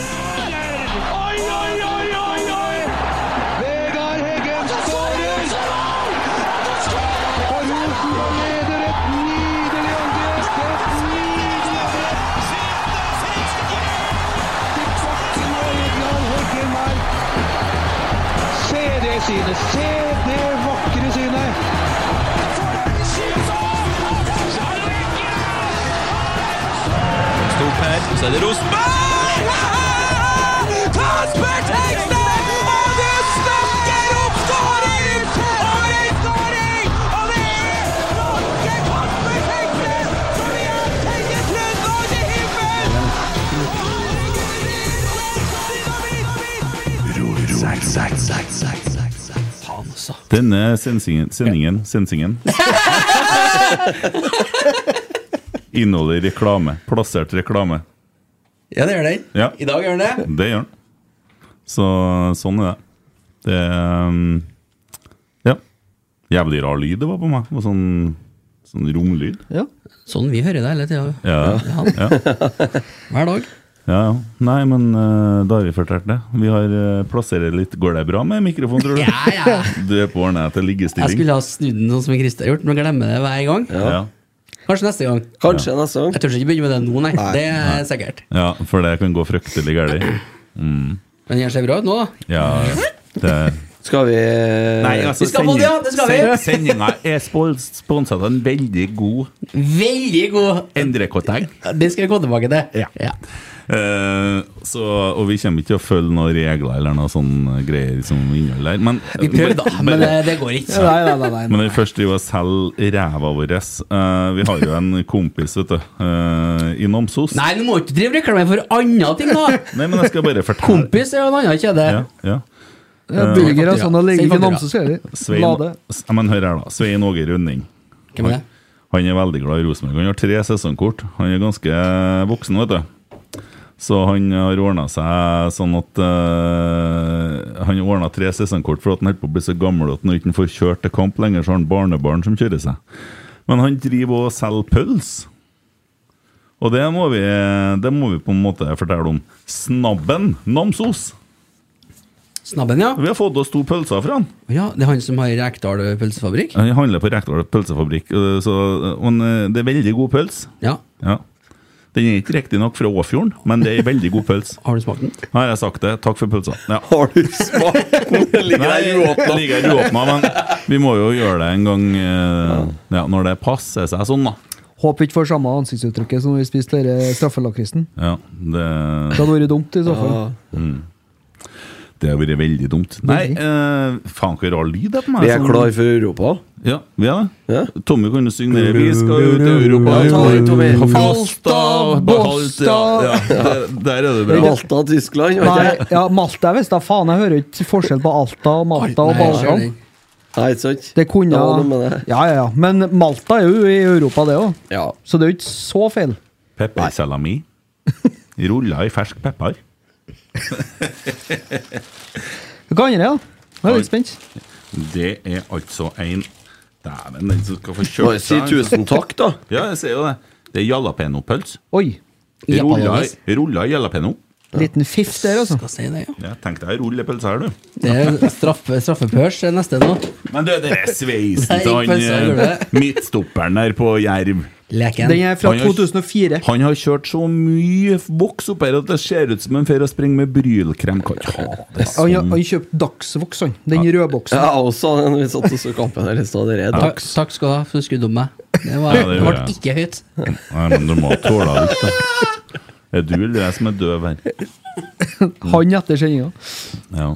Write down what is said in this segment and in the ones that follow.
Oi, oi, oi, oi, oi! Vegard Heggen skårer! Og Rosenborg leder et nydelig angrep! Et nydelig angrep! Til bakken og Vegard Heggen her. Se det synet! Se det vakre synet! Stort her, og så er det Rosenborg! Kasper Tengstedt! Og det snakker opp skåring! Og det er skåring! Og det er norske Kasper Tengstedt som igjen tenker Trøndelag til himmelen! Denne sensingen, sendingen, sensingen inneholder reklame. Plassert reklame. Ja, det gjør den. Ja. I dag gjør den det. Det gjør den. Så sånn er det. Det um, Ja. Jævlig rar lyd det var på meg. Det var sånn, sånn romlyd. Ja. Sånn vi hører det hele tida. Ja, ja. ja. Hver dag. ja. Nei, men eh, da har vi fortalt det. Vi har eh, plasseret litt Går det bra med mikrofonen, tror du? Ja, ja. Du er på ordnet til Jeg liggestilling? skulle ha snudd den sånn som Christer har gjort, men glemmer det hver gang. Ja. Kanskje neste gang. Kanskje neste gang. Jeg tør ikke begynne med det nå, nei. Det er sikkert. ja, for det kan gå fryktelig galt. Men den ser bra ut nå, da. Ja, det altså, Skal vi eh, Vi skal på det, ja! Det skal vi! Sendinga er sponsa av en veldig god Veldig god! Endre-Koteng. Det skal jeg gå tilbake til. Ja. Eh, så, og vi kommer ikke til å følge noen regler eller noe sånne greier som innhold der. Men, Vi prøvde, da, men eh, men, det, det går ikke. Nei, nei, nei. nei. men vi først driver og selger ræva vår. Eh, vi har jo en kompis vet du, eh, i Namsos. Nei, du må ikke drive reklame for andre ting, da! Nei, men jeg skal bare fortelle. Kompis er jo en annen kjede. Ja, ja. Ja, Burger og sånn og ligger Send i faktura. Namsos, hører vi. Svein, La det. S- ja, men hør her, da. Svein Åge Rønning. Hvem er det? Han er veldig glad i Rosenborg. Han har tre sesongkort. Han er ganske eh, voksen, vet du. Så han har ordna seg sånn at eh, Han ordna tre sesongkort fordi han holdt på å bli så gammel at når han ikke får kjørt til kamp lenger, så har han barnebarn som kjører seg. Men han driver og selger pølse. Og det må, vi, det må vi på en måte fortelle om. Snabben Namsos. Snabben, ja. Vi har fått oss to pølser fra han. ja. Det er han som har Rekdal pølsefabrikk? Han handler på Rekdal pølsefabrikk, øh, så, øh, men øh, det er veldig god pøls. Ja. Ja. Den er ikke riktig nok fra Åfjorden, men det er veldig god pøls. Har du smakt den? Her har jeg sagt det. Takk for pølsa. Ja. Har du smakt den? Ligger Nei, der jeg uåpna. ligger uåpna, men vi må jo gjøre det en gang øh, ja, når det passer seg sånn, da. Håper vi ikke får samme ansiktsuttrykket som når vi spiste denne straffelakrisen. Ja, det, Det hadde vært dumt i så fall. det har vært veldig dumt. Nei, øh, faen hvor rar lyd det er på meg. Vi er sånn- klar for Europa. Ja, vi er det. Ja. Tommy kan jo synge det. Vi skal ut til Europa. Ja, ta det, Tommy. På Falsta, Balta ja, der, der er du bra. Malta, Tyskland. vet Nei, jeg. ja, Malta er visst da faen. Jeg hører ikke forskjell på Alta og Malta og Nei, Balkan. skjønner. Nei, ikke sant? Det kunne Det var noe med det. Ja, ja, ja. Men Malta er jo i Europa, det òg. Ja. Så det er jo ikke så feil. Peppersalami. Rulla i fersk pepper. Hva andre, da? Nå er jeg litt spent. Det er altså en Dæven, den som skal få Bare kjøpt si tusen takk, da. sånn- Ja, jeg sier jo det. Det er jalapenopølse. Oi. Rulla Japanese. i- rulla i jalapeno. Liten fiff der, altså. Skal si det, ja. Ja, tenk deg rullepølse her, du. Det er straffe, straffepørs er neste nå. Men du, det er sveisen Nei, til han pølse, gjør eh, det. midtstopperen der på Jerv. Leken. Den er fra Han har- 2004. Han har kjørt så mye voks opp her at det ser ut som han fer og springer med brylkrem. Kan ikke ha det Han, sånn. han kjøpte Dagsvox, han. Den røde boksen. Jeg også, den vi satt og så kampen her i stad. Det er Takk, dags. takk skal du ha for skuddet om meg. Det, var, Ja, det det gjorde ble jeg. ikke høyt. Nei, men du må tåle det litt, da. Er du eller jeg som er døv her? Han etter sendinga. Ja.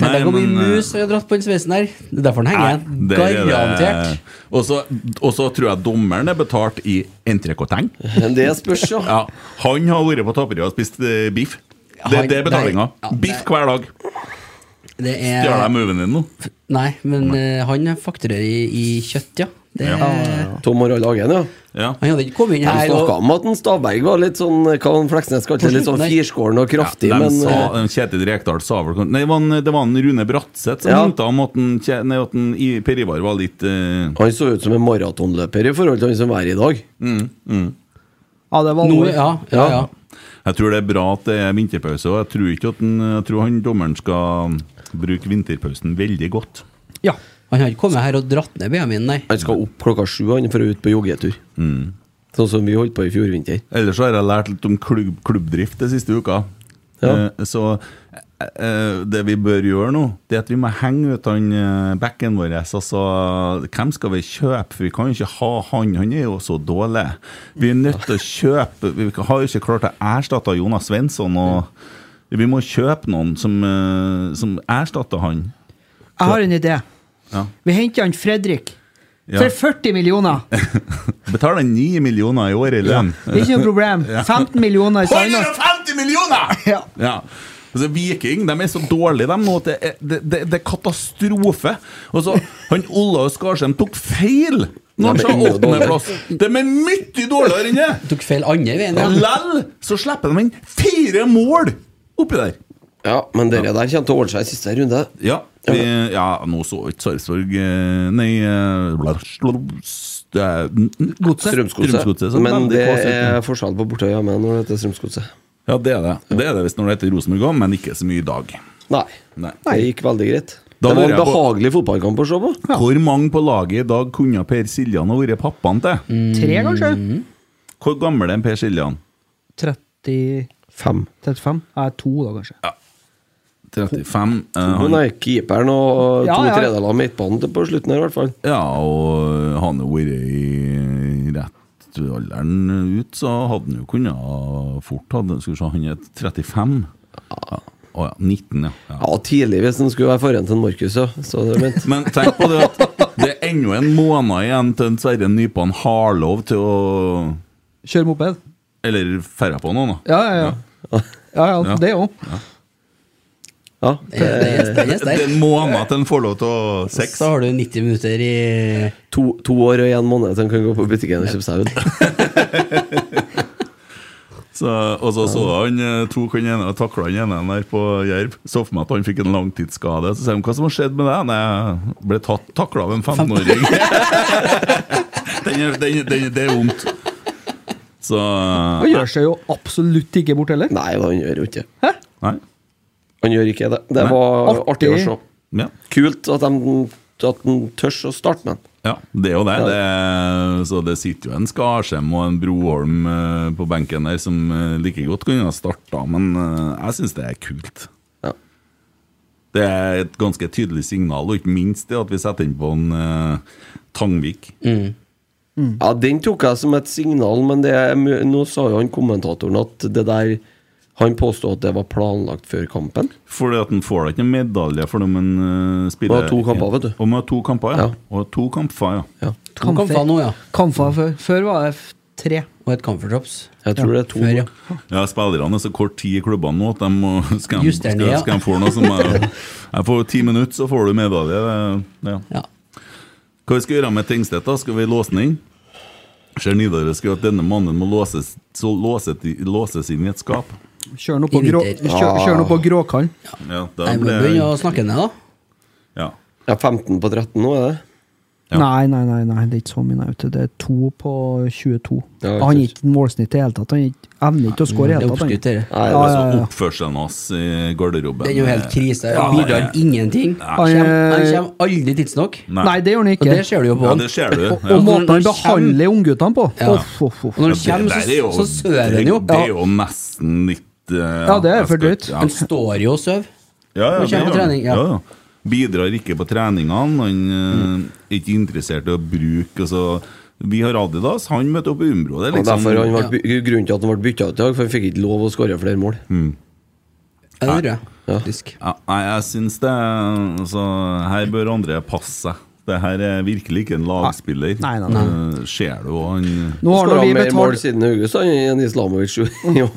Men det Nei, kan bli men, eh, mus jeg har dratt på den sveisen der. Det er derfor den henger igjen. Nei, det er det. Garantert. Og så- Og så tror jeg dommeren er betalt i entrecôteng. Men det spørs, ja. Ja, han har vært på Taperøya og spist eh, biff. Det, Han- det er betalinga. nei, ja, det- Biff hver dag. Det Gjør deg er moven din nå. Nei, men eh, han fakturerer i, i kjøtt, ja. Det, Tom Harald Hagen, ja. Ja. Han hadde ikke kommet inn De her og snakka om at en Stabberg var litt sånn Hva var Fleksnes kalte det? Litt sånn Nei. firskåren og kraftig, ja, de men sa, eh, de Kjetil Rekdal sa vel Nei, det var en, det var en Rune Bratseth som Ja. hinta om at, en, Kje- nei, at en, i Per Ivar var litt eh, han så ut som en maratonløper i forhold til han som er i dag. Ja, det var Nå, alvor. ja, ja, ja. Jeg tror det er bra at det er vinterpause, og jeg tror ikke at den, jeg tror han dommeren skal bruke vinterpausen veldig godt. Ja. Han har ikke kommet her og dratt ned BMI-en, nei. Han skal opp klokka sju han for å ut på joggetur. Sånn som vi holdt på i fjor vinter. Ellers så har jeg lært litt om klubb, klubbdrift de siste uka. Ja. Eh, så eh, det vi bør gjøre nå, det er at vi må henge ut han eh, backen vår. Altså, hvem skal vi kjøpe? For vi kan jo ikke ha han, han er jo så dårlig. Vi er nødt til å kjøpe Vi har jo ikke klart å erstatte Jonas Svensson. Og vi må kjøpe noen som, eh, som erstatter han. Jeg har en idé. Ja. Vi henter han Fredrik. Ja. For 40 millioner! Betaler 9 millioner i år i lønn. Det er ikke noe problem. 15 millioner i sign-up. 150 millioner! Ja. Ja. Altså, Viking de er så dårlige de nå at det er, det, det, det er katastrofe. Og så, han Olav Skarsheim tok feil når han De er sa enda dårligere. åttendeplass! De er mye dårligere enn det! Tok feil andre veien, Og ja. lell så slipper de inn fire mål oppi der! Ja, men dere der kommer til å ordne seg i siste runde. Ja, vi, ja nå så ikke Sarpsborg eh, Nei eh, bla- slå- s- det er- n- n- Godset. Strømsgodset, Strømsgodset. så Men veldig det kåsete. er forskjell på borte og hjemme når det heter Strømsgodset. Ja, det er det. Det er det hvis når det heter Rosenborg òg, men ikke så mye i dag. Nei. Nei. Det gikk veldig greit. Da det var lurer en jeg på- behagelig fotballkamp å se på. Hvor mange på laget i dag kunne Per Siljan ha vært pappaen til? Tre, kanskje? Mhm. Hvor gammel er Per Siljan? 30 Fem. 35? Nei, to, da, kanskje. 35. eh, Men han, nei, keeperen og to Ja, ja. tredeler av midtbanen til på slutten her, i hvert fall. ja, og eh, han har vært i rett alderen ut, så hadde han jo kunnet ha fort hadde, Skal vi se, han er 35. Ja. Å ja. 19, ja. ja. Ja, tidlig hvis han skulle være foran til Markus, ja. Så det er ment. Men tenk på det at det er ennå en måned igjen til en Sverre Nypan har lov til å Kjør moped. Eller færre på noen, da. Ja, ja, ja. Ja, ja, Ja. det òg. Ja, Den er sterk, den er Det er sterk. en måned til en får lov til å sex. Så har du 90 minutter i to, to år og en måned til han kan gå på butikken og kjøpe seg ut. Så, og så så han eh, tok han ene og takla han ene der på Jerv. Så for meg at han fikk en langtidsskade. Så sier han hva som har skjedd med deg? Nei, jeg ble tatt- takla av en 15-åring. den, er- den, den, det er vondt. Så Han gjør seg jo absolutt ikke bort heller. Nei, da, han gjør jo ikke det. Nei. Han gjør ikke det. Det var Artig. artig å se. Ja. Kult at de, at de tørs å starte med den. ja. Det er jo det. det er, så det sitter jo en Skarsheim og en Broholm eh, på benken der som eh, like godt kunne ha starta, men eh, jeg syns det er kult. Ja. Det er et ganske tydelig signal, og ikke minst det at vi setter inn på en eh, Tangvik. Mm. ja, den tok jeg som et signal, men det er, mye- nå sa jo han kommentatoren at det der Han påstod at det var planlagt før kampen. Fordi at han får da ikke noen medalje for det, men eh, spiller Man har to kamper, vet du. Og man har to kamper, ja. Ja. Og to kamper, ja. Ja. to kamfer nå, ja. Kamfer før. Før var det f- tre. Og et comfortrops. Jeg tror det er to. Før, ja. Ja, Spillerne er så kort tid i klubbene nå at de må skal, de- Justere skal, ned, ja. skal de få noe som er, jeg får ti minutter, så får du medalje. Det, ja. ja. Hva vi skal gjøre med Tengstedt? da? Skal vi låse den inn? Ser Nidaros skriver at denne mannen må låses, så låset, i- låses inn i et skap. Kjør nå på, grå, Irriter. kjør, kjør nå Ah. på gråkall. Ja, da Nei, men ble- Begynn å snakke ned, da. ja. Ja, 15 på 13 nå, er det? Ja. Nei, nei, nei, nei, det er ikke så mye. nei, vet du. Det er to på 22. Ja, han sant. er ikke målsnitt i det hele tatt. Han er ikke- evner ikke å score i Det det er hele tatt. han. oppskrytt, dette. Nei, Ja, ja, Altså ja. oppførselen hans i garderoben Det er jo helt krise. Ja, Han bidrar det- ingenting. Han kommer- han kommer aldri tidsnok. Nei. Nei, det gjør han Og det ikke. ser du jo på Ja, han. det ser du. Og, Ja. og måten han Ja. behandler ungguttene på! Ja. Uff, uff, uff. Og når Ja, han det kommer, der er så, så søver han jo. Det, det er jo nesten litt eh, Ja, det er for jeg drøyt. skal- Han står jo og søver. Ja, ja, Han kommer det på gjør han. trening, ja. Ja, ja. Bidrar ikke på treningene. Han Mm. eh, er ikke interessert i å bruke altså, Vi har Adidas, han møter opp i Umbro. Det er Og liksom, derfor han ble, Grunnen til at han ble bytta ut i dag, for han fikk ikke lov å skåre flere mål. Mm. Ja, det gjør jeg, Ja. faktisk. ja, nei, jeg syns det er- altså, Her bør André passe seg. Det her er virkelig ikke en lagspiller. Nei, nei, nei. Eh, ser du og han Nå har nå Skåra vi mer mål betalt siden August han, enn Islamovic. jo. Jo.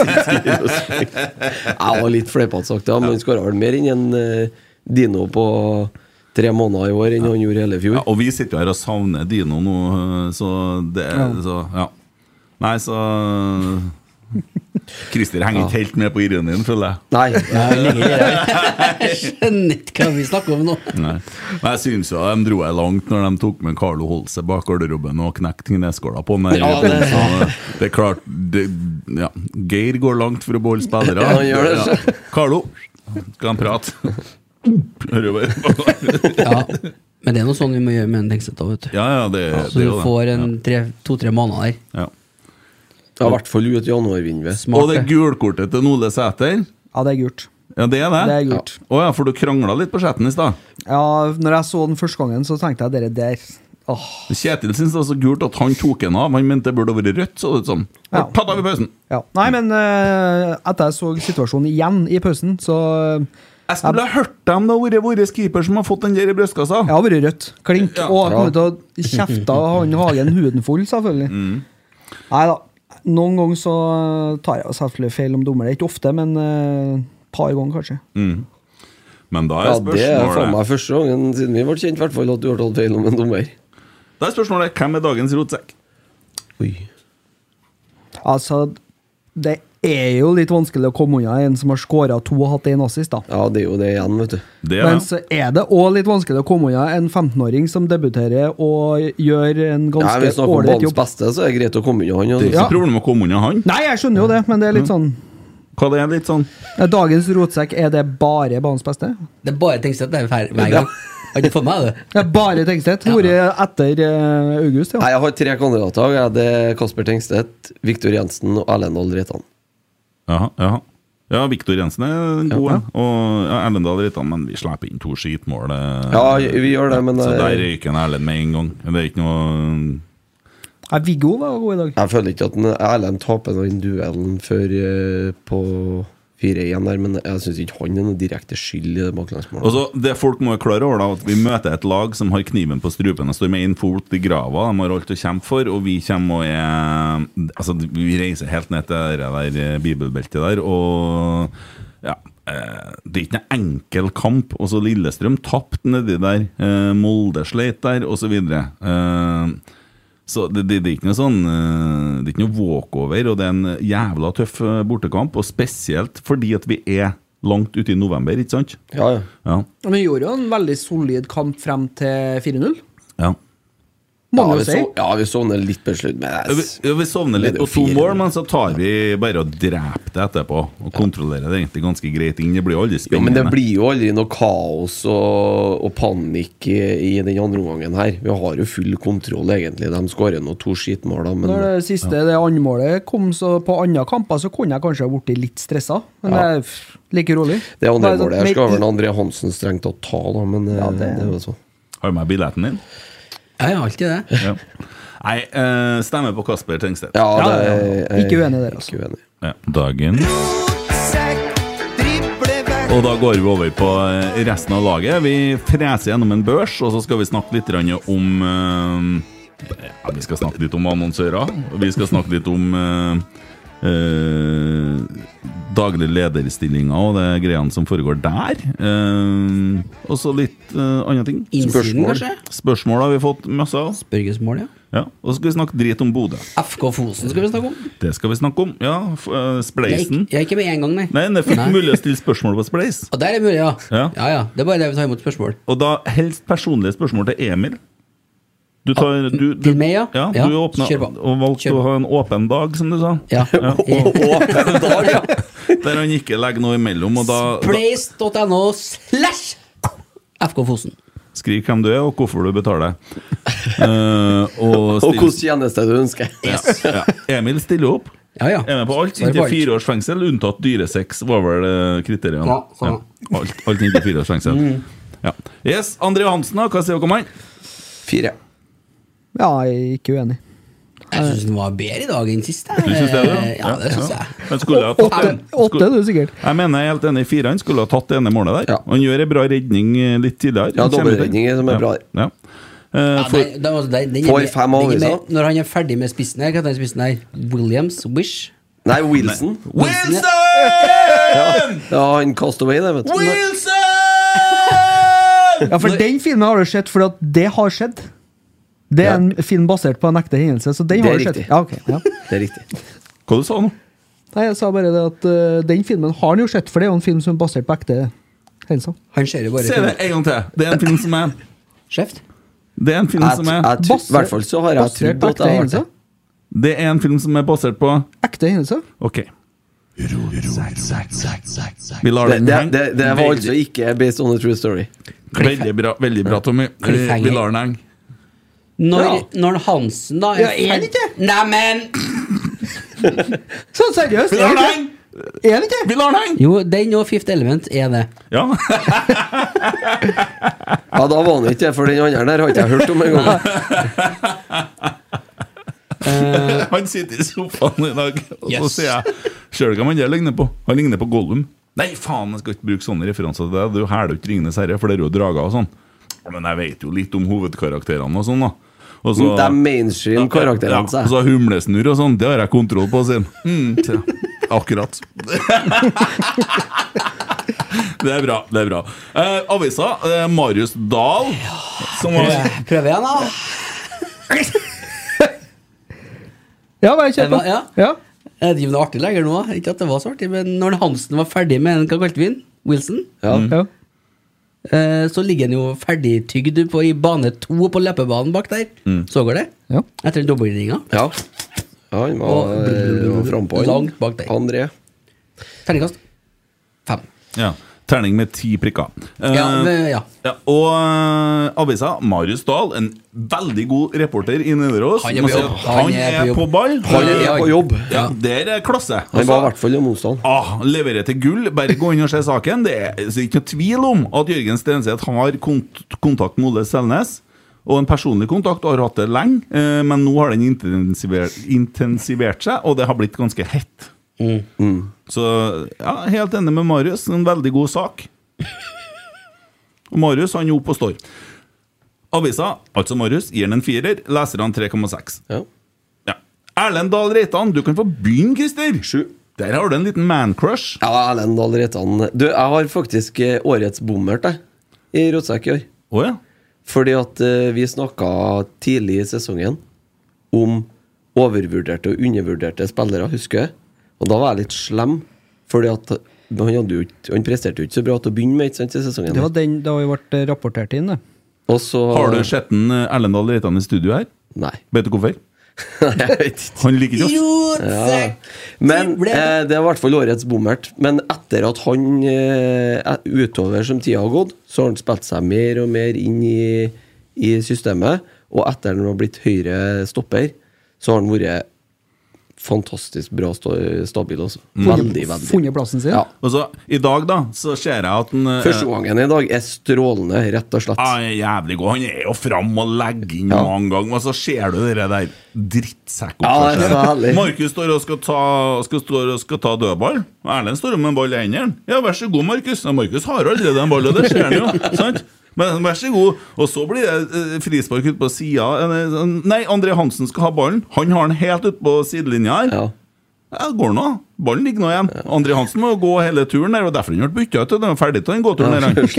Jeg var litt fleipete sagt, ja, men han skåra vel mer enn en eh, Dino på tre måneder i år enn han gjorde hele Ja, fjor. og vi sitter jo her og savner Dino nå, så det er så, ja. Nei, så Christer henger ikke helt med på ironien, føler jeg. Nei. Jeg ligger i det. Jeg skjønner ikke hva vi snakker om nå. Nei. Men jeg syns jo de dro jeg langt når de tok med Carlo Holse bak garderoben og knekte kneskåla på den. Ja, det- det. det er klart det, ja. Geir går langt for å beholde spillere. Ja, han gjør det. Ja. Carlo, skal han prate? Hører jo bare. Ja. Men det er noe sånn vi må gjøre med en Tengstedt òg, vet du. Ja, ja, det, Så det er du jo det. får to-tre måneder der. Ja. Det er i hvert fall ut januarvinduet. Smart. Og det gulkortet til Nole Sæter. Ja, det er gult. Ja, det er det? Det er gult. Å ja, for du krangla litt på chatten i stad. Ja, når jeg så den første gangen, så tenkte jeg dere der. Åh, Kjetil syntes det var så gult at han tok en av. Han mente det burde vært rødt, så det ut som. Ja. Ta det av i pausen. ja. Nei, men eh, etter jeg så situasjonen igjen i pausen, så eh, Jeg skulle ha hørt deg om det har vært vår keeper som har fått den der i brystkassa. Jeg har vært rødt. Klink. Ja. Og jeg kommer til å kjefte han Hagen huden full, selvfølgelig. Mm. Nei da. Noen ganger så eh, tar jeg jo selvfølgelig feil om dommere. Ikke ofte, men et par ganger, kanskje. Men da Ja, er det er faen spørsmålet, meg første gangen siden vi ble kjent, i hvert fall, at du har tatt feil om en dommer. da er spørsmålet hvem er dagens rotsekk? Oi. Altså, det er jo litt vanskelig å komme unna en som har skåra to og hatt én assist, da. Ja, det er jo det igjen, vet du. Det er Men det. så er det òg litt vanskelig å komme unna en 15-åring som debuterer og gjør en Nei, Hvis vi ganske snakker om ålreit banens jobb. beste, så er det greit å komme unna han. Det er Altså. ikke Ja. problem å komme unna han. Nei, jeg skjønner jo det, men det er Mm. litt sånn Hva det er litt sånn Dagens rotsekk, er det bare banens beste? Det er bare Tengstedt det er hver, hver gang. Har ikke fått med meg det. Ja, bare Tengstedt. Vært etter eh, august, ja. Nei, jeg har tre kandidater. Jeg er det Kasper Tengstedt, Viktor Jensen og Erlendal Reitan. Jaha, jaha. Ja, Viktor Jensen er god, ja. og ja, Erlendal Reitan, men vi slipper inn to skitmål. eh, Ja, vi gjør det, men eh, Så der jeg, røyker en Erlend med en gang. Det er ikke noe Nei, Viggo var god i dag. jeg føler ikke at en Erlend taper den duellen før eh, på 4-1 der, men jeg syns ikke han er noe direkte skyld i det Og baklengsmålet. så, det folk må være klare over da At vi møter et lag som har kniven på strupen Og står med en fot i grava De har alt å kjempe for Og vi kommer og er Altså vi reiser helt ned til det der eh, bibelbeltet der Og ja eh, Det er ikke noen enkel kamp Og så Lillestrøm tapt nedi der eh, Molde sleit der Og så videre Eh, så det, det, det er ikke noe sånn eh, Det er ikke noe walkover, og det er en jævla tøff eh, bortekamp. Og spesielt fordi at vi er langt ute i november, ikke sant? Ja, ja. Ja. Men vi gjorde jo en veldig solid kamp frem til 4-0. ja. Ja, Mange vi å si. sov- ja, vi sovner litt på slutt, men jeg Vi, s- ja, vi sovner litt Det er jo på to fire, mål, da. men så tar vi bare og dreper det etterpå. Og kontrollerer det egentlig ganske greit inn. Det blir jo aldri Jo, men spennende. det blir jo aldri noe kaos og, og panikk i, i den andre omgangen her. Vi har jo full kontroll, egentlig. De skårer nå to skitmål, da, men Når det siste, det andre målet kom, så på andre kamper så kunne jeg kanskje ha blitt litt stressa. Men det er pff, like rolig. det andre Bare sånn, målet her skal midt- vel André Hansen strengt tatt ta, da, men eh, det, det- er jo sånn. Har du med billetten din? Ja, Jeg har alltid det. Ja. Nei, eh, stemmer på Kasper Tengstedt. Ja, Ja, det, ja, er- ja. jeg- Ikke uenig der, altså. Ikke uenig. Ja. Dagen. Og da går vi over på eh, resten av laget. Vi freser gjennom en børs, og så skal vi snakke litt grann om eh, ja, Vi skal snakke litt om annonsører. og Vi skal snakke litt om eh, eh, daglig lederstillinger og det greiene som foregår der. Eh, og så litt eh, andre ting. Innsiden, Spørsmål. kanskje? Spørsmål har vi fått masse av. Børgesmål, ja. Ja, og så skal vi snakke drit om Bodø. FK Fosen skal vi snakke om. Det skal vi snakke om. Ja, f eh, Jeg er ikke, Spleisen. jeg er ikke med én gang, nei. Nei, det er fullt Nei. mulig å stille spørsmål på Spleis. Og der er det mulig, ja. ja. Ja. Ja, Det er bare det vi tar imot spørsmål. Og da helst personlige spørsmål til Emil. Du tar, du, du, til meg, ja? ja, Ja, du åpna kjør på. og valgte Kjør å på. ha en åpen dag, som du sa. Ja. Der han ikke legger noe imellom. Og da, da Place.no slash FK Fosen. skriv hvem du er, og hvorfor du betaler. Eh, og Og still, hvilken tjeneste du ønsker. ja. Emil stiller opp. Ja, ja. Er med på alt. Svarer på Inntil alt. fire års fengsel, unntatt dyresex, var vel eh, kriteriene. Ja, sånn. Mm. Alt, alt inntil fire års fengsel. Ja. Yes, André Hansen, da. Hva sier dere om han? Fire. Ja, jeg er ikke uenig. Jeg syns den var bedre i dag enn sist. jeg. Du syns det, du? Eh, Ja, det syns Ja. jeg. Men skulle jeg ha tatt Åtte, en- åtte er skulle- du sikkert. Jeg mener jeg er helt enig i fire. Han skulle ha tatt det ene målet der. Ja. Han gjør en bra redning eh, litt tidligere. Han Ja, kommer ut. dobbeltredninger som er bra. Ja. Eh, Ja, for, den- den var- den- den er For med- fem den er aviser. med- Når han er ferdig med spissen her, hva heter den spissen her? Williams? Wish? Nei, Wilson. Wilson! Ja, han Castaway, det, vet du. Wilson! Ja, for den filmen har du sett, for at det har skjedd. Det er en film basert på en ekte hendelse, så den Det er har du sett. riktig. Ja, ok, ja. Det er riktig. Hva du sa du nå? Nei, jeg sa bare det at eh, den filmen har han jo sett, for det er jo en film som er basert på ekte hendelser. Han ser jo bare Se det en gang til! Det er en film som er Skjeft. Det er en film Jeg som tr- er jeg tr- I hvert fall så har jeg basert trodd på at ekte jeg har hendelser. det. Det er en film som er basert på Ekte hendelser. OK. Vi lar Det, den det, henge. det, det var altså Veldig- ikke based on a true story. Veldig bra, veldig bra Tommy. Vi Cliffhanger. vi lar den henge. Når, Ja. når Hansen, da Ja, er det ikke? Neimen! Sånn seriøst! Vi Er det lar den ikke? henge! Er det ikke? Vi lar den henge! Jo, den og Fifth Element er det. Ja. Ja, da var han ikke det, for den andre der har ikke jeg hørt om engang. Han sitter i sofaen i dag, og så sier jeg Ser du hva han der ligner på? Han ligner på Gollum. Nei, faen, jeg skal ikke bruke sånne referanser til deg. Du hæler jo ikke Ringenes herre, for det er jo drager og sånn. Men jeg vet jo litt om hovedkarakterene og sånn, da. Og så, De mainstream karakterene altså. Ja, og seg. så humlesnurr og sånn, det har jeg kontroll på, sier han. Mm, sier jeg. Akkurat. Det er bra. det er bra eh, Avisa, eh, Marius Dahl, som var Prøv igjen, da. Ja, bare kjør på. Ja. Ja. Er Eh, det ikke noe artig lenger nå? da? Ikke at det var så artig, men når Hansen var ferdig med en, hva kalte vi den? Wilson? Ja. Mm. Ja. Eh, så ligger han jo ferdigtygd på, i bane to på løpebanen bak der. Mm. Så går det? Ja. Etter den dobbeltringa. Ja. ja, han var, Og- eh, var frampå. Langt bak deg. André. Terningkast fem. ja, terning med ti prikker. Eh, Ja, men, ja. Ja, og eh, avisa Marius Dahl, en veldig god reporter i Nidaros. Han er på Man ser jobb. at Han er på ball. Han er Ja. på jobb. Ja, Der er klasse. Han var i Altså, hvert fall i motstand. ah, leverer til gull. Bare gå inn og se saken. Det er altså ikke noe tvil om at Jørgen Stenseth har kont kontakt med Ole Selnes. Og en personlig kontakt, og har hatt det lenge. eh, Men nå har den intensivert, intensivert seg, og det har blitt ganske hett. Så ja, helt enig med Marius. En veldig god sak. Og Marius han er oppe og står. Avisa, altså Marius, gir den en firer. Leserne 3,6. Ja. Ja. Erlend Dahl Reitan, du kan få begynne, Christer. Sju. Der har du en liten man-crush. Ja, Erlend Dahl Reitan. Du, jeg har faktisk eh, årets bommert jeg, i Rotsekk i år. Å ja. Fordi at eh, vi snakka tidlig i sesongen om overvurderte og undervurderte spillere, husker jeg. Og da var jeg litt slem, fordi at men han, hadde jo, ikke- han presterte jo ikke så bra til å begynne med. ikke sant, i sesongen Det var den da vi ble rapportert inn, det. Og så, Har du sett den, eh, Erlend Dahl Reitan i studio her? Nei, Vet du hvorfor? jeg vet ikke. Han liker ikke oss. Ja. Men eh, det er i hvert fall årets bommert. Men etter at han eh, er- utover som tida har gått, så har han spilt seg mer og mer inn i, i systemet. Og etter at han har blitt høyre stopper, så har han vært fantastisk bra sta- stabil. Også. Mm. Veldig, veldig. Funnet plassen sin. Ja. Og så, I dag, da, så ser jeg at han eh, Første gangen i dag er strålende, rett og slett. Han er jævlig god. Han er jo fram og legger inn Ja. mange ganger, og så ser du det der Ja, det er så drittsekkoppførselen. herlig. Markus står og skal ta, skal, står og skal ta dødball. Erlend står med en ball i hendene. Ja, vær så god, Markus. Ja, Markus har allerede en ball, og det ser han jo. sant? Men vær så god. Og så blir det eh, frispark ute på sida. Nei, André Hansen skal ha ballen. Han har den helt ute på sidelinja her. Ja. Ja, det går nå. Ballen ligger nå igjen. André Hansen må jo gå hele turen der, og derfor han ble bytta ut. og Den var ferdig til den gåturen der. han.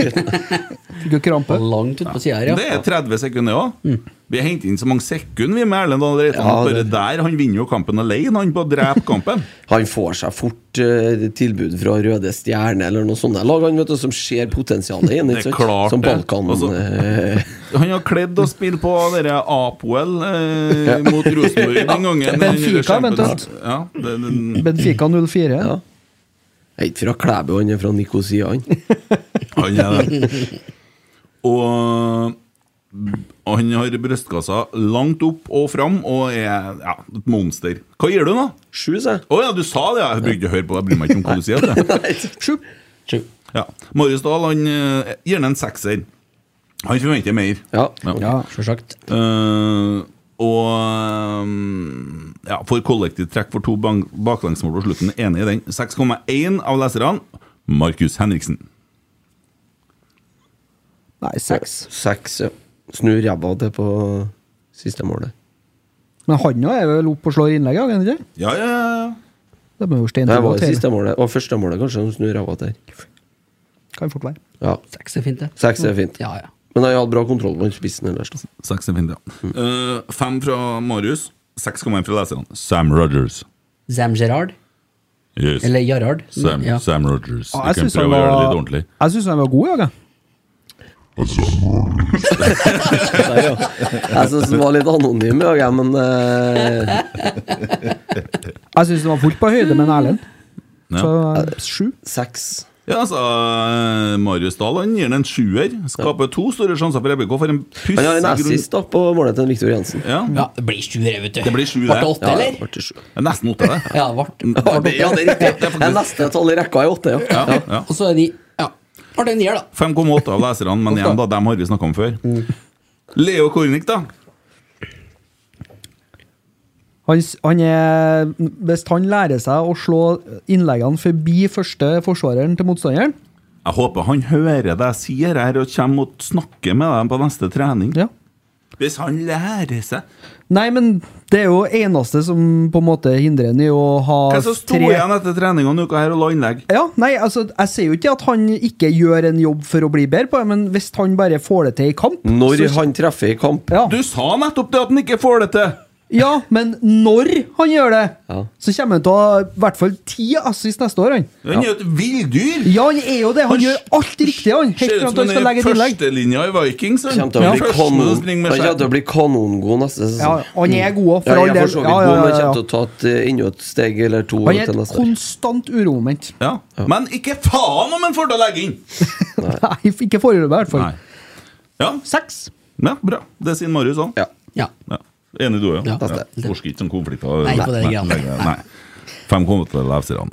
Fikk jo krampe. Langt utpå sida her, Det ja. er 30 sekunder òg. Vi henter inn så mange sekunder vi med Erlend Dahl Reitan. Mm. Ja, Bare det- der, Han vinner jo kampen alene, han, på å drepe kampen. Han får seg fort eh, tilbud fra Røde Stjerne eller noe sånt. der Lag han vet du, som ser potensialet i ham. Det er klart Som det. Balkan. Altså- eh, Han har kledd og spilt på dere Apoel eh, mot Rosenborg den gangen. den Benfica, skjerpen- eventuelt. Ja, det, det, Benfica 04. Ja. Jeg er ikke fra Klæbu, han er fra Nikosia. han. han er det. Og og han har brystkassa langt opp og fram og er ja, et monster. Hva gir du nå? Sju, sa jeg. Å ja, du sa det! ja. Jeg brukte ikke høre på deg, jeg bryr meg ikke om hva du sier. Det. Sju. Sju. Ja. Marius Dahl han eh, gir den en sekser. Han forventer mer. Ja. Ja, Sjølsagt. Eh, og ehm, ja, for kollektivt trekk for to bang- baklengsmål på slutten. Enig i den. 6,1 av leserne. Markus Henriksen. Nei, seks. Seks, ja. Snur ræva til på siste målet. Men han òg er vel oppe og slår innlegg, er han ikke? det? Ja, ja, ja. Det må jo Det var det steintøye. siste målet. Og første målet, kanskje. Han snur ræva til. Kan fort være. Ja. Seks er fint, det. Seks er fint. Ja, ja. Men han hadde bra kontroll på den spissen ellers. da. Seks er fint, ja. Eh, Fem fra Marius. 6,1 fra leserne. Sam Rogers. Zam Gerard. Yes. Eller Jarard. Sam, Ja. Sam Rogers. Ja, du kan synes prøve å gjøre det litt var, ordentlig. jeg synes han var god i dag, jeg. Jeg syns den var litt anonym i dag, jeg, men eh, Jeg synes han var fullt på høyde med en Erlend. Ja. Så eh, sju. seks. Ja, altså, eh, Marius Dahl han gir den en sjuer. Skaper to store sjanser for RBK. For en puss Han har en i grunn- assist da, på målet til Viktor Jensen. Ja. Ja, det blir sju, det, vet du. Det blir sju, Ble det. det åtte, Ja, eller? ja, til sju. Det er Nesten åtte, det. Ja, det ble Ja, det ja, det er riktig. Det er faktisk- Det er neste tall i rekka er åtte, ja. Ja, ja. Og så er de Ja. Ble det en nier, da. 5,8 av leserne, men igjen, da, dem har vi snakka om før. Mm. Leo Kornic, da. Han, s- han er, hvis han lærer seg å slå innleggene forbi første forsvareren til motstanderen Jeg håper han hører det jeg sier her, og kommer og snakker med dem på neste trening. ja. Hvis han lærer seg Nei, men det er jo eneste som på en måte hindrer han i å ha Hva som sto tre- igjen etter treninga en uke her og la innlegg? Ja, nei, altså, Jeg sier jo ikke at han ikke gjør en jobb for å bli bedre på det, men hvis han bare får det til i kamp Når så- han treffer i kamp. ja. Du sa nettopp det at han ikke får det til! ja, men når han gjør det, Ja. så kommer han til å ha i hvert fall ti assist neste år. han Han er jo et villdyr! Ja, han er jo det! Han Han gjør alt riktig, han! Helt Ser til at ut han som skal han er i legge et innlegg. førstelinja i Vikings. han. Han kommer til å Ja. bli Først kanon- må du springe med han kommer til skjerf. å bli kanongod neste Ja, sesong. han er god også, for Ja, all jeg er del. for så vidt Ja, god, ja, men ja, han ja. kommer til å ta et, eh, enda et steg eller to Han er til et neste år. konstant uromoment. Ja. Men ikke faen om han får til å legge inn! Nei, ikke foreløpig, i hvert fall. Nei. Ja, Seks. ja, bra. Det sier Marius òg. Ja. Ja. Ja. Enig du òg, ja. Ja. ja. Forsker ikke sånn konflikter. Nei, på det Nei, greiene. nei, nei. Fem kommer til leserne.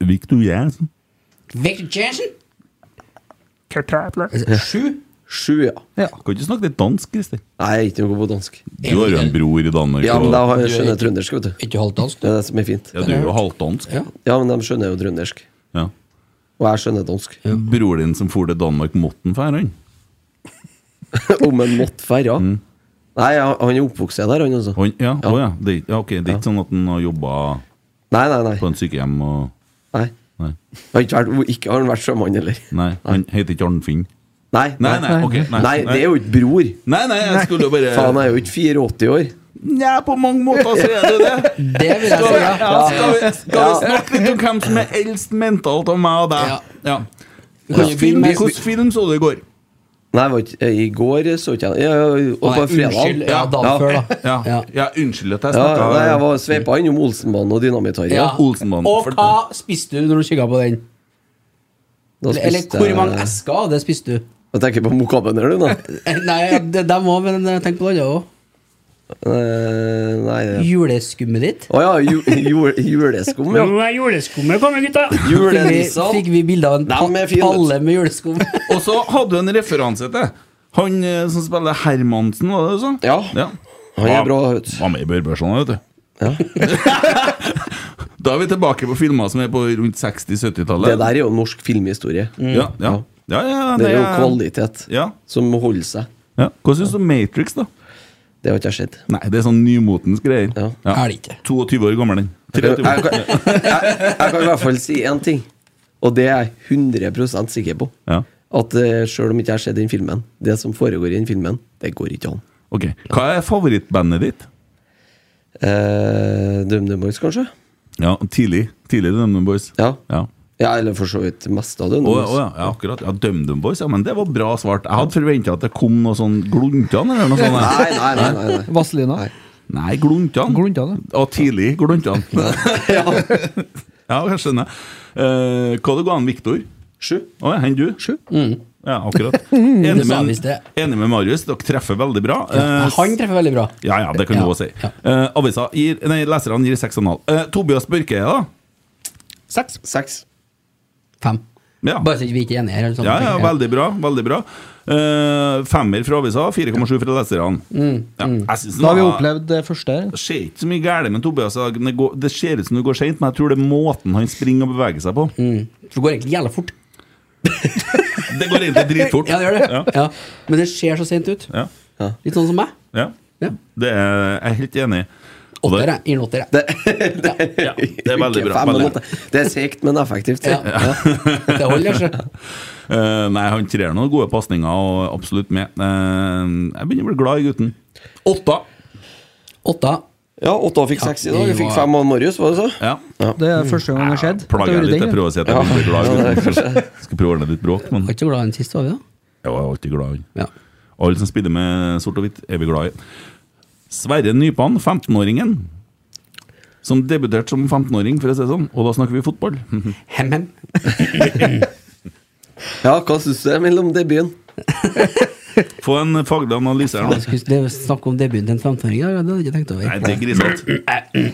Victor Jensen. Victor Jensen? Sju? Sju, ja. Kan ikke snakke litt dansk, Christer? Nei, jeg er ikke noe god på dansk. Du har jo en bror i Danmark. Ja, men og- da har jeg skjønner trøndersk, vet du. Ikke halvt dansk? Det er det som er fint. ja, du er jo halvdansk. Ja. Ja, men de skjønner jo trøndersk. Ja. Og jeg skjønner dansk. Broren din som for til Danmark, måtte han fære han? Om en måtte færre. Mm. Nei, han han er oppvokst der, han altså. Han- Ja, å ja. Det, ja, ok, det er ikke sånn at han har jobba Nei, nei, nei. på en sykehjem og nei. Nei. Han har ikke vært, ikke, har han vært sjømann, eller? nei han heter ikke Arnfinn. Nei, Nei, nei, ok. Nei, Nei, det er jo ikke bror. Nei, nei, jeg skulle jo bare Faen, jeg er jo ikke 84 år. Nei, på mange måter så er det det. Det vil jeg Skal vi, si, ja. skal vi, skal vi snakke litt om hvem som er eldst mentalt av meg og deg? Ja. Kan Hvilken film, du begynne med- hvilken film så du i går? Nei, jeg var ikke, eh, i går så ikke jeg ja, ja, Og på Nei, Unnskyld, fredag. ja, dagen Ja. før, da. Ja. Ja. ja, unnskyld at jeg Ja, nei, jeg snakka var sveipa innom Olsenbanen og Dynamitt-Harry. Ja. Olsenmannen. Og hva spiste du når du kikket på den? Da Eller, eller spiste hvor jeg- mange esker av det spiste du? Jeg tenker på mokabener, du, nå. Nei, det- dem òg, men tenk på det andre òg. Eh, Nei det- Juleskummet ditt. Å ja, ju, jul, juleskum, ja. Nå er juleskummet kommet, gutta! Fikk vi, Julenissene. fikk vi bilde av en Dem er pa- fine. palle med juleskum? Og så hadde du en referanse til han eh, som spiller Hermansen, var det du sa? Ja. Han er bra, vet du. Var med i Børbørson, vet du. da er vi tilbake på filmer som er på rundt 60-70-tallet. Det der er jo norsk filmhistorie. Mm. Ja, ja. ja, ja Det er jo er- kvalitet Ja. som holder seg. Ja. Hva syns du om Matrix, da? Det har ikke jeg sett. Nei, det er sånn nymotens greier. Ja. Er det ikke. 22 år gammel, den. Jeg, 23 jeg, år. kan- jeg, jeg kan i hvert fall si én ting, og det er jeg 100 sikker på. Ja. At eh, selv om ikke jeg har sett den filmen, det som foregår i den filmen, det går ikke an. Ok, Hva er favorittbandet ditt? Eh, DumDum Boys, kanskje? Ja, tidlig. Tidlig DumDum Boys. Ja. Ja. ja, eller for så vidt mest av Å DumDum ja, å Boys. ja, ja, akkurat. Ja, DumDum Boys, ja, men det var bra svart. Jeg hadde forventa at det kom noe sånn Gluntan eller noe sånt. Nei, nei, nei. nei, nei. Vazelina. Nei, Gluntan. Gluntan, ja. Og tidlig Gluntan. ja, jeg skjønner. Eh, hva det går an, Viktor? Sju. Å ja, enn du? Sju. Ja, akkurat. Mm. Det Enig sa med, visst det. enig med Marius, dere treffer veldig bra. Eh, Han treffer veldig bra. ja, ja, det kan du Ja, òg si. ja. Eh, avisa gir, nei, leserne gir 6,5. Eh, Tobias Børke, da? Seks. Seks. Fem. Ja. Bare så ikke vi ikke er enige her. Eller sånn, Ja, ja, veldig bra. veldig bra Eh, Femmer fra avisa, 4,7 fra leserne. Ja, jeg synes den Da har vi var- opplevd det første. her. Det skjer ikke så mye gærent med Tobias. i dag, men Det, går, det ser ut som det går seint, men jeg tror det er måten han springer og beveger seg på. For det går egentlig jævla fort. Det går egentlig dritfort. Ja, det gjør det. Ja. Ja. Men det ser så sent ut. Ja. Litt sånn som meg. Ja. Ja. Det er jeg er helt enig i. Og det- Åtter, jeg. Gir den åtter, jeg. Det, Ja, det er veldig Ikke bra. fem, Veldig men bra. åtte. Det er segt, men effektivt. Ja. Det holder, kanskje. Eh, nei, han trer noen gode pasninger og absolutt med. Eh, jeg begynner å bli glad i gutten. Åtta. Åtta. Ja, Otta fikk seks i dag. Vi fikk Ja. fem av Marius, var det så? Ja. Det er første gang det har skjedd. Plager jeg litt, jeg prøver å si at jeg blir glad. Ja, det er Skal prøve å ordne litt bråk, men Var ikke glad i den siste, var vi da? jeg er alltid glad. Ja. Alle som spiller med sort og hvitt, er vi glad i. Sverre Nypan, 15-åringen, som debuterte som 15-åring, for å si det sånn. Og da snakker vi fotball. Hem, hem. Ja, hva syns du er mellom debuten? Få en faglig analyse her nå. Jeg skulle det- snakke om debuten til en 15-åring, ja, det hadde jeg ikke tenkt Nei, over. det er grisete.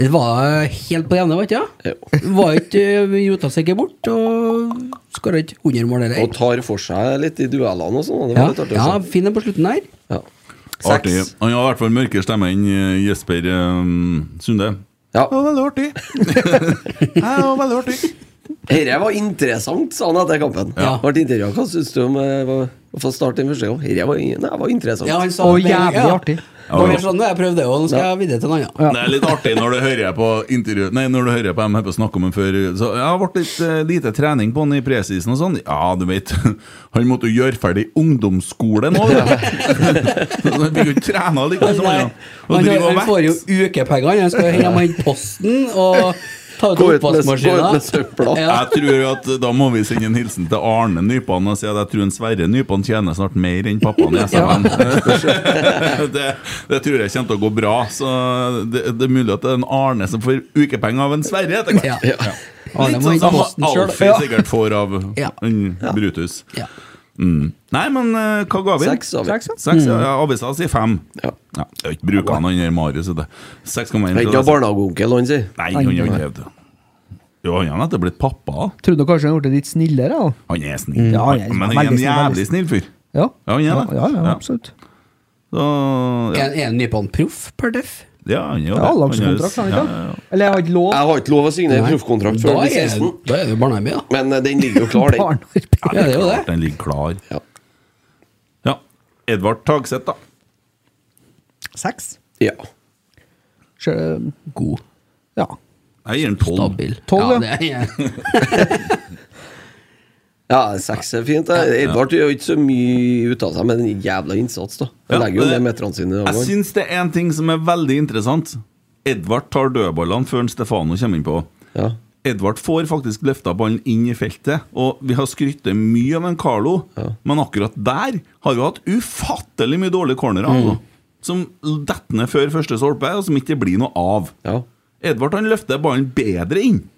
Det var helt på det ene, var ikke det? Var ikke eh, Jota seg ikke bort, og skåra ikke 100 mål eller Og tar for seg litt i duellene og sånn. Det Ja, var litt artig. ja å se. fin den på slutten der. Ja. Artig. Seks. Han har i hvert fall mørkere stemme enn eh, Jesper eh, Sunde. Ja. Det var veldig artig. Det var veldig artig. Dette var interessant, sa han etter kampen. Ja. Ble intervjua. Hva syns du om eh, hva- å få starte den første gang? Dette var, nei, det var interessant. han sa Og med en gang, jævlig artig. Det var mer sånn, jeg prøvde jo, nå skal jeg videre til en annen. Det er litt artig når du hører på intervju Nei, når du hører på dem her på snakke om dem før Så ja, det ble litt eh, lite trening på han i presisen og sånn Ja, du vet Han måtte jo gjøre ferdig ungdomsskolen nå Så han fikk jo ikke trene like som han Nei, ja. Og han, har- drive og han får jo vekt ukepenger, han skal hjem og hente posten og ta ut Gå ut med- oppvaskmaskinen. gå ut med søpla. Ja. Jeg tror at da må vi sende en hilsen til Arne Nypan Og si at jeg tror en Sverre Nypan tjener snart mer enn pappaen i SMN det, det tror jeg kommer til å gå bra Så det, det er mulig at det er en Arne som får ukepenger av en Sverre etter hvert Ja. Ja. Arne Litt må sånn hente som posten sjøl. Alfie sikkert får av Ja. en Brutus. Ja. Mm. Nei, men eh, hva ga vi? Seks, sa vi. Seks, ja. Seks, ja. ja. Avisa sier fem. Ja. Ja, jeg har ikke bruka han andre Marius. vet du. 6,1. Det er til ikke det. noe barnehageonkel, han sier. Nei, han har ikke det. Jo, han er nettopp blitt pappa. Trodde kanskje han ble litt snillere. da. Han er snill. Ja, han er- liksom men han veldig er en snill, veldig jævlig snill fyr. Ja, Ja, han er det. ja, ja, Ja. absolutt. Så, ja. Er er Nypan proff per deff? ja, han er jo det. Ja, Han er- Langskontrakt, han ja, ikke? ja, ja. Eller jeg har ikke lov. Jeg har ikke lov å signere proffkontrakt før Da jeg blir er 16, da er det jo barnehjem, ja. men eh, den ligger jo klar, den. Barnarbeid. Ja, det er jo Klart det. Den ligger klar. Ja. Ja. Edvard Tagseth, da. Seks. Ja. Sjø- God. Ja. Jeg gir den tolv. Stabil. Tolv, ja. det er- ja, seks er fint. det. Edvard gjør jo ikke så mye ut av seg med den jævla innsats, da. Han Ja, legger jo det- ned meterne sine. Jeg Og, syns det er en ting som er veldig interessant. Edvard tar dødballene før en Stefano kommer innpå. ja. Edvard får faktisk løfta ballen inn i feltet, og vi har skrytt mye av en Carlo, men akkurat der har vi hatt ufattelig mye Mm. dårlige cornerer. Altså, som detter ned før første stolpe, og som ikke blir noe av. ja. Edvard han løfter ballen bedre inn.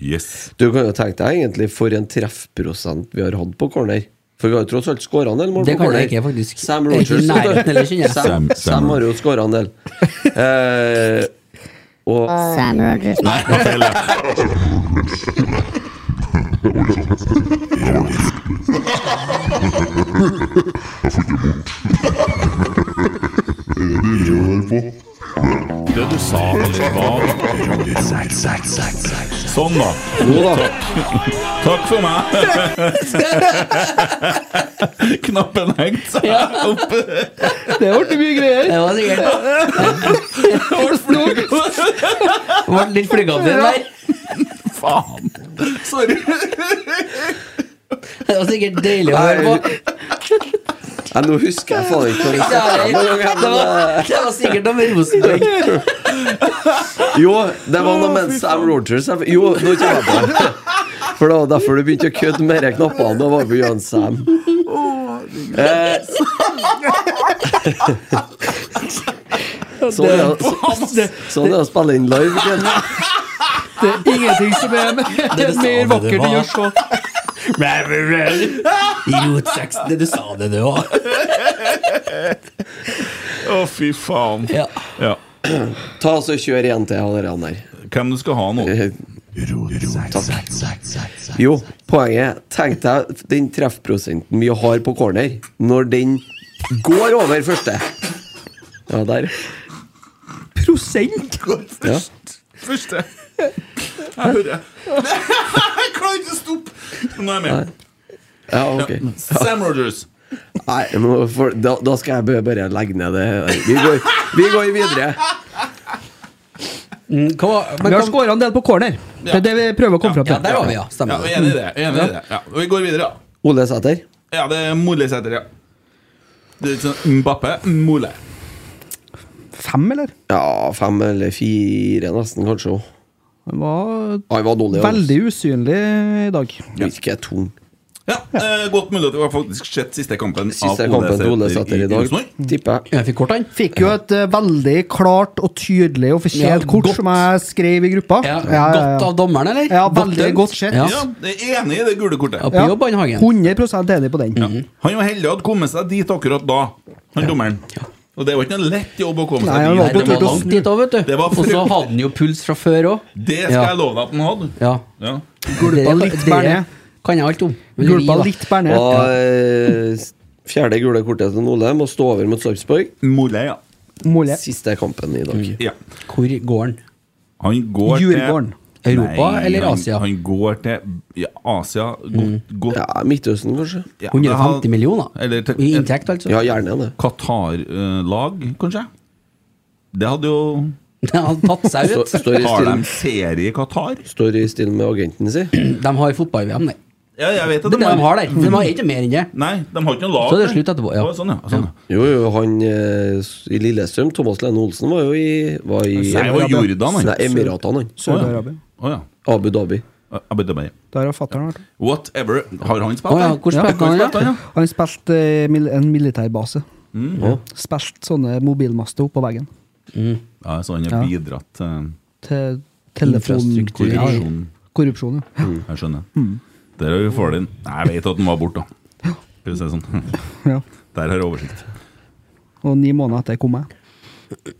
Yes. Du kan jo tenke deg egentlig for en treffprosent vi har hatt på corner. For vi har jo tross alt skåra en del mål Det på kan corner. jeg ikke, faktisk. Sam Jeg er ikke i Rogers. vet du. nærheten heller, kjenner jeg. Sam, Sam- Sam har jo skåra en del. Eh, og Sam Rogers. Nei, hva feil er det? Det du sa, eller hva? Sånn, da. nå, da. Takk for meg. Knappen hengte seg opp. Det ble mye greier. Det var sikkert Det ble litt flygavtid der. Faen. Sorry. Det var sikkert deilig å høre på. Nei, nå husker Eh, jeg faen ikke hva vi Det var, snakket om. det var, det var sikkert om Rosenborg. Jo, det var noe med Sam Rogers Jo, nå kommer jeg på det. For det var derfor du begynte å kødde med de knappene. Da var vi jo en Sam. Eh. Sånn er det- sånn er det å spille inn live. Ken. Det er ingenting som er Det du sa, mer det vakkert enn var- å sånn. se. Idiot 16, det du sa det, du òg. Å, fy faen. Ja. Ja. Ta oss og Kjør igjen til han der, han der. Hvem du skal ha nå? Eh, Takk. Jo, poenget Tenk deg den treffprosenten vi har på corner, når den går over første. Ja, der. Prosent! Ja. Første. Jeg hører. Jeg klarer ikke å stoppe. Nå er jeg med. ja ok. Sam Rogers. Nei, nå får- da, da skal jeg bare- bare legge ned det. Vi går, vi går videre. Mm, hva var- men Vi har hva- skåra en del på corner. Det er det vi prøver å komme fram Ja, til. der var vi, ja. Ja, jeg Stemmer det. er enig i det. jeg er Enig i det. Ja. og Vi går videre, ja. Ole Sæter. Ja, det er Mole Sæter, ja. Det er litt sånn Mbappe, Mole. Fem, eller? Ja, fem eller fire, nesten, kanskje òg. Han var Han var dårlig. altså. veldig usynlig i dag. Virker tung. Ja, eh, Godt mulig at vi har faktisk sett siste kampen Siste kampen til Ole Sæter i dag, Rosenborg. tipper jeg. Jeg fikk kort, han. Fikk jo et eh, veldig klart og tydelig og Ja, fortjent kort godt. som jeg skrev i gruppa. Ja, Ja, ja, ja. Godt av dommeren, eller? Ja, veldig dømt. godt sett. Ja. Ja, jeg er enig i det gule kortet. Ja, på Ja. jobb, han Hagen. 100 enig på den. Han var heldig å ha kommet seg dit akkurat da, han dommeren. Og det var ikke noe lett jobb å komme Nei, han var seg Nei, dit. på det tur var til å langt snu. dit òg, vet du. Det var Og så fryktelig. hadde han jo puls fra før òg. Det skal Ja. jeg love deg at han hadde. Ja. Ja. Gulpa Det- litt det Bernet. Kan jeg alt om. Men vi Gulpa da. litt Bernet. Og eh, fjerde gule kortet til Ole må stå over mot Sarpsborg. Mollet, ja. eh, Mole. Siste kampen i dag. ja. Hvor går han? Han går Djurgården. til Europa eller han- Asia? Han går til ja, Asia. Godt, godt Ja, Midtøsten, kanskje. ja, det har- 150 millioner? Eller til- I inntekt, altså? Ja, gjerne det. Qatar-lag, kanskje? Det hadde jo Han tatt seg Stå- ut. Står i Har de stil, serie i Qatar? står i stil med agenten sin. De har fotball-VM, nei. Ja, jeg vet at Det er det de har der. De har ikke mer enn det. Nei, de har ikke noe lag. Så er det nei. slutt etterpå, ja. Å, Sånn, ja. Sånn, ja. Jo, jo, han eh, s- i Lillestrøm, Thomas Lene Olsen, var jo i var i Nei, det var Jordan, han. Nei, Emiratene, han. Sør-Arabia. Å ja. Abu Dhabi. Abu Dhabi. Der har fatter'n vært. Whatever. Har han spilt Å ja, der? hvor spilte han, ja? ja? Han spilte eh, mil en militærbase. Mm. Spilte sånne mobilmaster oppå veggen. Ja, så han har bidratt til Til telefon... Infrastruktur. Ja, ja. Korrupsjon, korrupsjon. ja. Mm. Jeg skjønner. Der har vi faren din. Nei, Jeg vet at han var borte, da. Skal vi si det sånn. ja. Der har jeg oversikt. Og ni måneder etter kom jeg.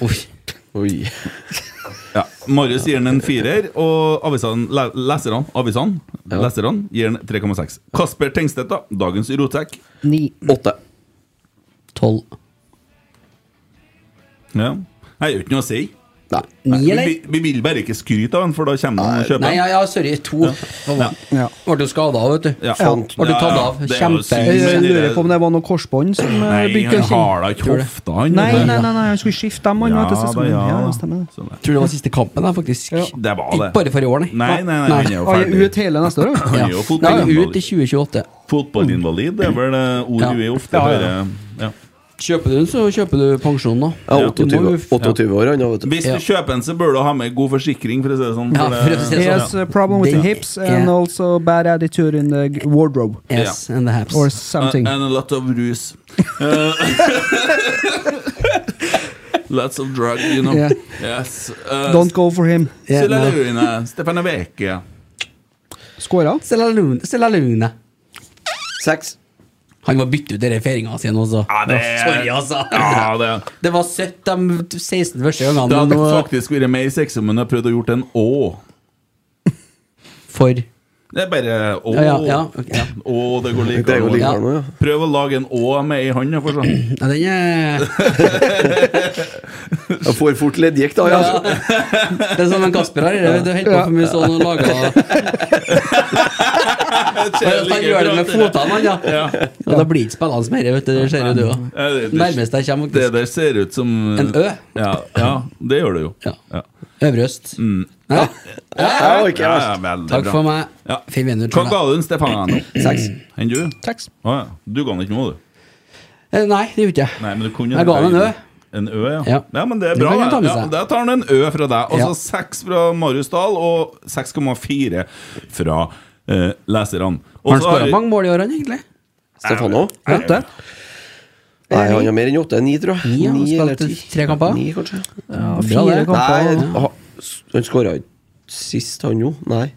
Oi. Oi. Ja. Marius gir den en firer, og avisene, le- leserne, avisene, leserne gir den 3,6. Kasper Tengstedt, da. Dagens rotsekk. Ni. Åtte. Tolv. Ja. Nei, det er jo ikke noe å si. Nei. Ni, Vi, eller? vi- vi vil bare ikke skryte av den, for da kommer han og kjøper Nei, den. ja, ja, sorry. To. Ja. Ja. Ble jo skada, vet du. Ja. Sant. Har du tatt Ja, ja. av? Det Eh, er jo Kjempe- synd Jeg, jeg med de lurer der- på om det var noe korsbånd som eh, Nei, begynte han å kjenne har da ikke hofta, han. Nei, vet du. nei, nei, nei, han skulle skifte dem, han. vet du, Ja da, sesongen. ja Ja, da. det stemmer det. Sånn, ja. Tror det var siste kampen, da, faktisk. Ja. Det var det. Ikke bare for i år, nei. Nei, nei, nei, han er jo Ah, jeg ferdig. er ut hele neste år, jo. Han er sånn, Ja. jo Nei, ut i fotballinvalid. 2028. Fotballinvalid det er vel det ordet Mm. Ja. vi ofte Ja, ja, hører. Ja. Kjøper du den, så kjøper du pensjonen, da. Ja, Du må 28, jo- 28 år, han, ja, vet du. Hvis du Ja. kjøper en, så bør du ha med god forsikring, for å si det sånn. Ja, for å si det He sånn, has a problem with Den the hips and er- also bad attitude in the g- wardrobe Yes, and the haps. or Uh, something. and a lot of ruse. Eh, Lots of drug, you know. Yeah. Yes. Uh, Don't go for him. Yeah, Silla no. Lurine, Stefan Aveke. Skåra? Stella Lune- Stella Lune. Seks. Han må bytte ut denne feiringa si nå, så. Ja, det er- Sorry, altså. Ja, det, Det var søtt de 16 første gangene. det men hadde nå- faktisk vært mer sexy om hun hadde prøvd å gjort en Å. For Det er bare Å. Ja, ja, ja, ok, ja. Å, det går like Det går like Ja. bra nå, ja. Prøv å lage en Å med ei hånd. ja, for sånn. Ja, den er Jeg får fort leddgikt, da. ja. Ja. Det er som en Kasper her. vet Du holder på for mye sånn og lager Han gjør det med fotene, han, ja. Ja. Og da blir det ikke spillende mer, vet du. Det ser jo du òg. Ja, det- det- Nærmest jeg kommer Det faktisk. der ser ut som En Ø. Ja, ja det gjør det jo. Ja. Ja. Mm. Øvre øst. Ja. Ja, det var ikke Ja, verst. ja, veldig Takk bra. for meg. Ja. Fin vinner, Hva ga tror jeg. du den, Stefan? Seks. Enn du? Seks. Å ja. Du ga den ikke noe, du. Eh, Nei, det gjorde jeg ikke. Nei, men du kunne Jeg ga den en Ø. En Ø, ja. Ja. ja. Men det er Den bra. kan han ta det. med Ja, seg. da tar han en Ø fra deg. Altså Ja. seks fra Marius Dahl og 6,4 fra eh, leserne. Og Har han så har skåra vi- mange mål i år, han, egentlig? Stefano? Åtte? Nei, han har mer enn åtte. Ni, tror jeg. Ni, ja, Ni han eller spilte ti. tre kamper. Ni, kanskje. Ja, fire det. kamper. Nei, Ja. ha- s- han skåra ikke sist, han jo. Nei.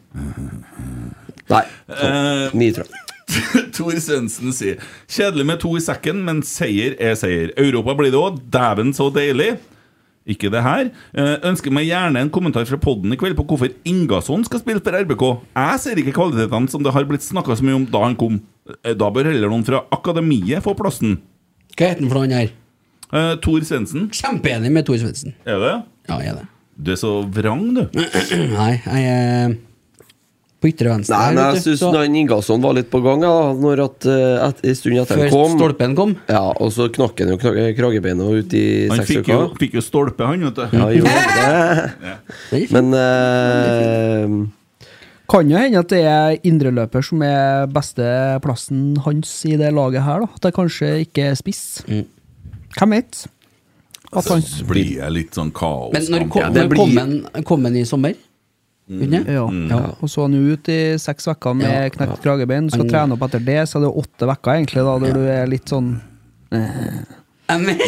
Nei. Eh, Ni, tror jeg. Tor Svendsen sier Kjedelig med to i sekken, men seier er seier. Europa blir det òg. Dæven, så deilig. Ikke det her. Eh, ønsker meg gjerne en kommentar fra podden i kveld på hvorfor Ingasson skal spille for RBK. Jeg ser ikke kvalitetene som det har blitt snakka så mye om da han kom. Eh, Da bør heller noen fra akademiet få plassen. Hva heter han for noe han her? Eh, Tor Svendsen, Kjempeenig med Tor Svendsen. er det? Ja, jeg er det. Du er så vrang, du. Nei, jeg er på ytre venstre. Nei, her, men vet jeg du, syns så- Ingasson var litt på gang ja, Når at, eh, et, en stund etter Før han kom. stolpen kom. Ja, og så knakk han jo knak, kragebeinet ut i Han seks fikk jo, uker. fikk jo stolpe, han, vet du. Ja, jo, det. Det er fint. Men eh, Kan jo hende at det er indreløper som er beste plassen hans i det laget her, da. At det kanskje ikke er spiss. Hvem vet? At han Så blir jeg litt sånn kaos. Men når, Ja, kom, det når blir- Mm. kom, han, kom han i sommer? Kunne? Mm. ja. Og så han jo ut i seks uker med Ja. knekt kragebein. Skal Han- trene opp etter det, så er det jo åtte uker, egentlig, da, der du er litt sånn Jeg men-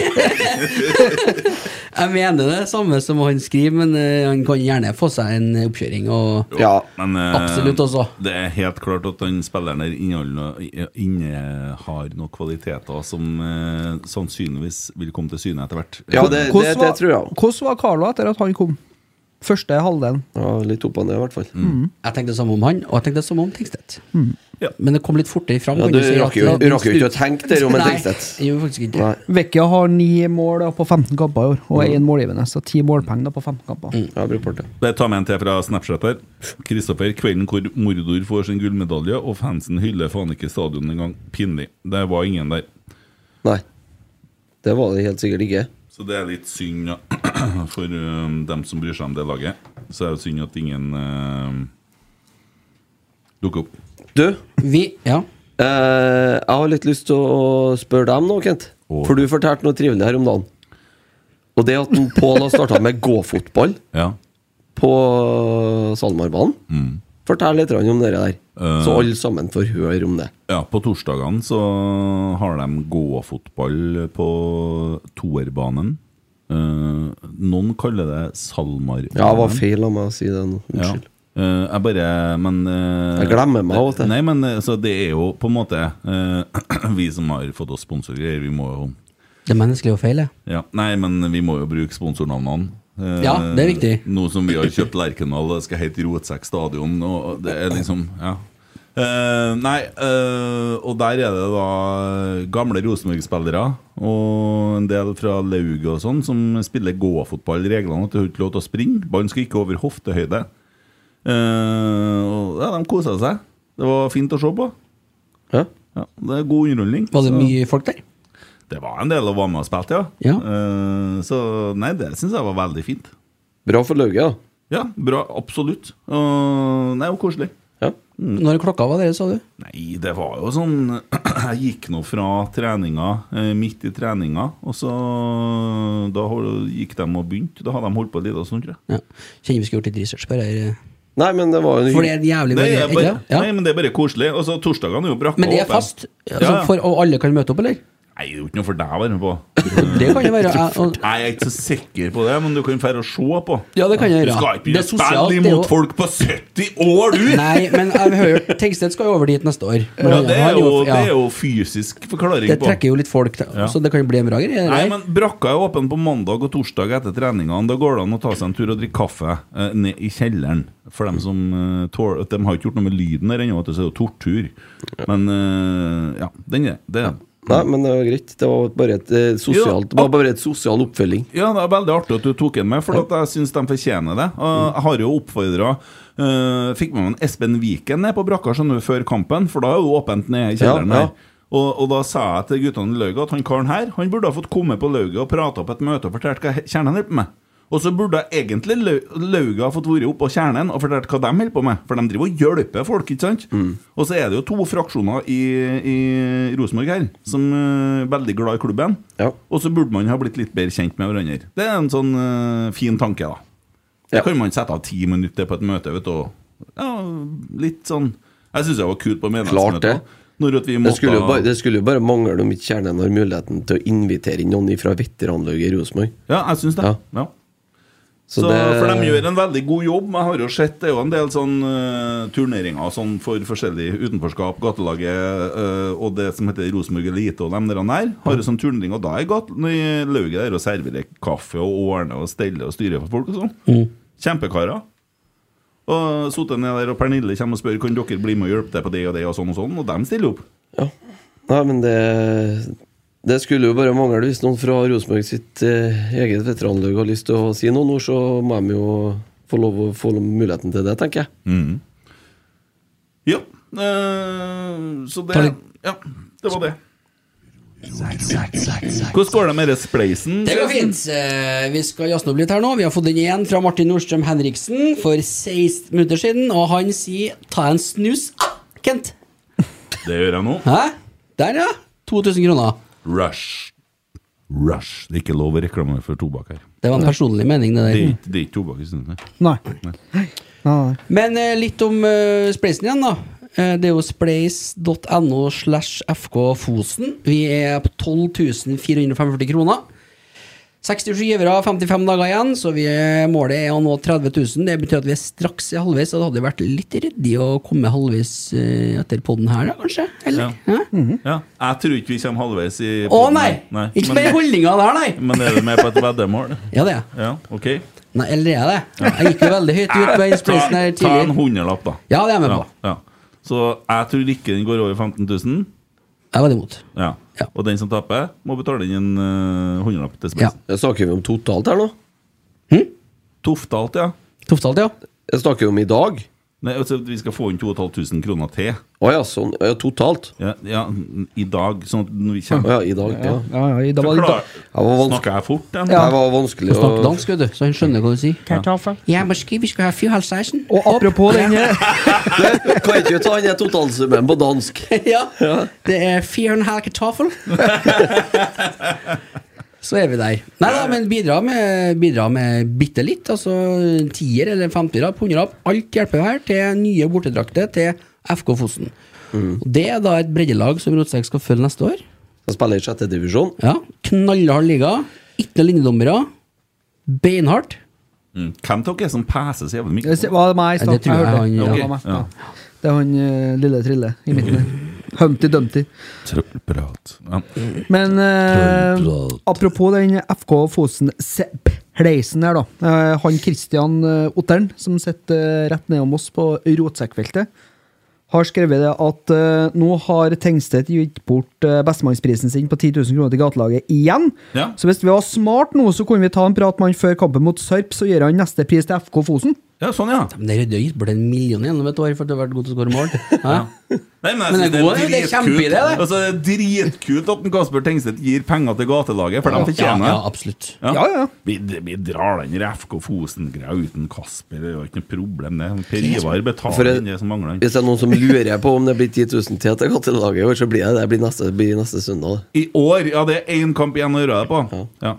Jeg mener det samme som han skriver, men eh, han kan gjerne få seg en oppkjøring. Og Ja. Men, eh, Absolutt også. Det er helt klart at den spilleren der inneholder- innehar noen kvaliteter som eh, sannsynligvis vil komme til syne etter hvert. Ja, det, det, Hvordan det var- tror jeg. Hvordan var Carlo etter at han kom? Første halvdelen. Ja, litt opp og ned, i hvert fall. Mm. jeg tenkte det samme om han, og jeg tenkte det samme om Tingstedt. Ja. Men det kom litt fortere fram. Ja, kan du si, rakk jo, at- du rakk jo ikke å tenke det om en Tingstedt. Nei, jeg gjorde faktisk ikke Nei. det. Vekkia har ni mål da, på 15 kamper i år, og Mm. er én målgivende. Så ti målpoeng da, på 15 kamper. Ja, brukbart, det. Jeg tar med en til fra Snapchat her. Kristoffer, kvelden hvor Mordor får sin gullmedalje, og fansen hyller faen ikke stadion engang. Pinlig. Det var ingen der. Nei. Det var det helt sikkert ikke. Så det er litt synd ja. for um, dem som bryr seg om det laget. Så er det synd at ingen eh, dukker opp. Du, Vi, ja. eh, jeg har litt lyst til å spørre deg om noe, Kent. Åh. For du fortalte noe trivelig her om dagen. Og det at en Pål har starta med gåfotball Ja. på SalMar-banen. Mm. Fortell litt grann om det der, Eh. så alle sammen får høre om det. ja på torsdagene så har de gåfotball på toerbanen. Eh, noen kaller det Salmarbanen. Ja, det var feil av meg å si det nå. Unnskyld. Ja. Eh, jeg bare Men eh, Jeg glemmer meg av og til. Nei, men eh, så det er jo på en måte eh, Vi som har fått oss sponsorgreier, vi må jo Det menneskelige å feile. ja. Nei, men vi må jo bruke sponsornavnene. Eh, Ja, det er viktig. Nå som vi har kjøpt Lerkendal, det skal hete Rotsekk stadion. Og det er liksom, ja. Eh, nei, eh, og der er det da gamle Rosenborg-spillere og en del fra lauget og sånn som spiller gåfotball. Reglene er at du har ikke lov til å springe. Ballen skal ikke over hoftehøyde. Eh, og ja, de kosa seg. Det var fint å se på. Ja. Ja, det er god underholdning. Var det så- mye folk der? det var en del å være med og spilte, ja. Ja. Eh, så nei, det syns jeg var veldig fint. Bra for lauget, da. Ja, bra. Absolutt. Og nei, og koselig. Ja. Når klokka var dere, sa du? Nei, det var jo sånn Jeg gikk nå fra treninga, eh, midt i treninga, og så Da hol- gikk de og begynte. Da hadde de holdt på en liten stund, tror jeg. Ja. Kjenner vi skulle gjort litt research på det her. eh, Nei, men det var jo en For det er en jævlig Nei, variant, jeg ikke bare, det? nei, ja. men det er bare koselig. Og så torsdagene er jo brakka Men det er åpen. fast, Ja, altså, ja. for, og alle kan møte opp, eller? Nei, det er jo ikke noe for deg å være med på. Det kan det være. Jeg, og, Nei, jeg er ikke så sikker på det, men du kan dra og se på. ja, det kan jeg Du gjøre. skal ikke begynne å sosialt, spille det er jo- imot folk på 70 år, du! Nei, men jeg hører Tegstedt skal jo over dit neste år. Men Ja, han- det han er jo, det ja. er jo fysisk forklaring Det på. trekker jo litt folk, da, Ja. så det kan jo bli en bra greie. Nei, men Brakka er åpen på mandag og torsdag etter treningene. Da går det an å ta seg en tur og drikke kaffe eh, ned i kjelleren. For dem som eh, tål, at De har ikke gjort noe med lyden der ennå, at det er jo tortur. Men eh, ja, den er det. er- Nei, men det var greit. Det var bare et eh, sosialt Det var bare et sosial oppfølging. Ja, det er veldig artig at du tok den med, for at jeg syns de fortjener det. Og jeg har jo oppfordra Fikk med meg en Espen Viken ned på brakka skjønner du, før kampen, for da er jo åpent nede i kjelleren Ja, ja. her. Og, og da sa jeg til guttene i lauget at han karen her Han burde ha fått komme på lauget og prate opp et møte og fortalt hva he- kjernen holder på med. Og så burde jeg egentlig lau- lauget ha fått vært oppå kjernen og fortalt hva de holder på med, for de driver og hjelper folk, ikke sant? Mm. Og så er det jo to fraksjoner i, i Rosenborg her som eh, er veldig glad i klubben. Ja. Og så burde man ha blitt litt bedre kjent med hverandre. Det er en sånn eh, fin tanke, da. Da Ja. kan man sette av ti minutter på et møte, vet du. og- Ja, litt sånn Jeg syns det var kult på Klart det. menighetsmøtet. Når at vi Det måtte skulle, jo bare, det skulle jo bare mangle om ikke Kjernen har muligheten til å invitere inn noen fra veteranlaget i Rosenborg. Ja, jeg syns det. Ja. Ja. Så Så, det- For de gjør en veldig god jobb. Jeg har jo sett det er jo en del sånn eh, turneringer sånn for forskjellig utenforskap, gatelaget eh, og det som heter Rosenborg Elite og dem der. der, Har jo sånn turnering, og da er gate- i lauget der og serverer kaffe og ordner og steller og styrer for folk og sånn. Mm. Kjempekarer. Og sittet ned der, og Pernille kommer og spør kan dere bli med og hjelpe til på det og det, og sånn og sånn, og de stiller opp. Ja. Nei, men det Det skulle jo bare mangle hvis noen fra Rosenborg sitt eh, eget veteranlag har lyst til å si noen ord, så må de jo få lov å få muligheten til det, tenker jeg. Ja. eh, så det Ta litt- Ja, det var det. Hvordan går det med den spleisen? Det går fint. Eh, Vi skal jazze opp litt her nå. Vi har fått den igjen fra Martin Nordstrøm Henriksen for 16 minutter siden, og han sier 'ta en snus', Kent. Det gjør jeg nå. Hæ? Der, ja. 2000 kroner. Rush. Rush. Det er ikke lov å reklamere for tobakk her. Det var en personlig mening, det Det er der. ikke, det er ikke tobakk i stedet. Nei. Nei, nei. Men eh, litt om eh, Spleisen igjen, da. Eh, det er jo spleis.no slash FK Fosen. Vi er på 12 445 kroner. 67 givere, 55 dager igjen, så vi er, målet er å nå 30 000. Det betyr at vi er straks i halvveis, og det hadde vært litt ryddig å komme halvveis eh, etter podden her, da, kanskje? Ja. Eller? Hæ? Ja, jeg tror ikke vi kommer halvveis i Å podden nei! her. nei. Ikke med men, holdninga der, nei! men er du med på et veddemål? Ja, det er jeg. Ja, ok. Nei, Eller er jeg det? Jeg gikk jo veldig høyt ut på den Ta, spleisen ta her en tidlig. hundrelapp, da. Ja, det er jeg med Ja, på. ja. Så jeg tror ikke den går over 15 000. Jeg var imot. Ja. Ja. Og den som taper, må betale inn en eh, hundrelapp til Ja. Spleisen. Jeg snakker vi om totalt her nå? Toftalt, ja. Toftalt, ja. Jeg snakker vi om i dag? Nei, altså, vi skal få inn 2500 kroner til Å ja, sånn. Ja, totalt. ja, ja, i dag. Sånn at når vi Å kommer ja, i dag. Ja. Ja, ja, i- det var litt Klar- Det var vanskelig. Snakker jeg fort? Ja. Det var vanskelig Du å snakker dansk, vet du, så han skjønner hva du sier. ah. Ja, måske vi skal ha fyrhalv 16. Og apropos den her Du, Kan ikke ta den der totalsummen på dansk? ja, det er fire og en halv kartoffel. Så er vi der. Nei da, men bidra med, bidra med bitte litt. Altså tier eller femtier, hundre opp. Alt hjelper her til nye bortedrakter til FK Fosen. Og Det er da et breddelag som Rotsekk skal følge neste år. Jeg spiller i sjette divisjon. Ja, Knallhard liga. Ikke noen linjedommere. Beinhardt. Mm. Hvem av dere som peser så jævlig mye? Det var meg i Ja, det stad. tror jeg han- det. ja. var meg, ja. Det er han eh, lille Trille i midten der. Humpty Dumpty. Trøbbelprat. Ja. Men eh, apropos den FK Fosen-pleisen her, da. Eh, han Christian eh, Otteren, som sitter eh, rett nedom oss på rotsekkfeltet, har skrevet det at eh, nå har Tengstedt gitt bort eh, bestemannsprisen sin på 10 000 kroner til gatelaget igjen. Ja. Så hvis vi var smart nå, så kunne vi ta en prat med han før kampen mot Sarp, så gir han neste pris til FK Fosen. ja, sånn, ja. Men det er jo døyt, burde en million gjennom et år for at du har vært god til å skåre mål. Hæ? Nei, men jeg Men synes det er god, det er kjempeidé, dritkult. det. Altså, det er dritkult at en Kasper Tengstedt gir penger til gatelaget, for de Ja, fortjener ja, det. absolutt. Ja, ja. Vi, vi drar den der FK Fosen-greia uten Kasper, det er jo ikke noe problem, det. Per Ivar For betaler jeg- inn det som mangler. Hvis det er noen som lurer på om det blir 10 000 til at jeg går til laget i år, så blir det det. Det blir neste, det blir neste søndag. det. I år, ja, det er én kamp igjen å gjøre det på. Ja.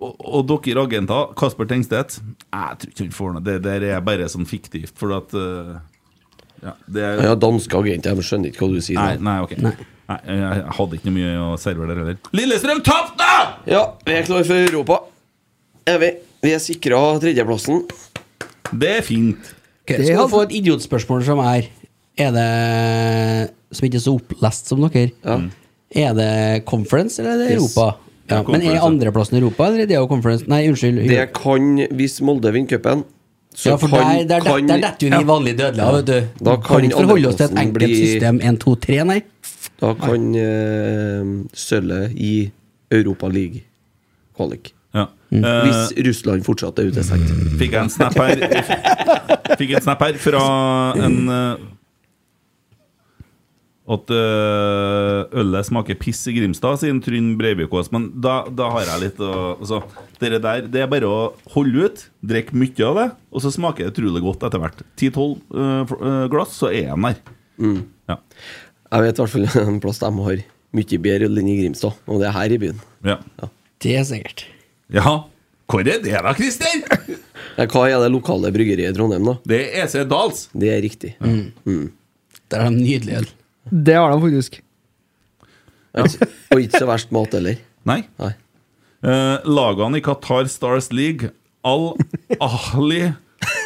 Og, og dere agenter, Kasper Tengstedt Jeg tror ikke han får noe. Det der er bare sånn fiktivt, for at eh, Ja, det er Jeg har danske agenter, jeg skjønner ikke hva du sier. Nei, nå. nei, ok. Nei. jeg- jeg hadde ikke noe mye å servere der heller. Lillestrøm tapte! Ja, vi er klare for Europa. Er vi? Vi er sikra tredjeplassen. Det er fint. Ok, skal du få et idiotspørsmål som er Er det Som ikke er så opplest som dere. Mm. Er det conference eller er det Yes. Europa? Ja, Ja, men conference, er ja. andreplassen Europa, eller er det jo conference? Nei, unnskyld. Det kan Hvis Molde vinner cupen, så ja, for der, der, der, der detter jo vi vanlige dødelige av, vet du. Da kan kan ikke forholde oss til et andreplassen enkelt bli- system 1, 2, 3, nei. Da kan uh, sølvet i Europa League kvalik. Ja. Eh, Hvis Russland fortsatt er utestengt. fikk jeg en snap her Fikk en snap her fra en eh, At eh, ølet smaker piss i Grimstad, sier en Trym Breivikås. Men da, da har jeg litt å altså, Dere der, det er bare å holde ut, drikke mye av det, og så smaker det utrolig godt etter hvert. 10-12 eh, fl- eh, glass, så er den der. Ja. Jeg vet i hvert fall en plass de har mye bedre øl enn i Grimstad, og det er her i byen. Ja. Det er sikkert. ja. Hvor er det da, Christer? Ja, Hva er det lokale bryggeriet i Trondheim, da? Det er EC Dals. Det er riktig. Der er de nydelige øl. Det har de faktisk. Ja. Og ikke så verst mat heller. Nei. Nei. Eh, lagene i Qatar Stars League Al Ahli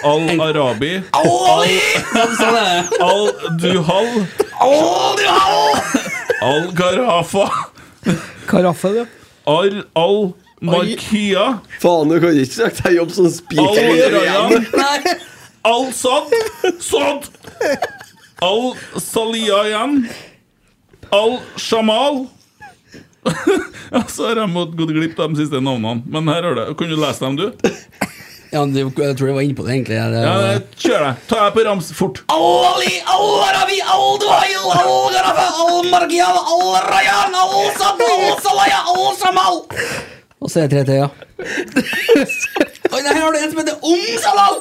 Al Arabi Sånn er det. Al Duhal Al Duhal Al Garafa Karaffe, det. Al Al Markia Faen, du kan ikke søke deg jobb som Al spiker. Rayan Nei. Al Sad Sad Al Saliayan Al Shamal Så har jeg måttet gå glipp av de siste navnene Men her har du det Kan du lese dem du? Ja, men det- jeg tror jeg var inne på det, egentlig. Det, Ja, Eh, kjør deg Ta deg på rams fort Ali, Al-Arabi, Al-Duhail, Al-Garafa, Al-Margial, Al-Rayan, Al-Sad, Al-Salaya, Al-Shamal. Og så er det 3-3, ja. Og her har du en som heter Om-Salal.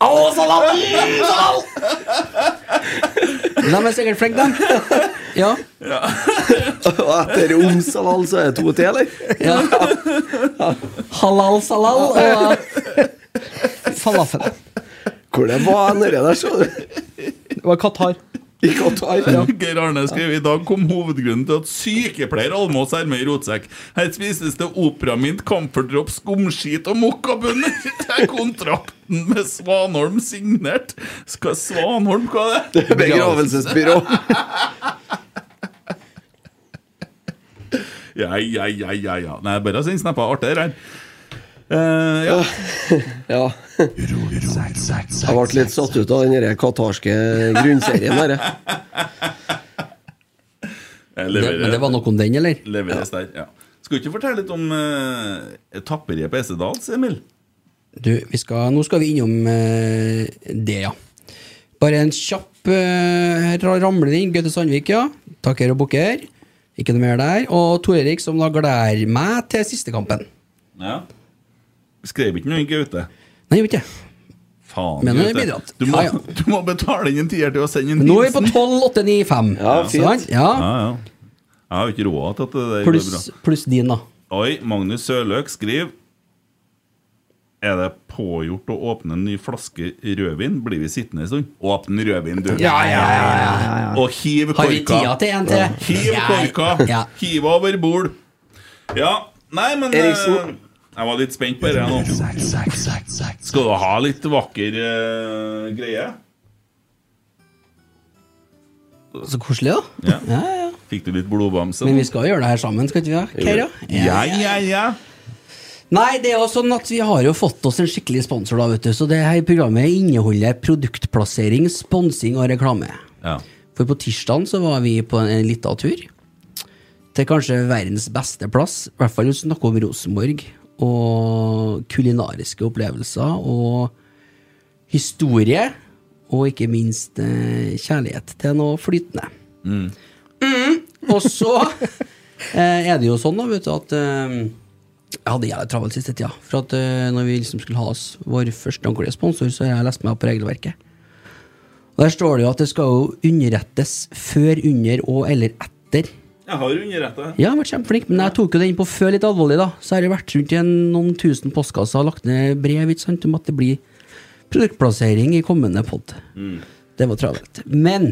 Al-Salal, Om-Salal. De er sikkert flinke, de. Ja. Og etter Omsalal så er det to til, eller? Ja. Halal salal og falafel. Hvor det var han nede der, så du? Det var Qatar. I Qatar, ja. Geir Arne skrev i dag kom hovedgrunnen til at sykepleier Almås er med i rotsekk. Her spises det operamint, camferdrop, skumskit og mokkabønner. Det er kontrakten med Svanholm signert. Skal Svanholm hva er det? Begravelsesbyrå. Ja, ja, ja, ja, ja. Nei, bare send snapper. Artig, det her. Eh, ja. Ja. Jeg ble litt satt ut av den der katarske grunnserien der. jeg. Jeg Det, leverer- men det var nok om den, eller? Leveres der, ja. Skal du ikke fortelle litt om uh, tapperiet på Esedals, Emil? Du, vi skal, nå skal vi innom eh, det, ja. Bare en kjapp eh, ra- ramling. Gaute Sandvik, ja. Takker og bukker. Ikke noe mer der. Og Tor Erik, som da gleder meg til siste kampen. Ja. Skrev ikke noe i Gaute? Nei, gjorde ikke det. Faen, Men han har Gaute. bidratt. Du, må, Ja, ja. du må betale inn en tier til å sende en Nå er vi på hilsen. 12,895. Ja, fint. Sant? Ja, Ja. ja. Jeg har jo ikke råd til at det der går bra. Pluss pluss din, da. Oi, Magnus Sørløk skriver Er det pågjort å åpne en ny flaske rødvin? Blir vi sittende en stund? Åpne rødvin, du! Og hiv Har korka! vi tida til en til? Hiv Ja. korka! Ja. Hiv over bord! Ja, nei, men eh, Eriksen. Jeg var litt spent på det nå. Skal du ha litt vakker eh, greie? Så koselig, da. Ja. Ja, ja. Fikk du litt blodbamse? Men vi skal gjøre det her sammen, skal ikke vi? da? Keira? Ja, ja, ja. Nei, det er jo sånn at vi har jo fått oss en skikkelig sponsor, da, vet du. Så det her programmet inneholder produktplassering, sponsing og reklame. ja. For på tirsdagen så var vi på en, en liten tur til kanskje verdens beste plass. I hvert fall hvis du snakker om Rosenborg og kulinariske opplevelser og historie. Og ikke minst eh, kjærlighet til noe flytende. Mm, og så eh, er det jo sånn, da, vet du, at eh, jeg hadde jævlig travelt siste tida. For at eh, når vi liksom skulle ha oss vår første ordentlige sponsor, så har jeg lest meg opp på regelverket. Og Der står det jo at det skal jo underrettes før, under og eller etter. Jeg har underretta. Ja, jeg har vært kjempeflink, men jeg tok jo den på før litt alvorlig, da. Så har jeg vært rundt i en- noen tusen postkasser og lagt ned brev ikke sant, om at det blir produktplassering i kommende pod. Det var travelt. Men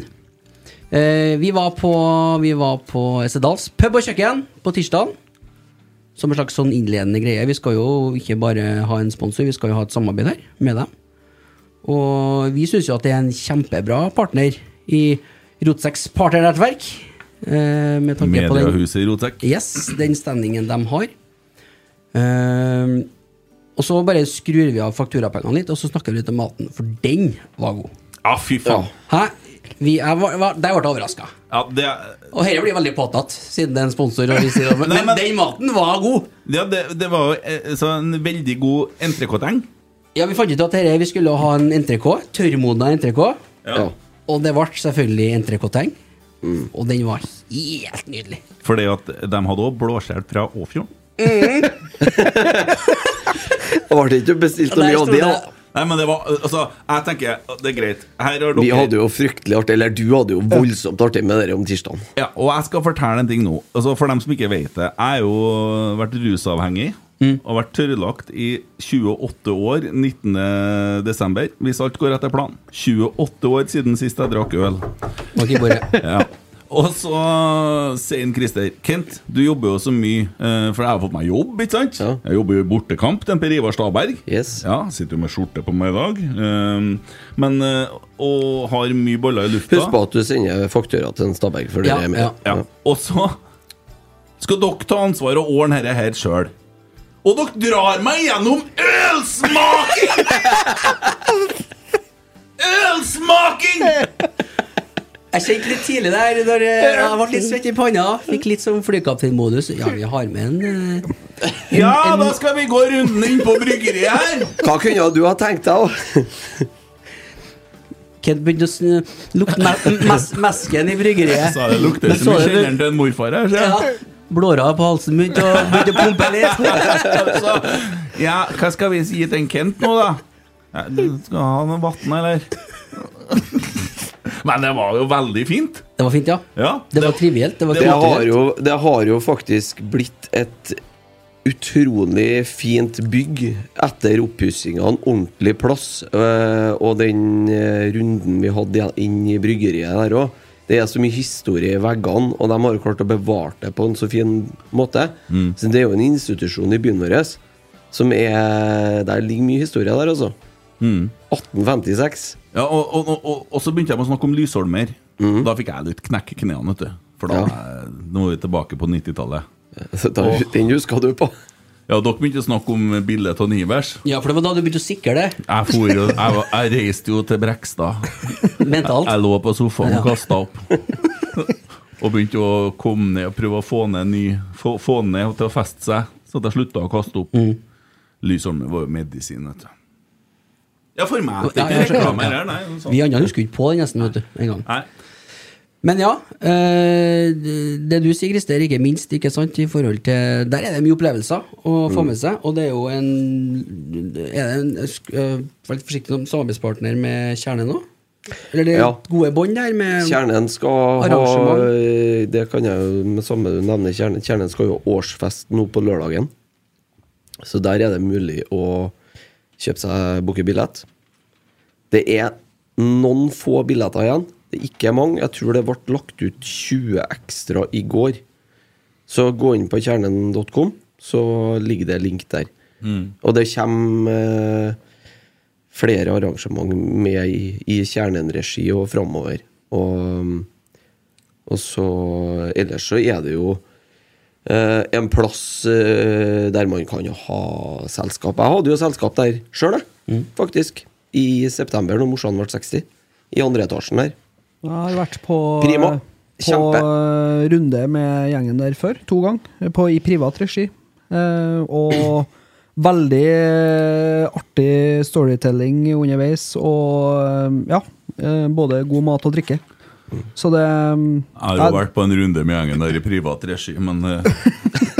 eh, vi var på, vi var på Esedals pub og kjøkken på tirsdag. Som en slags sånn innledende greie. Vi skal jo ikke bare ha en sponsor, vi skal jo ha et samarbeid her med dem. Og vi syns jo at det er en kjempebra partner i Rotseks partnernettverk. Eh, med tanke på den Mediehuset i Rotek. Yes, den standingen de har. Ehm, og så bare skrur vi av fakturapengene litt, og så snakker vi litt om maten, for den var god. Ja, Ah, fy faen. Hæ? Vi, jeg var, var, der ble jeg overraska. Ja, det Og dette blir veldig påtatt, siden det er en sponsor. Og vi sier, det, men, Nei, men- men den maten var god! Ja, det, det var jo eh, så en veldig god entrecôteng. Ja, Vi fant ut at dette, vi skulle ha en NTRK, tørrmodna NTRK, Ja. og det ble selvfølgelig NTRK-teng. Mm. Og den var helt nydelig. Fordi at de hadde òg blåskjell fra Åfjorden. Det ble ikke bestilt noe Der mye av sto det. det- da. Nei, men det var Altså, jeg tenker Det er greit. Her har dere Vi hadde jo fryktelig artig, eller du hadde jo voldsomt artig med det om tirsdagen. ja, Og jeg skal fortelle en ting nå. Altså, For dem som ikke vet det. Jeg har jo vært rusavhengig. Mm. Og vært tørrlagt i 28 år 19. desember, hvis alt går etter planen. 28 år siden sist jeg drakk øl. Okay, bare, Ja. Og så sier han Christer Kent, du jobber jo så mye, eh, for jeg har fått meg jobb, ikke sant? Ja. Jeg jobber jo i bortekamp til Per Ivar Staberg. Yes. Ja, sitter jo med skjorte på meg i dag. Um, men eh, Og har mye boller i lufta. Husk på at du sender faktura til en Stabæk for det Ja, er med. ja. Ja. Og så skal dere ta ansvar og ordne dette her sjøl. Og dere drar meg gjennom ølsmaking! ølsmaking! Jeg kjente litt tidlig der når eh, jeg ble litt svett i panna. Fikk litt sånn flykapteinmodus. Ja, vi har med en eh, Ja, da skal vi gå runden inn på bryggeriet her. Hva kunne du ha tenkt deg, da? Kent begynte å snu- lukte me mes mesken i bryggeriet. Så det lukter Men som så i det- kjelleren til en morfar her. Ja, Så. Blåra på halsen begynte å, begynte å pumpe litt. Så, altså. ja, hva skal vi si til en Kent nå, da? Ja, du skal ha noe vann, eller? Men det var jo veldig fint. Det var fint, ja. Ja, Det var trivielt. Det var Det har, kulturelt. jo, det har jo faktisk blitt et utrolig fint bygg etter oppussingene. Ordentlig plass. eh, Og den eh, runden vi hadde igjen inn i bryggeriet der òg. Det er så mye historie i veggene, og de har jo klart å bevare det på en så fin måte. Mm. Så det er jo en institusjon i byen vår som er Der ligger mye historie der, altså. Mm. 1856. Ja, og, og, og, og, og så begynte jeg med å snakke om Lysholmer. Mhm. Da fikk jeg litt knekk i knærne, vet du. For da Ja. eh, Nå er vi tilbake på 90-tallet. Da, Den huska du på. Ja, dere begynte å snakke om bildet av Nivers. Ja, for det var da du begynte å sikre det Jeg, for, jo- jeg, var- jeg reiste jo til Brekstad. Jeg, mentalt. jeg lå på sofaen og Ja. kasta opp. Og begynte å komme ned og prøve å få ned ny Få, få ned til å feste seg, så at jeg slutta å kaste opp. Mhm. Lysholmer var jo medisin, vet du. Ja, for meg. Det Ja, er jeg ikke reklame skjønner. her, nei. sånn. Vi andre husker jo ikke på det nesten, vet du. En gang. Nei. Men ja, eh, det du sier, Christer, ikke minst, ikke sant, i forhold til Der er det mye opplevelser å få med seg, og det er jo en Er det en jeg sk- eh, Vær litt forsiktig som samarbeidspartner med Kjerne nå? Eller det er Ja. gode bånd der med Kjernen skal ha eh, Arrangement. Det kan jeg jo med samme du nevner Kjernen. Kjernen skal jo ha årsfest nå på lørdagen. Så der er det mulig å kjøpe seg booke billett. Det er noen få billetter igjen. Det er ikke mange. Jeg tror det ble lagt ut 20 ekstra i går. Så gå inn på kjernen.com, så ligger det link der. Og det kommer eh, flere arrangement med i, i kjernen-regi og framover. Og, mm, og så Ellers så er det jo eh, en plass eh, der man kan jo ha selskap. Jeg hadde jo selskap der sjøl, Mm. faktisk. I september, når morsan ble 60. I andre etasjen der. Jeg har vært på, eh, på Primo. eh, Kjempe. runde med gjengen der før, to ganger, på- i privat regi. Eh, og veldig artig storytelling underveis, og eh, ja, eh, både god mat og drikke. Så det mm, Jeg har jo vært på en runde med gjengen der i privat regi, men eh,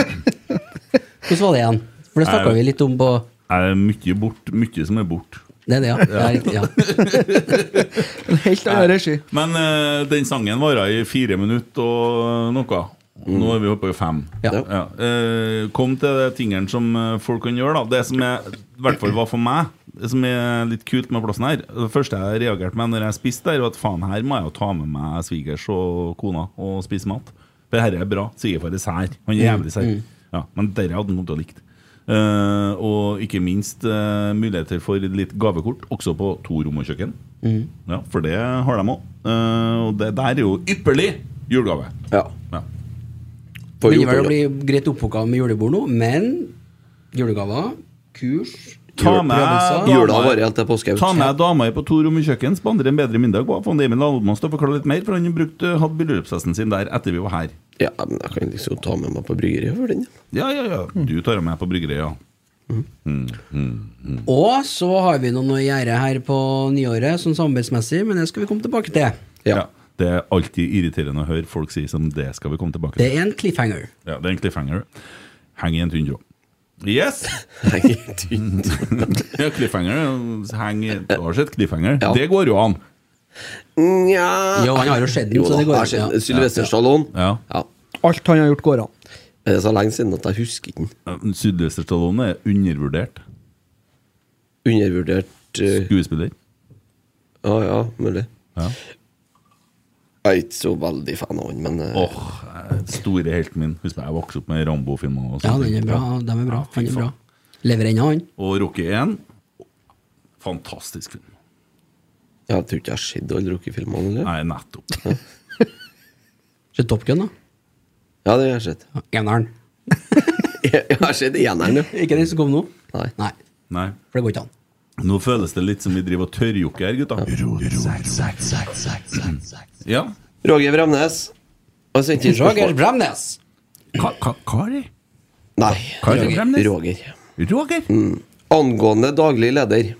Hvordan var det igjen? For det snakka Nei. vi litt om på jeg er mye bort, mye som er bort. Det er det, ja. Det er riktig, ja. en helt annen regi. Men eh, den sangen varer i fire minutter og noe. Nå er vi oppe i fem. Ja. Eh, kom til de tingene som eh, folk kan gjøre. da Det som er, i hvert fall var for meg, det som er litt kult med plassen her Det første jeg reagerte med når jeg spiste der, var at faen, her må jeg jo ta med meg svigers og kona og spise mat. For dette er bra. Svigerfar er sær. Han er jævlig sær. Ja, men dette hadde han kommet til å likt. Eh, og ikke minst eh, muligheter for litt gavekort, også på to rom og kjøkken. Ja, For det har de òg. og det der er jo ypperlig julegave. Ja. Ja. På Begynner vel å Jotun, bli greit opphuka med julebord nå, men julegaver, kurs Ta Jul- med Jula dama- varer helt til påske. Ta med dama i på to rom i kjøkken, spandere en bedre middag på Fond Emil Almås til å forklare litt mer, for han brukte, hadde bryllupsfesten sin der etter vi var her. Ja, men jeg kan liksom ta med meg på bryggeriet for den. Ja, ja, ja. Mm. Du tar henne med på bryggeriet, ja. Og så har vi noen å gjøre her på nyåret, sånn samarbeidsmessig, men det skal vi komme tilbake til. Ja. Det er alltid irriterende å høre folk si som det skal vi komme tilbake Det til. er en cliffhanger. Ja, det er en cliffhanger. Heng i en tynn tråd. Yes! Nei, tynt. Ja, cliffhanger. Heng i Du har sett cliffhanger? Ja. Det går jo an. Nja Jo, han har jo skjedd den, Jo så da, det går jeg an, skjønner. ja. Sylvester Stallone. Ja. Ja. Alt han har gjort, går an. Det er så lenge siden at jeg husker den. Sylvester Stallone er undervurdert Undervurdert eh, skuespiller. Ja, ja, mulig. Ja. Jeg er ikke så veldig fan av han, men eh, Åh, eh, store helten min. Husk meg, jeg vokste opp med Rambo-filmer. og Ja, sånne den er ting. bra. De er bra. Ja, fy Han er bra. faen. Lever ennå, han. Og Rocky 1. Fantastisk film. jeg tror ikke jeg har sett alle Rocky-filmene, eller? Nei, nettopp. Ser Top Gun, da. Ja, det har jeg sett. Ja, Eneren. Jeg jeg har sett eneren, jo. Ikke den som kom nå? Nei. Nei. Nei. For det går ikke an. Nå føles det litt som vi driver og tørrjokker her, gutta. Ja. Roger Bremnes. Har sendt inn Roger spørsmål. Bremnes! Hva, hva, hva er det? Nei, Hva er det, Bremnes? Roger. Hmm. Roger? Angående daglig leder.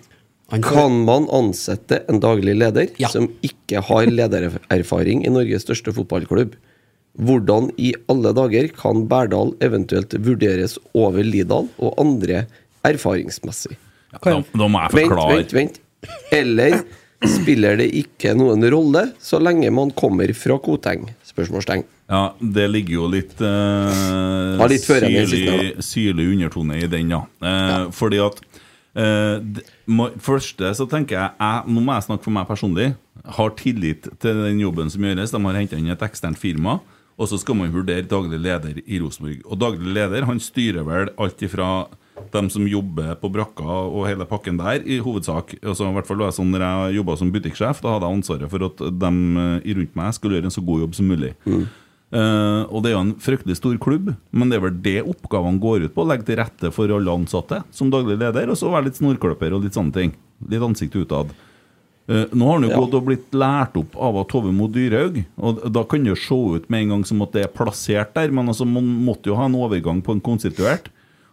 Han får- Kan man ansette en daglig leder Ja. som ikke har ledererfaring i Norges største fotballklubb? Hvordan i alle dager kan Berdal eventuelt vurderes over Lidal og andre erfaringsmessig? Ja, da, da må jeg Vent, forklare. vent, vent. Eller spiller det ikke noen rolle så lenge man kommer fra Koteng? Spørsmålstegn. Ja, det ligger jo litt eh, Ja, litt før enn den siste, syrlig, syrlig undertone i den, ja. Eh, Fordi at eh, d- må, Første så tenker jeg, jeg Nå må jeg snakke for meg personlig. Har tillit til den jobben som gjøres. De har henta inn et eksternt firma. Og så skal man vurdere daglig leder i Rosenborg. Og daglig leder han styrer vel alt ifra dem som jobber på brakka og hele pakken der, i hovedsak. Altså, i hvert fall var det sånn når jeg jobba som butikksjef, da hadde jeg ansvaret for at de rundt meg skulle gjøre en så god jobb som mulig. Mm. Eh, og det er jo en fryktelig stor klubb, men det er vel det oppgavene går ut på. Legge til rette for alle ansatte som daglig leder, og så være litt snorkløper og litt sånne ting. Litt ansikt utad. Eh, nå har han jo Ja. gått og blitt lært opp av at Tove Mo Dyrhaug, og da kan det jo se ut med en gang som at det er plassert der, men altså, man måtte jo ha en overgang på en konstituert.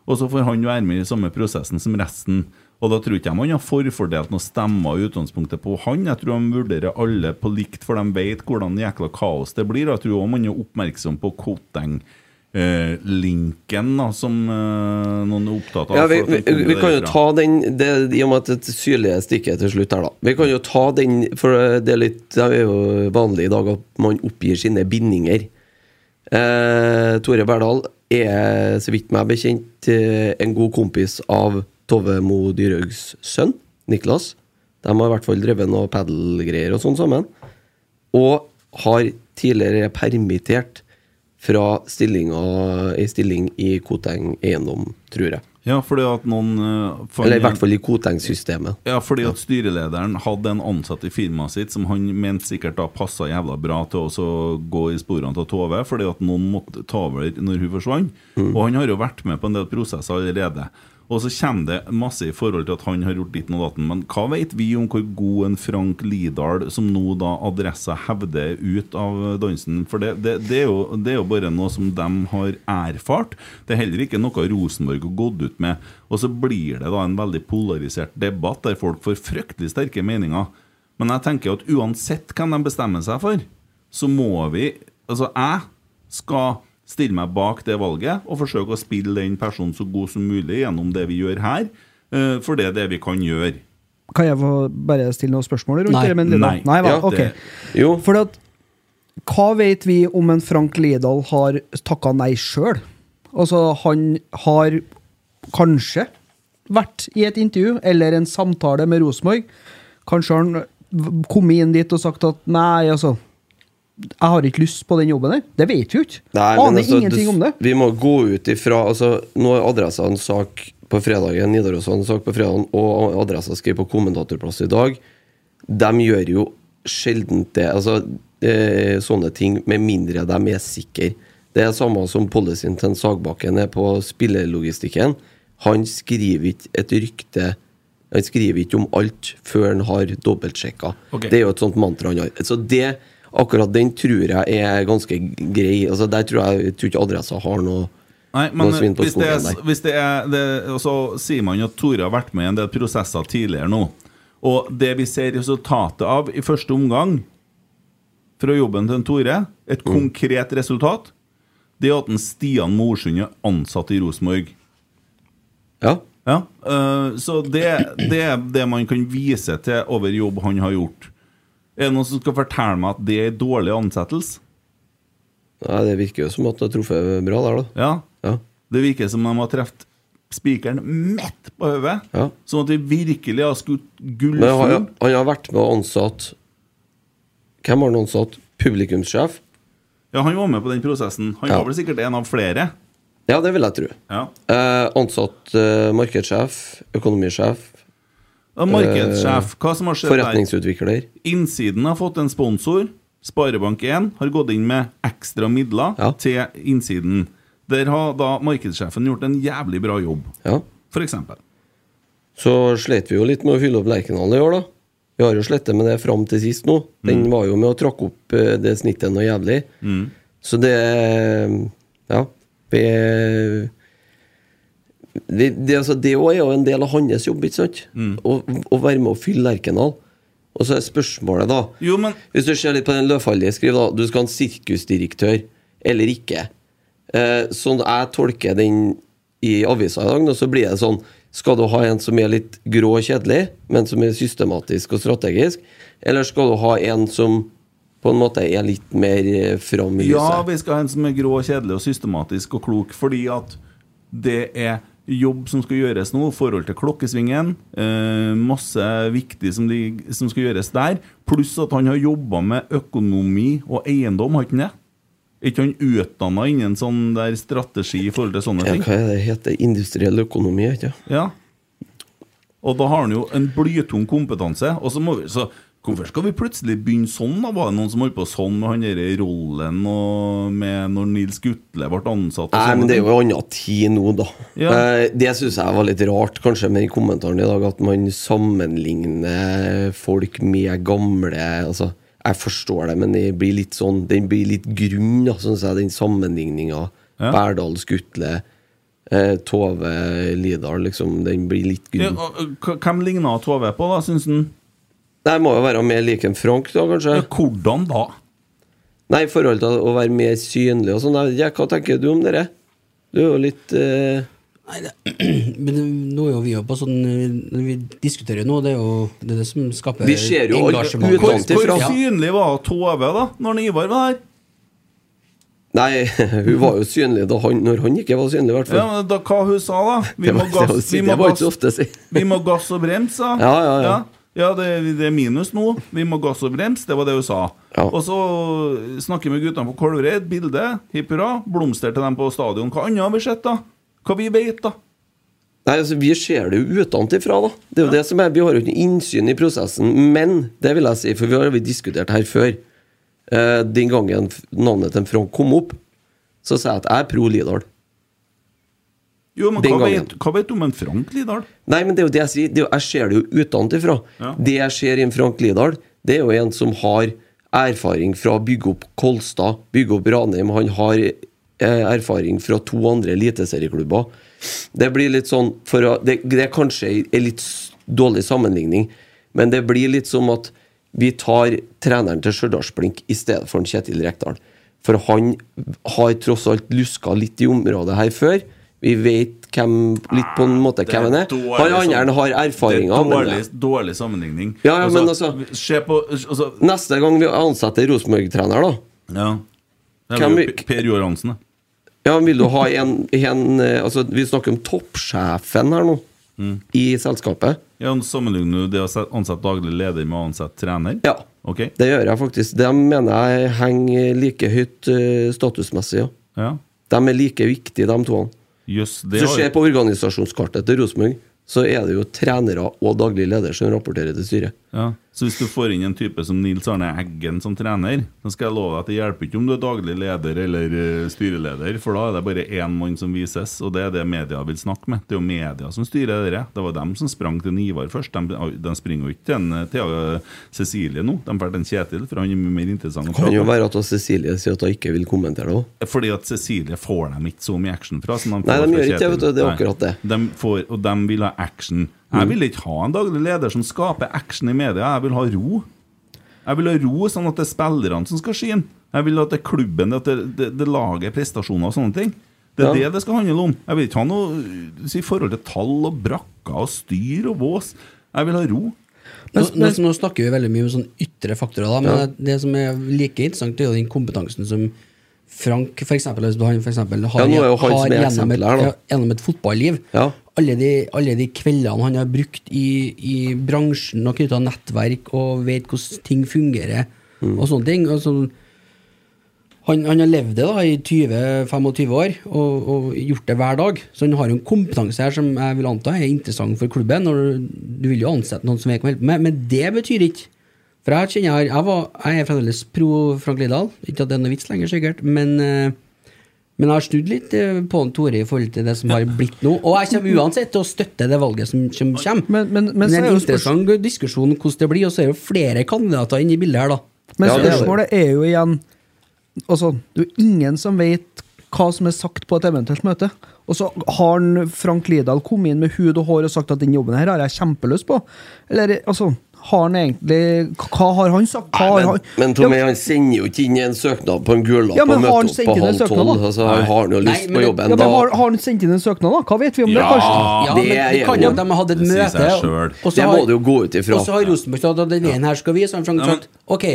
Og så får han være med i samme prosessen som resten. Og da tror ikke jeg man har forfordelt noen stemmer i utgangspunktet på han. Jeg tror de vurderer alle på likt, for de vet hvordan jækla kaos det blir. Og jeg tror også man er oppmerksom på Koteng-linken, da, som eh, noen er opptatt av. Ja, for vi, at den vi, kommer vi kan jo derfra. ta den det, I og med at det syrlige stikket til slutt her, da. Vi kan jo ta den, for det er litt Det er jo vanlig i dag at man oppgir sine bindinger. Eh, Tore Berdal er, så vidt meg bekjent, eh, en god kompis av Tove Mo Dyrhaugs sønn, Niklas. De har i hvert fall drevet noe padelgreier og sånn sammen. Og har tidligere permittert fra stillinga, ei stilling i Koteng Eiendom, tror jeg. Ja, fordi at noen eh, fant- Eller i hvert fall i Koteng-systemet. Ja, fordi at styrelederen hadde en ansatt i firmaet sitt som han mente sikkert da passa jævla bra til å så gå i sporene til Tove, fordi at noen måtte ta over når hun forsvant. Og han har jo vært med på en del prosesser allerede. Og så kommer det masse i forhold til at han har gjort ditten og datten, men hva vet vi om hvor god en Frank Lidahl, som nå da Adressa hevder er ut av dansen? For det, det, det, er jo, det er jo bare noe som de har erfart. Det er heller ikke noe Rosenborg har gått ut med. Og så blir det da en veldig polarisert debatt der folk får fryktelig sterke meninger. Men jeg tenker at uansett hva de bestemmer seg for, så må vi Altså, jeg skal stille meg bak det valget og forsøke å spille den personen så god som mulig gjennom det vi gjør her, eh, for det er det vi kan gjøre. Kan jeg få bare stille noen spørsmål rundt Nei. det? men Lina? Nei. Nei vel, Ja, ok. det- Jo, For at, hva vet vi om en Frank Lidahl har takka nei sjøl? Altså, han har kanskje vært i et intervju eller en samtale med Rosenborg. Kanskje har han v- kommet inn dit og sagt at nei, altså Jeg har ikke lyst på den jobben der. Det vet vi jo ikke. Nei, men Aner altså, ingenting du- om det. Vi må gå ut ifra altså, Nå er Adressa en sak på fredagen, Nidaros har en sak på fredagen, og Adressa skriver på kommentatorplass i dag. De gjør jo sjelden det. Altså, eh, sånne ting, med mindre de er sikre. Det er samme som policyen til en Sagbakken er på spillerlogistikken. Han skriver ikke et rykte Han skriver ikke om alt før han har dobbeltsjekka. Ok. Det er jo et sånt mantra han har. Så det, akkurat den tror jeg er ganske grei. Altså Der tror jeg, jeg tror ikke adressa har noe Nei, men noe svinn på hvis det, skogen er, der. hvis det er det, og Så sier man jo at Tore har vært med i en del prosesser tidligere nå. Og det vi ser resultatet av i første omgang fra jobben til en Tore, et Mm. konkret resultat, det er at en Stian Morsund er ansatt i Rosenborg. Ja. Ja, øh, så det, det er det man kan vise til over jobb han har gjort. Er det noen som skal fortelle meg at det er en dårlig ansettelse? Nei, det virker jo som at det har truffet bra der, da. Ja, Ja. Det virker som de har truffet spikeren midt på hodet. Ja. Sånn at de virkelig har skutt Men han, gullfugl. han har vært med og ansatt Hvem har han ansatt? Publikumssjef? Ja, han var med på den prosessen. Han Ja. var vel sikkert en av flere. Ja, det vil jeg tro. Ja. Eh, ansatt eh, markedssjef, økonomisjef, Og Markedssjef. Hva som har skjedd der? forretningsutvikler. Innsiden har fått en sponsor. Sparebank1 har gått inn med ekstra midler Ja. til innsiden. Der har da markedssjefen gjort en jævlig bra jobb, Ja. f.eks. Så slet vi jo litt med å fylle opp Lerkendal i år, da. Vi har jo slettet med det fram til sist nå. Den Mm. var jo med å trakke opp eh, det snittet noe jævlig. Så det Ja. Vi det, det, altså, det også er jo en del av hans jobb, ikke sant? Mm. Å, å være med å fylle Lerkendal. Og så er spørsmålet, da Jo, men hvis du ser litt på den løvfallige, skriv da Du skal ha en sirkusdirektør eller ikke. Eh, sånn jeg tolker den i avisa i dag, nå, så blir det sånn Skal du ha en som er litt grå og kjedelig, men som er systematisk og strategisk? Eller skal du ha en som på en måte er litt mer eh, fram i Ja, lyset? vi skal ha en som er grå, kjedelig og systematisk og klok, fordi at det er jobb som skal gjøres nå, forhold til klokkesvingen, eh, masse viktig som, de, som skal gjøres der, pluss at han har jobba med økonomi og eiendom, har ikke han det? Er ikke han utdanna innen sånn der strategi i forhold til sånne Ja, ting? hva er det heter Industriell økonomi, ikke sant? Ja. Og da har han jo en blytung kompetanse. Og så må vi, så hvorfor skal vi plutselig begynne sånn? da? Var det noen som holdt på sånn med han derre rollen og med når Nils Gutle ble ansatt? Og sånn? Nei, sånne men det er ting? jo en annen tid nå, da. Ja. Eh, Det syns jeg var litt rart, kanskje, med den kommentaren i dag, at man sammenligner folk med gamle Altså, jeg forstår det, men det blir litt sånn Den blir litt grunn, da, syns jeg, den sammenligninga. Ja. Berdal, Skutle, eh, Tove Lidal, liksom. Den blir litt Ja, grunn. og- og hva- Hvem ligna Tove på, da, syns han? Nei, må jo være mer lik en Frank, da, kanskje. Ja, hvordan da? Nei, i forhold til å være mer synlig og sånn. Jeg vet ikke, Hva tenker du om det? Du er jo litt eh, Nei, det, men det- nå er jo vi jo på sånn vi- Vi diskuterer jo nå, det er jo det, er det som skaper Vi ser jo alle engasjement. Hvor, utlandet hvor ifra. synlig var Tove da Når han Ivar var her? Nei, hun var jo synlig da han, når han ikke var synlig, i hvert fall. Ja, men da, hva hun sa da? Vi det var, må det var, gasse vi det må var ikke så gass- ofte å si. Vi må gass og brems, sa Ja, ja, ja. Ja, det, det er minus nå. Vi må gass og brems. Det var det hun sa. Ja. Og så snakker vi med guttene på Kolvereid. Bilde. Hipp hurra. Blomster til dem på stadion. Hva annet har vi sett, da? Hva vi vet, da? Nei, altså, Vi ser det jo utenfra, da. Det er jo det som er, Vi har jo ikke innsyn i prosessen. Men det vil jeg si, for vi har jo diskutert her før. Eh, den gangen f- navnet til Frank kom opp, så sa jeg at jeg er pro Lidal. Jo, men Den hva gangen. vet, hva vet du om en Frank Lidahl? Nei, men det er jo det jeg sier. Det er jo, jeg ser det jo utenfra. Ja. Det jeg ser i en Frank Lidahl, det er jo en som har erfaring fra å bygge opp Kolstad, bygge opp Ranheim. Han har eh, erfaring fra to andre eliteserieklubber. Det blir litt sånn for å, det, det er kanskje en litt s- dårlig sammenligning, men det blir litt som at vi tar treneren til Stjørdals-Blink i stedet for en Kjetil Rekdal. For han har tross alt luska litt i området her før. Vi vet hvem, litt på en måte Det er hvem han er. dårlig Han andre sam- har erfaringer. Det er men- dårlig, dårlig sammenligning. Ja, ja, men altså- Se på altså, Neste gang vi ansetter Rosenborg-trener, da Ja. Det Kan var vi- jo P- Per Joar Hansen, det. Ja, men vil du ha en, en eh, Altså, vi snakker om toppsjefen her nå, Mm. i selskapet. Ja, Sammenligner du det å se- ansette daglig leder med å ansette trener? Ja. Ok? Det gjør jeg faktisk. De mener jeg henger like høyt eh, statusmessig, ja. Ja. De er like viktige, de to. Jøss, det Hvis du har- ser på organisasjonskartet til Rosenborg, så er det jo trenere og daglig leder som rapporterer til styret. Ja, Så hvis du får inn en type som Nils Arne Eggen som trener, så skal jeg love deg at det hjelper ikke om du er daglig leder eller eh, styreleder, for da er det bare én mann som vises, og det er det media vil snakke med. Det er jo media som styrer dere. Det var dem som sprang til en Ivar først. De, de springer jo ikke til en eh, til eh, Cecilie nå. De drar til en Kjetil, for han er mye mer interessant å Kan prate jo med. være at også Cecilie sier at hun ikke vil kommentere det òg. Fordi at Cecilie får dem ikke så mye action fra. Som de Nei, får de fra gjør ikke det, Kjetil. vet du, det er Nei. akkurat det. Mm. De får, og de vil ha action. Jeg vil ikke ha en daglig leder som skaper action i media. Jeg vil ha ro. Jeg vil ha ro sånn at det er spillerne som skal skine. Jeg vil at det er klubben, at det, det, det lager prestasjoner og sånne ting. Det er Ja. det det skal handle om. Jeg vil ikke ha noe i forhold til tall og brakker og styr og vås. Jeg vil ha ro. Nå, nå, nå snakker vi veldig mye om sånn ytre faktorer, da, men det, det som er like interessant, det er jo den kompetansen som Frank, for eksempel, hvis du- han for eksempel har, Ja, nå er jo han har som er gjennom, et, eksempelet her, da. ja, gjennom et fotballiv. Ja. Alle, de, alle de kveldene han har brukt i, i bransjen og knytta nettverk og vet hvordan ting fungerer og sånne ting. Og sånn- han, han har levd det da i 20-25 år og, og gjort det hver dag, så han har jo en kompetanse her som jeg vil anta er interessant for klubben. Og du vil jo ansette noen som jeg kan hjelpe med, men det betyr ikke For jeg kjenner jeg, har- jeg, var, jeg er fremdeles pro Frank Lidahl, ikke at det er noe vits lenger, sikkert, men eh, men jeg har snudd litt eh, på en Tore i forhold til det som har blitt nå. Og jeg kommer uansett til å støtte det valget som, som kommer. Men- men- men det så er er en jo spørs- interessant diskusjon hvordan det blir, og så er det jo flere kandidater inne i bildet her, da. Men Ja, det er det. spørsmålet er jo igjen Altså, det er jo ingen som vet hva som er sagt på et eventuelt møte. Og så har han Frank Lidahl kommet inn med hud og hår og sagt at den jobben her har jeg kjempelyst på. Eller altså, Har han egentlig Hva har han sagt? Hva Nei, har men, han men Tommy han sender jo ikke inn en søknad på en gulapp Ja, men og har han møter opp sendt på inn en halv søknad, tolv. da? Altså, han har nå Nei, lyst men på det- jobben. ja, men da. har, har han sendt inn en søknad, da? Hva vet vi om det? Ja. Karsten? Ja, men det det er kan jo jo- at de har hatt et det sier møte. seg selv. og så Det har- må det jo gå ut ifra. Og så har Rosenborg sagt at den veien her skal vi, så har de sagt Ja, men- ok,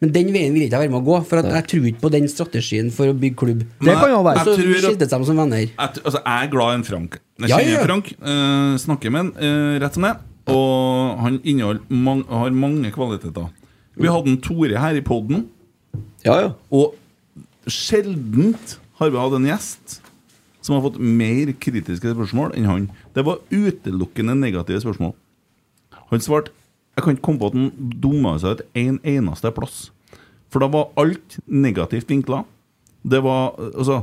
men den veien vil jeg ikke jeg være med å gå, for at jeg tror ikke på den strategien for å bygge klubb. Det kan jo være. Og Jeg så tror at- skiltes de som venner. Jeg, tr- altså, jeg er glad i en Frank. Jeg Ja, kjenner ja, ja. Frank. eh, snakker med han eh, rett som det. Og han inneholder mang- har mange kvaliteter. Vi hadde en Tore her i poden, Ja, ja. og sjeldent har vi hatt en gjest som har fått mer kritiske spørsmål enn han. Det var utelukkende negative spørsmål. Han svarte Jeg kan ikke komme på at han dumma seg ut en eneste plass. For da var alt negativt vinkla. Det var altså,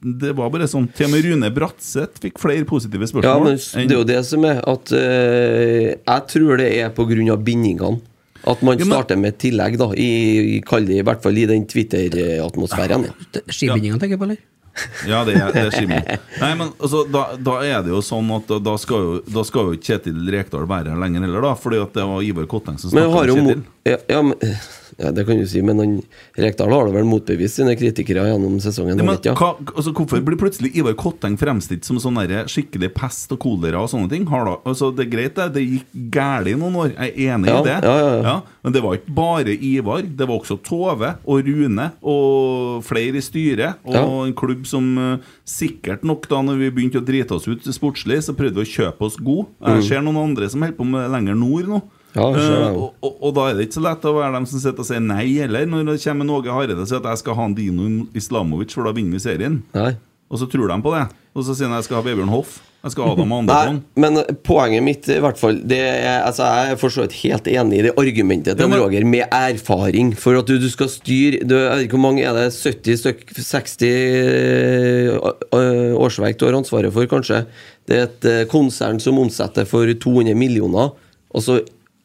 det var bare sånn Til og med Rune Bratseth fikk flere positive ja, spørsmål. men s- det er jo det som er at eh, Jeg tror det er pga. bindingene. At man Ja, men- starter med et tillegg, da. I, i, kall det i hvert fall i den Twitter-atmosfæren. da. Skibindinga, tenker jeg på, eller? Ja, det er, det er skimmel. Nei, men altså, da, da er det jo sånn at da- da skal jo, da skal jo Kjetil Rekdal være her lenger heller, da. Fordi at det var Ivar Kotteng som Men jeg snakka har om jo Kjetil. mot, ja, ja, men, ja, det kan du si, men han, Rekdal har da vel motbevist sine kritikere gjennom Ja, sesongen? men, har han ikke, hva, altså, hvorfor blir plutselig Ivar Kotteng fremstilt som sånn derre skikkelig pest og kolera og sånne ting? Har da, altså, det er greit, det. Det gikk galt i noen år. Jeg er enig Ja, i det. ja, ja, ja. men det var ikke bare Ivar. Det var også Tove og Rune og flere i styret. Og Ja. en klubb som eh, sikkert nok, da når vi begynte å drite oss ut sportslig, så prøvde vi å kjøpe oss god. Mm. Jeg ser noen andre som holder på med lenger nord nå. Ja, det ser jeg Eh, jo. og, og, og da er det ikke så lett å være dem som sitter og sier nei heller, når det kommer en Åge Hareide og sier at jeg skal ha en Dino Islamovic, for da vinner vi serien. Nei. Og så tror de på det. Og så sier de jeg skal ha Vebjørn Hoff, jeg skal ha Adam Nei, Andersson. men poenget mitt i hvert fall det er, altså, Jeg er for så vidt helt enig i det argumentet til Ja, men- Roger, med erfaring. For at du, du skal styre du, jeg vet ikke Hvor mange er det? 70 stykk? 60 øh, øh, årsverk du har ansvaret for, kanskje? Det er et øh, konsern som omsetter for 200 millioner, og så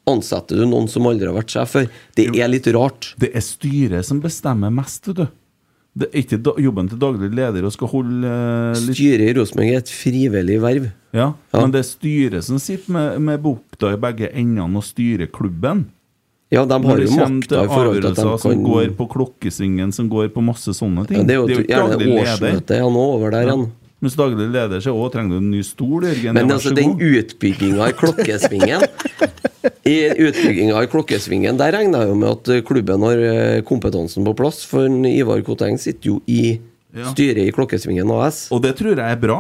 ansetter du noen som aldri har vært sjef før. Det er litt rart. Det er styret som bestemmer mest, vet du. Det er ikke da, jobben til daglig leder å skal holde eh, litt Styret i Rosenborg er et frivillig verv. ja. Ja. Men det er styret som sitter med, med bukta i begge endene og styrer klubben. Ja, de har Når det jo kommer makta til i forhold til at de avgjørelser som kan går på klokkesvingen, som går på masse sånne ting. ja, Det er jo ikke gjerne daglig leder. årsmøtet ja, nå over der igjen. Mens daglig leder så også trenger du en ny stol, Jørgen. Men Vær altså, så den god. utbygginga i klokkesvingen I utbygginga i klokkesvingen Der regner jeg jo med at eh, klubben har eh, kompetansen på plass, for en Ivar Koteng sitter jo i Ja. styret i Klokkesvingen AS. Og det tror jeg er bra.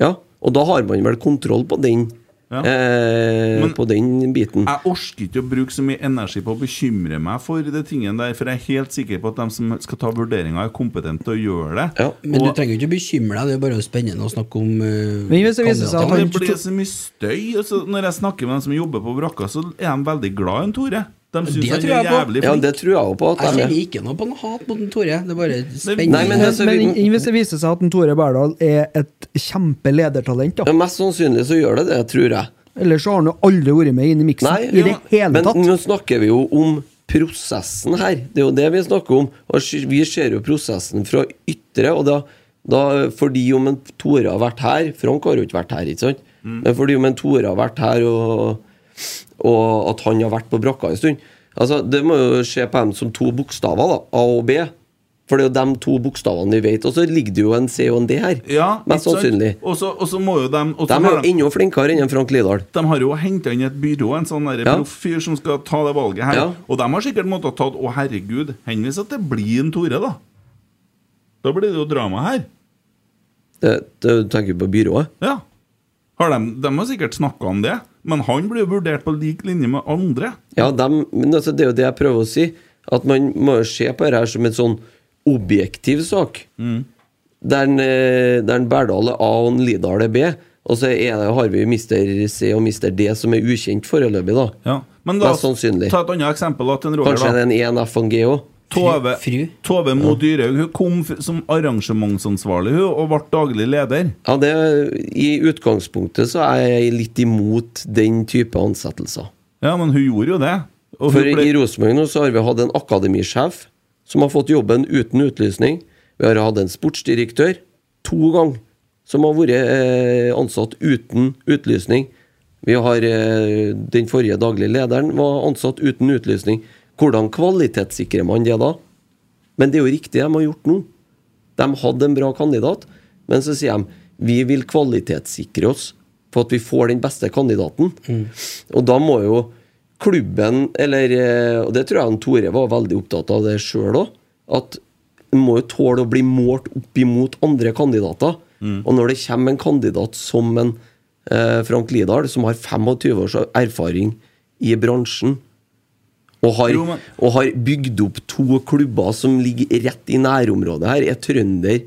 Ja, og da har man vel kontroll på den Ja. eh, Men- På den biten. Jeg orker ikke å bruke så mye energi på å bekymre meg for de tingene der, for jeg er helt sikker på at de som skal ta vurderinger, er kompetente til å gjøre det. Ja. Men du Og- trenger jo ikke bekymre deg, det er bare spennende å snakke om eh, Men hvis det viser seg at Ja, han det blir så mye støy. og så når jeg snakker med dem som jobber på brakka, så er de veldig glad i en Tore. De Det syns han tror er jeg på. jævlig Ja, flink. det tror jeg jo på. at Jeg de er kjenner ikke noe på noe hat mot en Tore, det er bare Nei, men spennende. det- så vi- Men hvis det viser seg at en Tore Berdal er et kjempeledertalent, ja, da Mest sannsynlig så gjør det det, tror jeg. Ellers så har han jo aldri vært med inn i Nei, miksen i det ja, hele men tatt. nå snakker vi jo om prosessen her. Det er jo det vi snakker om. Og sk- vi ser jo prosessen fra ytre, og da, da fordi om en Tore har vært her Frank har jo ikke vært her, ikke sant? Mm. Men fordi om en Tore har vært her, og, og at han har vært på brakka en stund Altså, Det må jo skje på dem som to bokstaver, da. A og B. For det er jo de to bokstavene vi vet. Og så ligger det jo en C og en D her. Ja, mest ikke sant? sannsynlig. Og så og så må jo dem og så De er har jo enda flinkere enn en Frank Lidahl. De har jo henta inn i et byrå, en sånn der Ja. profffyr som skal ta det valget her. Ja. Og de har sikkert måttet ta Å, herregud, henvis at det blir en Tore, da. Da blir det jo drama her. Det, det, du tenker på byrået? Ja. Har de, de har sikkert snakka om det, men han blir jo vurdert på lik linje med andre. Ja, dem, men altså, det er jo det jeg prøver å si. At man må jo se på dette her som en sånn objektiv sak. Mm. Der, en, eh, der en Berdal er A og en Lidal er B. Og så er det, har vi Mister C og Mister D som er ukjent foreløpig, da. Ja. Men la Mest oss sannsynlig. ta et annet eksempel. da, til en Roger, Kanskje da. det er en E, en F og en G òg. Tove, Fru. Tove Mo Dyrhaug hun kom f- som arrangementsansvarlig hun, og ble daglig leder. Ja, det, I utgangspunktet så er jeg litt imot den type ansettelser. Ja, men hun gjorde jo det. Og For hun ble, i Rosenborg nå så har vi hatt en akademisjef som har fått jobben uten utlysning. Vi har hatt en sportsdirektør to ganger som har vært eh, ansatt uten utlysning. Vi har eh, Den forrige daglige lederen var ansatt uten utlysning. Hvordan kvalitetssikrer man det da? Men det er jo riktig de har gjort nå. De hadde en bra kandidat, men så sier de vi vil kvalitetssikre oss på at vi får den beste kandidaten. Og da må jo klubben, eller eh, Og det tror jeg han Tore var veldig opptatt av det sjøl òg. At en må jo tåle å bli målt opp imot andre kandidater. Og når det kommer en kandidat som en eh, Frank Lidahl, som har 25 års erfaring i bransjen, og har, Jo, men- og har bygd opp to klubber som ligger rett i nærområdet her, er trønder,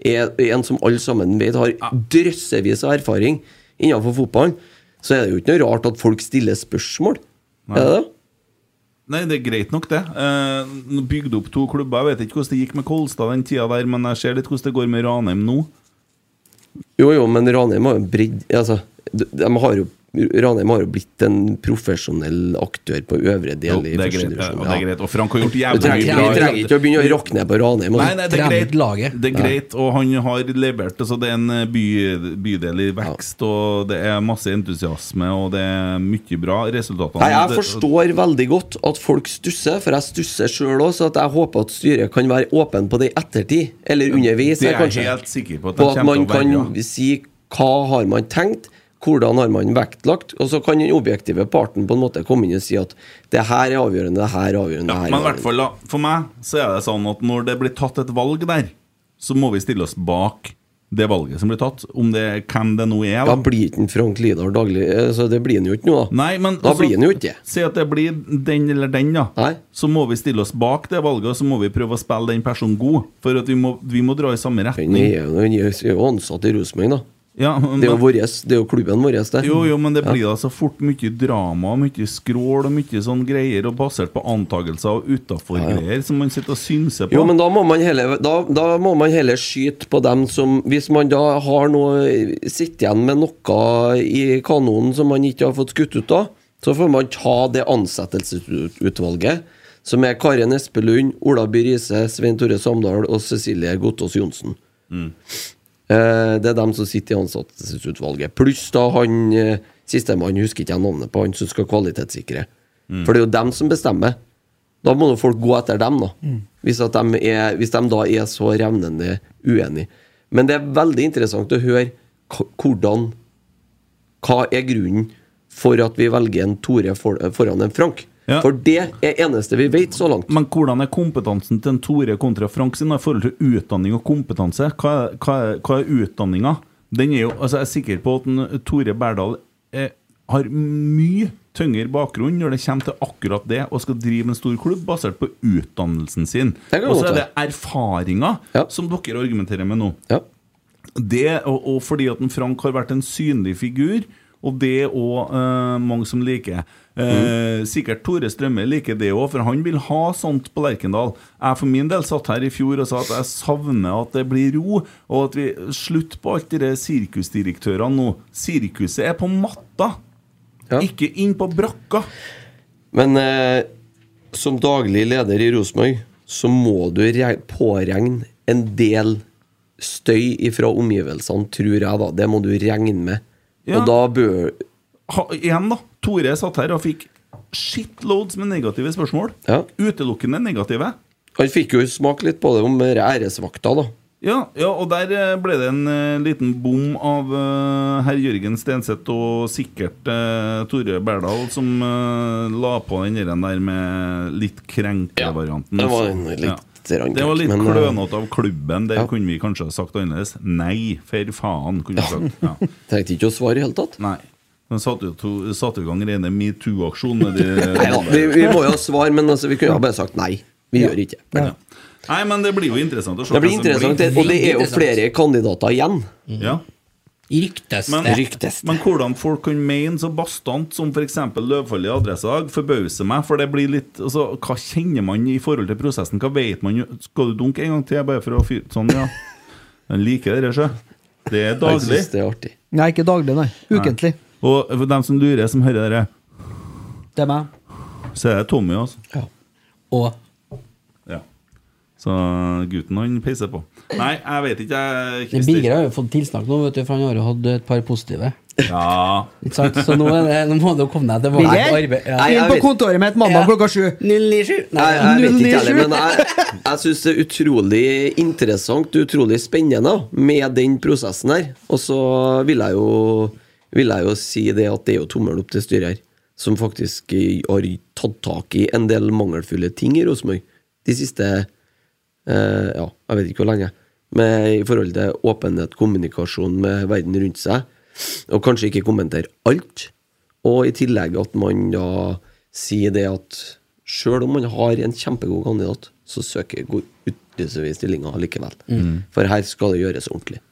er er en som alle sammen vet har drøssevis av erfaring innenfor fotballen, så er det jo ikke noe rart at folk stiller spørsmål. Er det det? Nei, det er greit nok, det. Eh, nå bygde opp to klubber. Jeg vet ikke hvordan det gikk med Kolstad den tida der, men jeg ser litt hvordan det går med Ranheim nå. Jo, jo, men Ranheim har jo bridd altså, de, de har jo, Ranheim har jo blitt en profesjonell aktør på øvre del Jo, i det er første greit. divisjon. Og det er ja. greit. Og Frank har gjort Vi jævlig trenger, vi trenger ikke å begynne å rakne på Ranheim. Nei, nei, altså. det er Trener greit. laget. Det er greit, og han har levert. Altså, det er en eh, by, bydel i vekst, og det er masse entusiasme, og det er mye bra. Resultatene Nei, jeg det- forstår veldig godt at folk stusser, for jeg stusser sjøl òg, så at jeg håper at styret kan være åpen på det i ettertid, eller underveis. Det er jeg her, kanskje. helt sikker på. At de på at kommer til man å kan være bra. si hva har man tenkt, hvordan har man vektlagt, og så kan den objektive parten på en måte komme inn og si at det her er avgjørende, det her er Ja, avgjørende, det her er men i hvert avgjørende. fall, da, for meg så er det sånn at når det blir tatt et valg der, så må vi stille oss bak det valget som blir tatt, om det er hvem det nå er. Da Da. blir ikke en Frank Lidahl daglig eh, Så det blir han jo ikke nå, da. Nei, men da altså- blir han jo ikke det. Si at det blir den eller den, da. Nei. Så må vi stille oss bak det valget, og så må vi prøve å spille den personen god. For at vi må, vi må dra i samme Han retning. er jo- han er jo ansatt i Rosenborg, da. Ja, men, Det er jo, våres, det er jo klubben vår, det. jo, jo, men det blir da så fort mye drama, mye skrål og mye sånn greier, og basert på antakelser og utafor-greier som man sitter og synser på. Jo, men da må man heller, da, da må man heller skyte på dem som Hvis man da har noe sitter igjen med noe i kanonen som man ikke har fått skutt ut av, så får man ta det ansettelsesutvalget, som er Karen Espelund, Ola By Riise, Svein Tore Samdal og Cecilie Gottaas Johnsen. Eh, Det er dem som sitter i ansettelsesutvalget. Pluss da han eh, sistemann, husker ikke jeg navnet på, han som skal kvalitetssikre. For det er jo dem som bestemmer. Da må jo folk gå etter dem, da. Hvis, at de er, hvis de da er så revnende uenige. Men det er veldig interessant å høre k- hvordan Hva er grunnen for at vi velger en Tore for, foran en Frank? Ja. For det er eneste vi vet så langt. Men hvordan er kompetansen til en Tore kontra Frank sin da, i forhold til utdanning og kompetanse? Hva er, hva er, hva er utdanninga? Den er jo, altså jeg er sikker på at en Tore Berdal eh, har mye tyngre bakgrunn når det kommer til akkurat det, og skal drive en stor klubb basert på utdannelsen sin. Det kan Og så godt er det erfaringa Ja. som dere argumenterer med nå Ja. det, og, og fordi at en Frank har vært en synlig figur, og det òg mange som liker. Eh, Mm. Sikkert Tore Strømme liker det òg, for han vil ha sånt på Lerkendal. Jeg for min del satt her i fjor og sa at jeg savner at det blir ro, og at vi slutt på alt de der sirkusdirektørene nå. Sirkuset er på matta, Ja. ikke inn på brakka. Men eh, som daglig leder i Rosenborg, så må du re- påregne en del støy fra omgivelsene, tror jeg, da. Det må du regne med. Ja. Og da bør ha, igjen da, Tore satt her og fikk shitloads med negative spørsmål. Ja. Utelukkende negative. Han fikk jo smake litt på det om æresvakta, da. Ja, ja, og der eh, ble det en eh, liten bom av eh, herr Jørgen Stenseth og sikkert eh, Tore Berdal som eh, la på den der der med litt krenkevarianten. altså. det var en litt rann det var litt krenk, men, eh, klønete av klubben. Der ja. kunne vi kanskje ha sagt annerledes. Nei, for faen, kunne vi sagt. Ja. Trengte ikke å svare i det hele tatt. Nei. Men satte jo to- satte i gang rene metoo-aksjon med de Nei da, vi, vi må jo ha svar, men altså, vi kunne jo bare sagt nei. Vi gjør ikke det. Nei, men det blir jo interessant å se Det blir hvem som interessant, det- og det er jo flere kandidater igjen. Ja. Ryktes Men, det. Ryktes det. men hvordan folk kan mene så bastant som f.eks. Løvfall i Adressedag, forbauser meg. For det blir litt altså, Hva kjenner man i forhold til prosessen? Hva vet man? jo? Skal du dunke en gang til? Bare for å fyre Sånn, ja. Jeg liker dere, sjø. Det er Jeg daglig. synes det er artig. Nei, ikke daglig, nei. Ukentlig. Og for dem som lurer, som hører dere, Det er meg. så er det Tommy, altså. Og Ja. Så gutten, han peiser på. Nei, jeg vet ikke, jeg Birger har jo fått tilsnakk nå, vet du, for han har jo hatt et par positive. Ja. Ikke sant? Så nå, er det, nå må du komme deg tilbake til arbeid. Ja. Nei, jeg Inn på vet- kontoret mitt mandag Ja. klokka sju. 097. Nei, Jeg, jeg vet 097. ikke heller, men jeg, jeg syns det er utrolig interessant utrolig spennende med den prosessen her. Og så vil jeg jo, vil jeg jo si det at det er jo tommelen opp til styret her, som faktisk eh, har tatt tak i en del mangelfulle ting i Rosenborg de siste eh, Ja, jeg vet ikke hvor lenge. Med, I forhold til åpenhet, kommunikasjon med verden rundt seg, og kanskje ikke kommentere alt. Og i tillegg at man da sier det at sjøl om man har en kjempegod kandidat, så søker går utlysere i stillinga likevel. Mm. For her skal det gjøres ordentlig.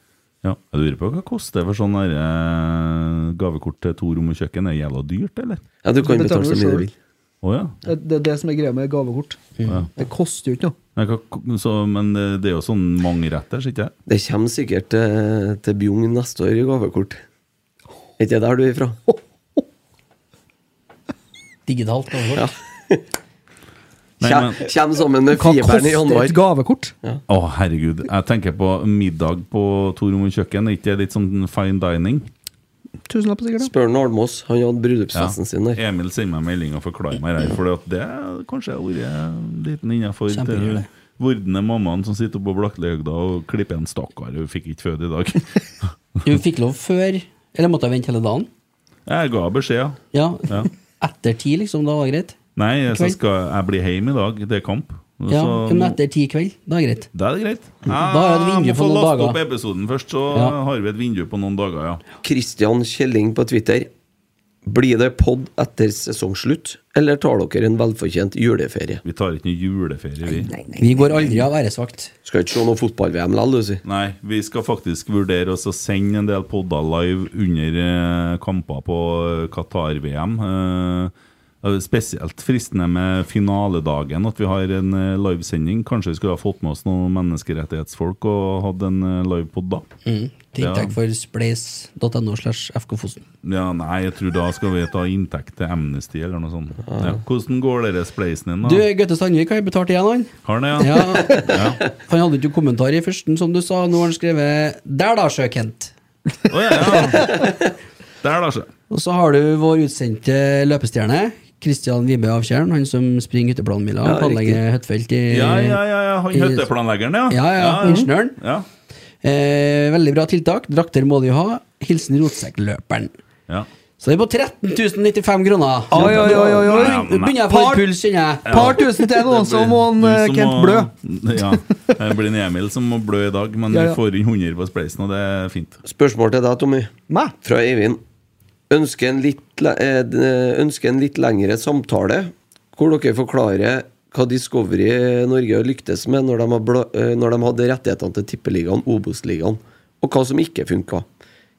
ja. Jeg lurer på hva koster for sånn der, eh, gavekort til to rom og kjøkken. Er det jævla dyrt, eller? Ja, du kan Det betaler betale du så mye du selv. vil. Å ja. Det det er det som er greia med gavekort. Mm. Det koster jo ikke noe. Nei, hva- så, men eh, det er jo sånn mangretters, ikke det? Det kommer sikkert til, til Bjugn neste år i gavekort. Er ikke det der du er fra? Digitalt. overfor. Ja. Nei, Kjem, men- kjem sammen med Hva fiberen i koster et januar. gavekort? Å, herregud. Jeg tenker på middag på to rom og kjøkken. Er ikke det litt sånn fine dining? Tusenlapp, sikkert. Spør han Almås. Han hadde bryllupsfesten sin der. Emil sender meg melding og forklarer meg det, for det er kanskje har vært en liten innafor Kjempehyggelig. vordende mammaen som sitter oppe på Blaklehøgda og klipper en stakkar hun fikk ikke føde i dag. Du fikk lov før Eller måtte jeg vente hele dagen? Jeg ga beskjed, ja. Ja. Ja. Etter ti, liksom. Da var det greit? Nei, så Kveld. skal jeg bli hjemme i dag. Det er kamp. Så Ja, men nå- etter ti i kveld. Da er det greit. Da er det greit. Da er det vindu Jeg må på få noen laste dager. opp episoden først, så Ja. har vi et vindu på noen dager, ja. Kristian Kjelling på Twitter. Blir det pod etter sesongslutt, eller tar dere en velfortjent juleferie? Vi tar ikke noe juleferie, vi. Vi går aldri av æresvakt. Skal ikke se noe fotball-VM likevel, du, si. Nei, vi skal faktisk vurdere oss å sende en del podder live under eh, kamper på eh, Qatar-VM. Eh, det er spesielt fristende med finaledagen, at vi har en eh, livesending. Kanskje vi skulle ha fått med oss noen menneskerettighetsfolk og hatt en eh, livepod da. Mm. Tiltak for spleis.no slash fkfosen. Ja, nei, jeg tror da skal vi ta inntekt til Amnesty eller noe sånt. Ja. Hvordan går dere spleisen din, Du, da? Gaute Sandvik har betalt igjen, han. Har den, Ja. ja? Han hadde ikke kommentar i førsten, som du sa. Nå har han skrevet 'Der da, Sjø-Kent'. Å, ja, ja. Der, Lars. Og så har du vår utsendte løpestjerne, Kristian Vibe Avtjern. Han som springer hytteplanmila og Ja, planlegger høttfelt i Ja, ja, ja, ja. Han Eh, i- høtteplanleggeren, ja. Ja, ja, ingeniøren. Ja, Eh, veldig bra tiltak. Drakter må de ha. Hilsen rotsekkløperen. ja. Så det er på 13 095 kroner. Oi, oi, oi, oi, oi. Nå begynner jeg å få Par- litt puls, kjenner jeg. Par tusen til noen Det blir som må han, du eh, som Kent må- blø. Ja. Det blir en Emil som må blø i dag, men Ja, ja. vi får inn 100 på spleisen, og det er fint. Spørsmål til deg, Tommy. Meg? Fra Eivind. Ønsker en litt, le- eh, d- ønsker en litt lengre samtale, hvor dere forklarer hva Discovery Norge har lyktes med når de, har bla, eh, når de hadde rettighetene til Tippeligaen, Obos-ligaen, og hva som ikke funka.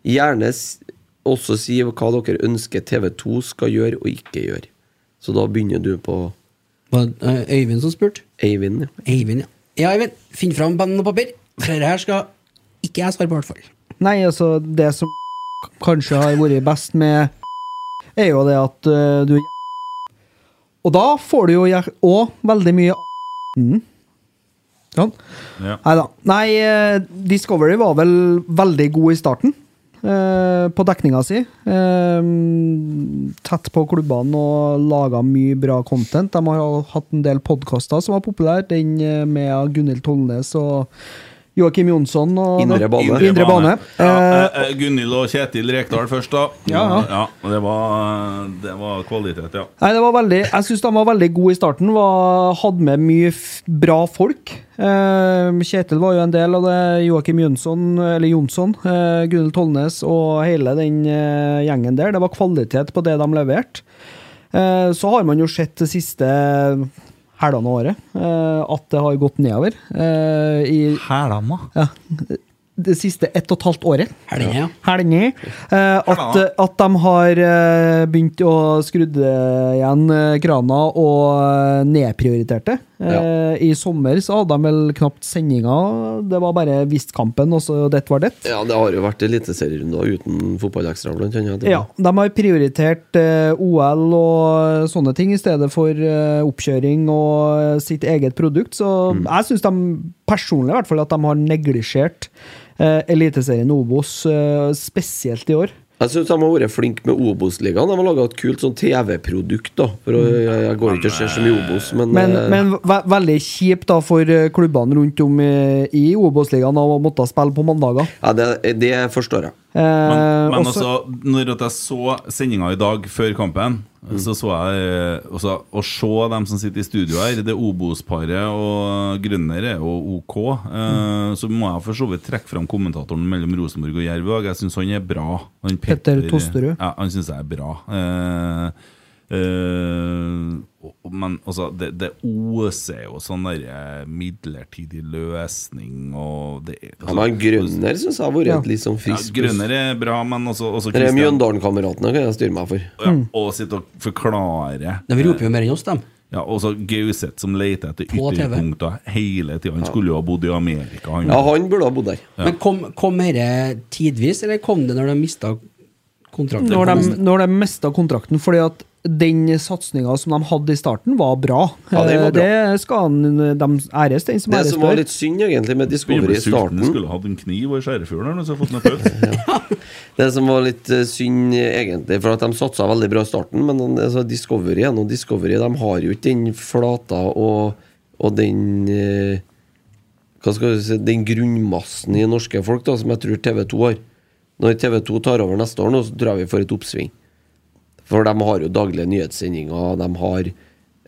Gjerne s- også si hva dere ønsker TV 2 skal gjøre og ikke gjøre. Så da begynner du på Var det, eh, Øyvind som spurte? Eivind. ja. Eivind, ja. Ja, Eivind, finn fram penn og papir. For dette her skal ikke jeg svare på, i hvert fall. Nei, altså, det som kanskje har vært best med er jo det at øh, du Og da får du jo òg veldig mye mm. Sånn. Ja. Nei da. Nei, eh, Discovery var vel veldig god i starten. eh, på dekninga si. Eh, tett på klubbene og laga mye bra content. De har jo hatt en del podkaster som var populære. Den eh, med Gunhild Tollnes og Joakim Jonsson. Og Indre bane. Indre bane. Eh, Ja, eh, eh, Gunhild og Kjetil Rekdal først, da. Ja, ja. og det, var, eh, det var kvalitet, ja. Nei, det var veldig, Jeg syns de var veldig gode i starten. Var, hadde med mye f bra folk. Eh, Kjetil var jo en del av det. Joakim Jønsson, eller Jonsson, eh, Gunhild Tollnes og hele den eh, gjengen der. Det var kvalitet på det de leverte. Eh, så har man jo sett det siste hælene av året eh, at det har gått nedover. Eh, i, ja, det siste ett og et halvt året Helgen, ja. helgene. Eh, at, at de har eh, begynt å skrudde igjen eh, krana og eh, nedprioriterte. Eh, I sommer så hadde de vel knapt sendinger. Det var bare Vistkampen, og så dette var det. Ja, det har jo vært eliteserierunder uten fotballekstra, blant annet. Ja, de har prioritert eh, OL og sånne ting i stedet for eh, oppkjøring og eh, sitt eget produkt. Så jeg syns de personlig i hvert fall at de har neglisjert eh, Eliteserien Obos, eh, spesielt i år. Jeg syns de har vært flinke med Obos-ligaen. De har laga et kult sånn TV-produkt. da For å- Mm. jeg, jeg går ikke og ser så mye Obos, men, Men, eh, men ve veldig kjipt da for eh, klubbene rundt om i, i Obos-ligaen å måtte spille på mandager. ja, det, det forstår jeg. Eh, Men, men også- altså, når at jeg så sendinga i dag før kampen, Mm. så så jeg eh, også, Å se dem som sitter i studio her, det Obos-paret og Grønner er jo OK. Eh, Mm. Så må jeg for så vidt trekke fram kommentatoren mellom Rosenborg og Jerv i dag. Jeg syns han er bra. Han Petter Tosterud. Ja, han syns jeg er bra. Eh, eh, og- og- men altså, det, det oser jo sånn derre midlertidig løsning og det er- Han var en grønner, syns jeg har vært Ja. et litt sånn ja, frisk pust. Grønner er bra, men også, også Det er Christian- Mjøndalen-kameratene kan jeg styre meg for. ja, Mm. Og sitte og forklare De roper jo mer enn oss, dem. ja, Og så Gauseth som leter etter På TV. ytterpunkter hele tida. Han skulle jo ha bodd i Amerika, han. Ja, han burde ha bodd der. Men kom, kom dette tidvis, eller kom det når de mista kontrakten? når, de, når de mista kontrakten, fordi at den satsinga som de hadde i starten, var bra. Ja, den var Eh, bra. Det skal han- de æres, den som Det æres som var bør. litt synd egentlig med Discovery i Sulten starten skulle hatt en kniv og en skjærefugl og så fått noe pøls. Det som var litt eh, synd, eh, egentlig, for at de satsa veldig bra i starten, men den- altså, Discovery er noe Discovery. De har jo ikke den flata og, og den eh, Hva skal du si Den grunnmassen i norske folk da, som jeg tror TV2 har. Når TV2 tar over neste år, nå, så tror jeg vi får et oppsving. For de har jo daglige nyhetssendinger, de har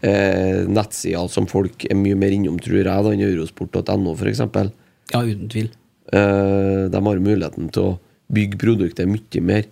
eh, nettsider som folk er mye mer innom, tror jeg, da, enn eurosport.no, f.eks. Ja, uten tvil. Eh, de har muligheten til å bygge produktet mye mer.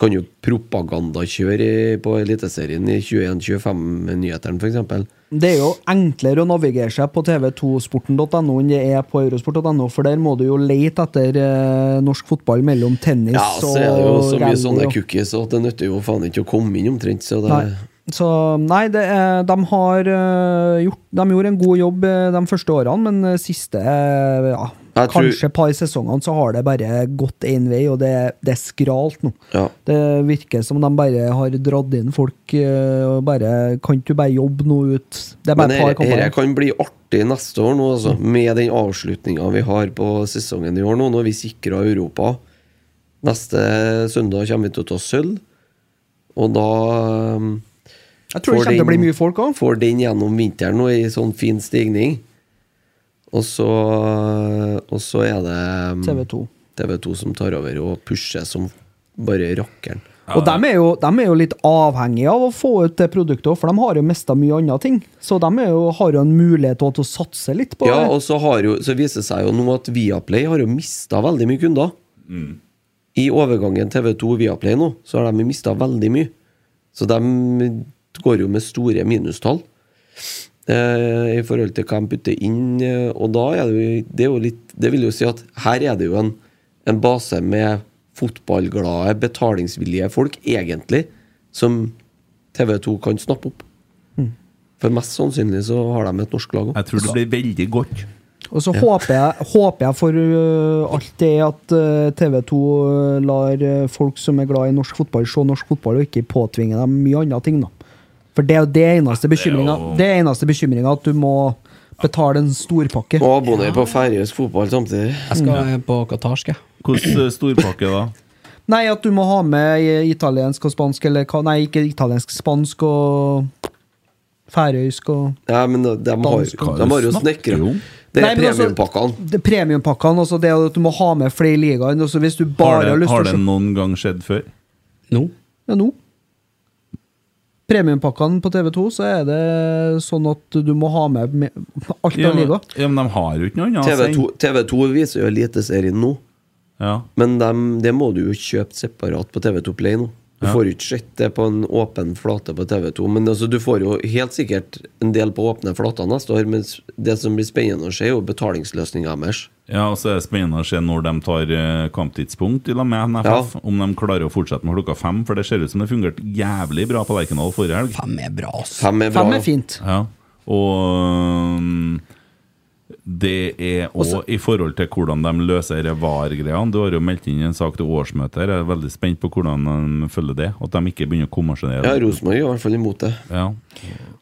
Kan jo propagandakjøre i- på Eliteserien i 21-25-nyhetene, f.eks. Det er jo enklere å navigere seg på tv2sporten.no enn det er på eurosport.no, for der må du jo lete etter eh, norsk fotball mellom tennis Ja, så er det jo så mye rally sånne og- cookies at det nytter jo faen ikke å komme inn omtrent. Så det, Nei. Så nei, det, er- de har eh, gjort De gjorde en god jobb eh, de første årene, men eh, siste eh, ja, Jeg tror- kanskje par sesongene så har det bare gått én vei, og det, det er skralt nå. Ja. Det virker som de bare har dratt inn folk eh, og bare Kan ikke du bare jobbe noe ut? Det er Men bare et par Mm. kamper. dette kan bli artig neste år, nå, altså, med den avslutninga vi har på sesongen i år. nå Når vi sikrer Europa. Neste søndag kommer vi til å ta sølv, og da um, Jeg tror det får kommer til å bli den- mye folk òg. Får den gjennom vinteren nå i sånn fin stigning. Og så, og så er det mm, TV2. TV2 som tar over og pusher som bare rakkeren. Og de er, jo, dem er jo litt avhengige av å få ut det produktet, også, for de har jo mista mye andre ting. Så de er jo, har jo en mulighet til å- til å satse litt på Ja, det. og så, har jo, så viser det seg jo nå at Viaplay har jo mista veldig mye kunder. I overgangen TV2 Viaplay nå, så har de mista veldig mye. Så de går jo med store minustall eh, i forhold til hva de putter inn. Eh, og da er det jo, det er jo litt Det vil jo si at her er det jo en, en base med fotballglade, betalingsvillige folk, egentlig, som TV2 kan snappe opp. Mm. For mest sannsynlig så har de et norsk lag òg. Jeg tror det blir veldig godt. Og så håper, jeg, håper jeg for uh, alt det at øh, TV 2 øh, lar ø, folk som er glad i norsk fotball, se norsk fotball, og ikke påtvinge dem mye andre ting. da. For det er jo det eneste bekymringa, jo- det er eneste bekymringa at du må betale en storpakke. Og abonner på færøysk fotball samtidig. Jeg skal på Qatar, skal jeg. Hvordan eh, storpakke da? Nei, at du må ha med i- italiensk og spansk, eller hva Nei, ikke italiensk, spansk og færøysk og Ja, men de de har, Dansk- de har jo Snakker snekra. jo. Det Nei, er men altså, premiepakkene. det- Premiepakkene, altså det at du må ha med flere ligaer. altså Hvis du Har bare har det, lyst til å har se det noen gang skjedd før? Nå? Ja, nå. Premiepakkene på TV2, så er det sånn at du må ha med med alt Ja, av men, liga. ja, men de har jo ikke noe annet. å TV2, sende. TV2 viser jo Eliteserien nå, Ja. men dem- det må du jo kjøpe separat på TV2 Play nå. Du Ja. får jo ikke sett det på en åpen flate på TV2, men altså, du får jo helt sikkert en del på åpne flater neste år. Men det som blir spennende å se, er jo betalingsløsninga deres. Ja, og så er det spennende å se når de tar eh, kamptidspunkt i lag med NFF. Ja. Om de klarer å fortsette med klokka fem, for det ser ut som det fungerte jævlig bra på Lerkendal forrige helg. Fem er bra, ass. Fem er bra. Fem er fint. Ja. Og um, det er òg i forhold til hvordan de løser disse VAR-greiene. Du har jo meldt inn en sak til årsmøtet. her. Jeg er veldig spent på hvordan de følger det. At de ikke begynner å Ja, kommersjonere. Rosenborg er i hvert fall imot det. Ja.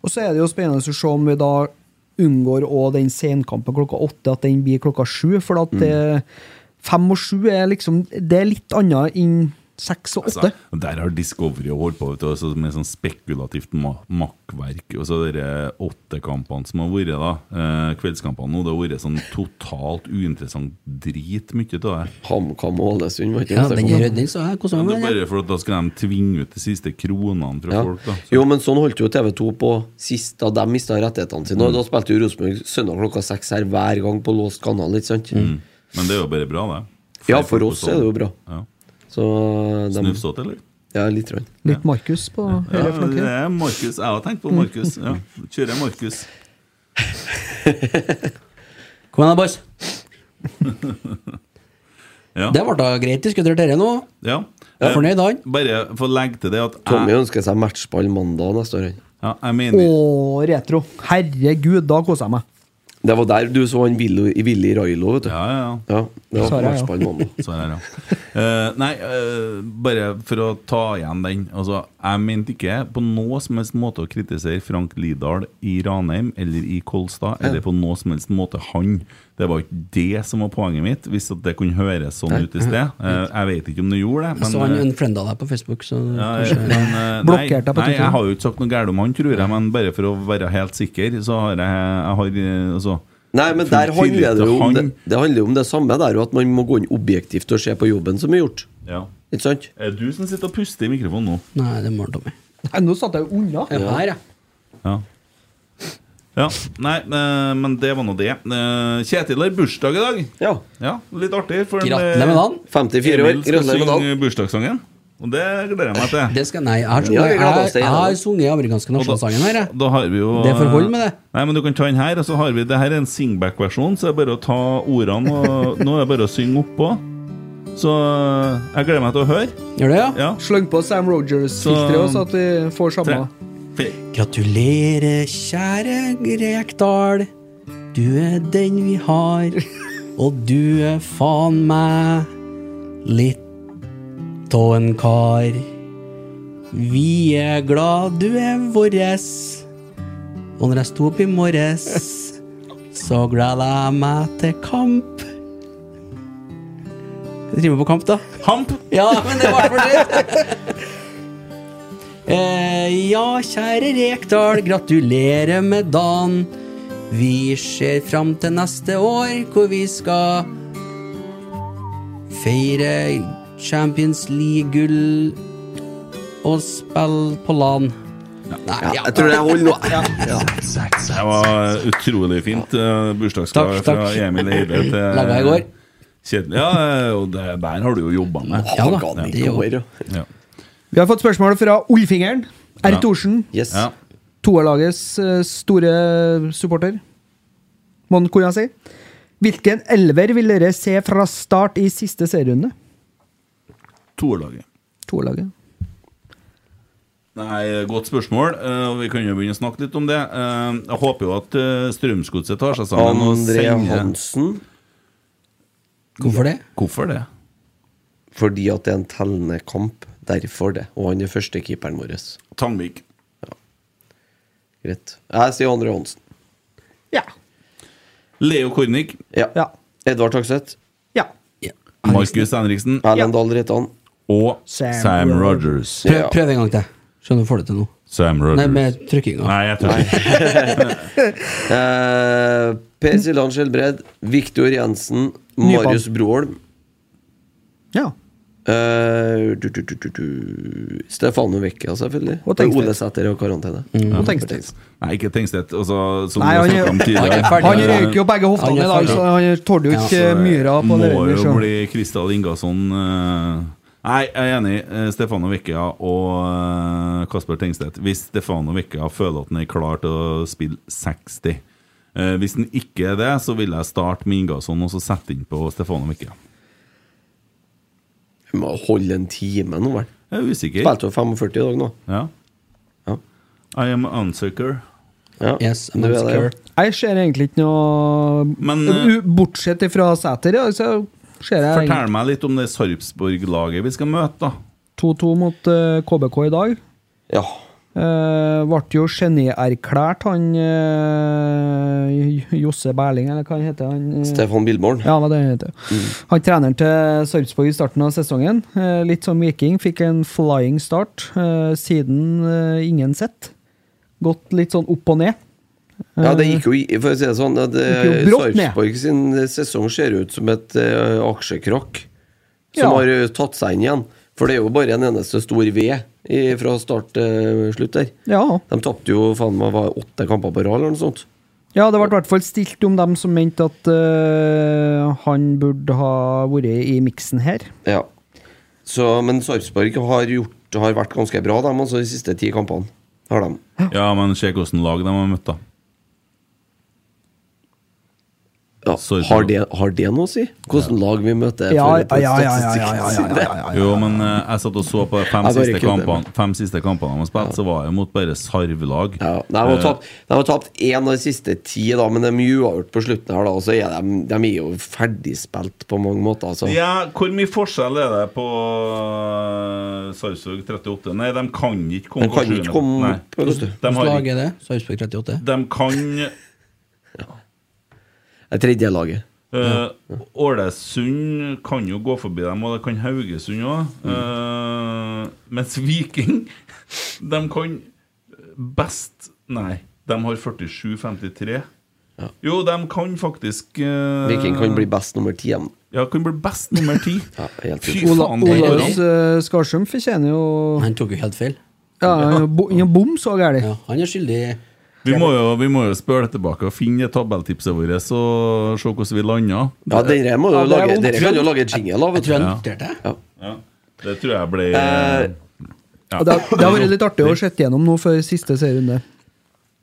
Og så er det jo spennende å se om vi da unngår også den senkampen klokka åtte, at Mm. eh, den blir klokka sju. For at det, fem og sju er liksom Det er litt annet enn Seks og åtte. Altså, der har Discovery holdt på vet du, også med sånn spekulativt ma makkverk. Og så de åttekampene som har vært, da. Eh, kveldskampene nå. Det har vært sånn totalt uinteressant drit mye av det. HamKam og Ålesund var ikke Ja, neste den kamp. redning, så jeg koser Men meg det er med den. bare for at da skal de tvinge ut de siste kronene fra Ja. folk. da så, Jo, men sånn holdt jo TV2 på sist da de mista rettighetene sine. Mm. Og Da spilte jo Rosenborg søndag klokka seks her hver gang på låst kanal, ikke sant? Men det er jo bare bra, det. sånn. Ja, for oss er det jo bra. Ja. Så de, Snufsete, eller? Ja, litt. Rann. Litt Markus på Ja, hele det flanken. er Markus. Jeg har tenkt på Markus. Ja. Kjører jeg Markus. Kom igjen, da, boys. Ja. Det ble da greit diskutert, dette nå. Ja. Jeg er Eh, fornøyd, han. Bare for å legge til det at Tommy jeg, ønsker seg matchball mandag neste år. han. ja, jeg mener Og retro. Herregud, da koser jeg meg. Det var der du så han Willy, Willy Railo, vet du. Ja, ja, ja. Ja, det var Sa jeg, på ja. matchball mandag. Så er det, ja. Eh, nei, eh, bare for å ta igjen den. Altså, jeg mente ikke på noe som helst måte å kritisere Frank Lidahl i Ranheim eller i Kolstad, eller på noe som helst måte han. Det var ikke det som var poenget mitt, hvis at det kunne høres sånn ut i sted. Eh, jeg vet ikke om det gjorde det, men Så han eh, unfrienda deg på Facebook, så ja, kanskje men, eh, nei, Blokkert deg på nei, Twitter. jeg har jo ikke sagt noe galt om han, tror jeg, men bare for å være helt sikker, så har jeg, jeg har, eh, altså, Nei, men full der handler tillit det til jo om det, han. det handler jo om det samme der, og at man må gå inn objektivt og se på jobben som er gjort. Ja. Ikke sant? Er det du som sitter og puster i mikrofonen nå? Nei, det må han Tommy. Nei, nå satt jeg jo unna. Jeg er på her, jeg. Ja. ja. Nei, eh, men det var nå det. Eh, Kjetil har bursdag i dag. Ja. Ja, Litt artig. For eh, Gratulerer med dagen. 54 år. Emil skal Gratulerer med dagen. synge bursdagssangen, og det gleder jeg meg til. Det skal, nei, jeg har, Ja, vi jeg, gleder jeg, oss til gjennom. har sunget amerikanske Og da- nasjonalsangen her, jeg. Da har vi jo Det får holde med det. Nei, men Du kan ta den her. og så har vi, det her er en singback-versjon, så det er bare å ta ordene og Nå er det bare å synge oppå. Så eh, jeg gleder meg til å høre. Gjør det, ja? Ja. Sleng på Sam Rogers-filteret, Så- så at vi får Tre, samme. fire. Gratulerer, kjære Rekdal. Du er den vi har, og du er faen meg litt av en kar. Vi er glad du er våres, og når jeg sto opp i morges, så gleda jeg meg til kamp. Vi driver på kamp, da. Hamp! Ja, men det var for dritt. eh, ja, kjære Rekdal, gratulerer med dagen. Vi ser fram til neste år, hvor vi skal feire Champions League-gull og spille på LAN. Nei, ja. Jeg tror det holder nå. Det var utrolig fint. eh, Bursdagsgave Takk, takk. fra Emil Eide til Laga i går. Kjedelig. Ja, eh, og det der har du jo jobba med. Ja da, Organ i det er jo- går, ja. Ja. Vi har fått spørsmål fra Olfingeren. R. Thorsen, Yes. Ja. toerlagets eh, store eh, supporter. Må den kunne si. Hvilken elver vil dere se fra start i siste serierunde? Toerlaget. Toerlaget. Nei, Godt spørsmål. eh, og Vi kan jo begynne å snakke litt om det. Eh, Jeg håper jo at eh, Strømsgodset tar seg sammen og André sender Hansen, Hvorfor det? Hvorfor det? fordi at det er en tellende kamp. Derfor det. Og han er førstekeeperen vår. Tangvik. Greit. Jeg sier André Hansen. Ja. Leo Kornik. Ja. Ja. Edvard Takseth. Ja. Ja. Markus Henriksen. Erlend Dahl Reitan. Og Sam Sam Rogers. Prøv, Ja. prøv en gang til. Skjønner du får det til nå. Sam Nei, Rogers. med trykkinga. Nei, jeg tør ikke. Eh, per Siljan Skjelbred. Viktor Jensen. Nypan. Marius Broholm. ja. eh, du, du, du, du, du. Stefano Vecchia, selvfølgelig. Og Og Tengstedt. Ole Sæter og karantene. Og Tengstedt. Nei, ikke Tengstedt. Altså, som Nei, vi har han, snakket om tidligere. er ferdig. han røyker jo begge Han hoftene er i dag, ferdig. så han tåler jo ikke Ja. eh, myra på må leveren. jo så. bli Kristal Ingasson eh, Nei, jeg er enig. eh, Stefano Vecchia og eh, Kasper Tengstedt. Hvis Stefano Vecchia føler at han er klar til å spille 60 eh, Hvis han ikke er det, så vil jeg starte med Ingasson og så sette inn på Stefano Vecchia. Vi må holde en time nå, vel. Jeg er usikker. Spilte jo 45 i dag nå. Ja. Ja. I am unsucker. Ja. Yes, Du I'm er det, ja. scared. Jeg ser egentlig ikke noe Men, U- Bortsett fra Sæter, ja, så ser jeg Fortell meg litt om det Sarpsborg-laget vi skal møte, da. 2-2 mot eh, KBK i dag. Ja. Eh, ble jo genierklært, han eh, Josse Berling, eller hva han heter han? eh, Stefan Billborn. Ja, det var det han heter. Han treneren til Sarpsborg i starten av sesongen. eh, Litt som Viking, fikk en flying start. eh, Siden eh, ingen sett. Gått litt sånn opp og ned. Ja, det gikk jo i, for å si det sånn at, Gikk eh, jo brått ned. Sarpsborg sin eh, sesong ser ut som et eh, aksjekrakk som Ja. har eh, tatt seg inn igjen. For det er jo bare en eneste stor V i- fra start til slutt der. Ja, De tapte jo faen meg var det åtte kamper på rad eller noe sånt. ja det ble i hvert fall stilt om dem som mente at eh, han burde ha vært i miksen her. Ja. Så, men Sarpsborg har, gjort- har vært ganske bra, de, altså, de siste ti kampene. Har de. Ja, men se hvordan lag de har møtt, da. Ja, Sarpsborg. har, det, har det noe å si? Hvordan lag vi møter? Ja, for- ja, på ja, ja, ja, ja, ja, statistikken sin? ja, ja, ja. Jo, men eh, jeg satt og så på de fem Jeg bare siste kødder. kampene Fem siste kampene de har spilt, så var jeg mot bare sarvlag. Eh, Ja, de Eh. har tapt- de har tapt én av de siste ti, da, men de er mye uavgjort på slutten. her da Og så er de, de er jo ferdigspilt på mange måter. Altså. Ja, hvor mye forskjell er det på eh, Sarpsborg 38? Nei, de kan ikke komme De kan ikke komme Nei. opp, vet du. De, Hvilket har, lag ikke- er det? Sarpsborg 38? de kan Det er tredje laget. Eh, Ålesund kan jo gå forbi dem, og det kan Haugesund òg. Mm. mens Viking, de kan best Nei, de har 47-53. Jo, de kan faktisk eh, Viking kan bli best nummer ti. dem. Ja, kan bli best nummer ti. Ja, helt Fy utrolig. Ola, faen, det går Olaus an! eh, Skarsum fortjener jo Han tok jo helt feil. Ja, bo- ja, bom så gærent. Ja, han er skyldig Vi må jo, vi må jo spørre det tilbake og finne det tabelltipset vårt og se hvordan vi lander. Ja, dere må jo Ja, det er lage vondt. Dere kan jo lage jingle av, Jeg vet du. tror jeg Ja. noterte det. Ja. Ja, det tror jeg ble Eh, ja. Og Det, har- det har vært litt artig å se gjennom nå før siste serierunde.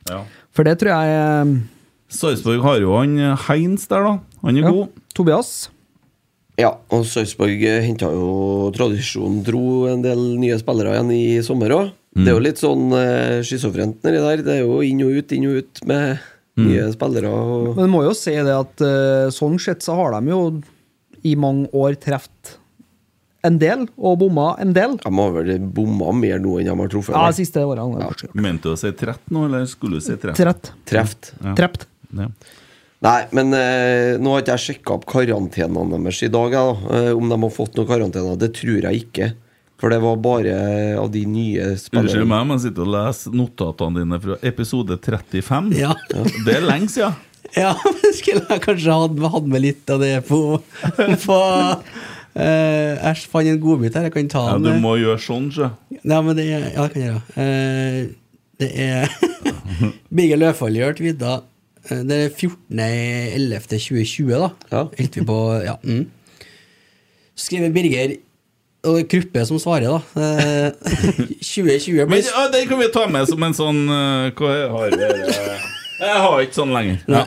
Ja. For det tror jeg eh, Sarpsborg har jo han eh, Heinz der, da. Han er ja, god. Tobias. Ja, og Sarpsborg henta jo tradisjonen tro en del nye spillere igjen i sommer òg. Mm. Det er jo litt sånn eh, schizofrent nedi der. Det er jo inn og ut, inn og ut med Mm. nye spillere. Og, Men jeg må jo si det at eh, sånn sett så har de jo i mange år truffet en del, og bomma en del. de har vel bomma mer nå enn de har truffet. Ja, da. de siste årene. har de kanskje gjort. Mente du å si 13 nå, eller skulle du si 13? Trett. Treft. Trept. Ja. Nei, men eh, nå har ikke jeg sjekka opp karantenene deres i dag, jeg, da. Eh, om de har fått noen karantener. Det tror jeg ikke. For det var bare eh, av de nye Unnskyld spillerne. meg, men jeg sitter og leser notatene dine fra episode 35. Ja. Det er lenge siden. Ja, men skulle jeg kanskje hatt hatt med litt av det på, på eh, Jeg fant en godbit her. Jeg kan ta Ja, den. du må gjøre sånn, sjø. Nei, men det er, ja, det kan jeg gjøre. Eh, det er Birger Løfald gjør vidda. Eh, Det er 14.11.2020, da. Ja. Helt vi på, ja. Mm. Skriver Birger, og det er Kruppe som svarer, da. Eh, 2020 Men blir ja, Den kan vi ta med som en sånn eh, Hva er- har vi her? eh? Jeg har ikke sånn lenger. Nei.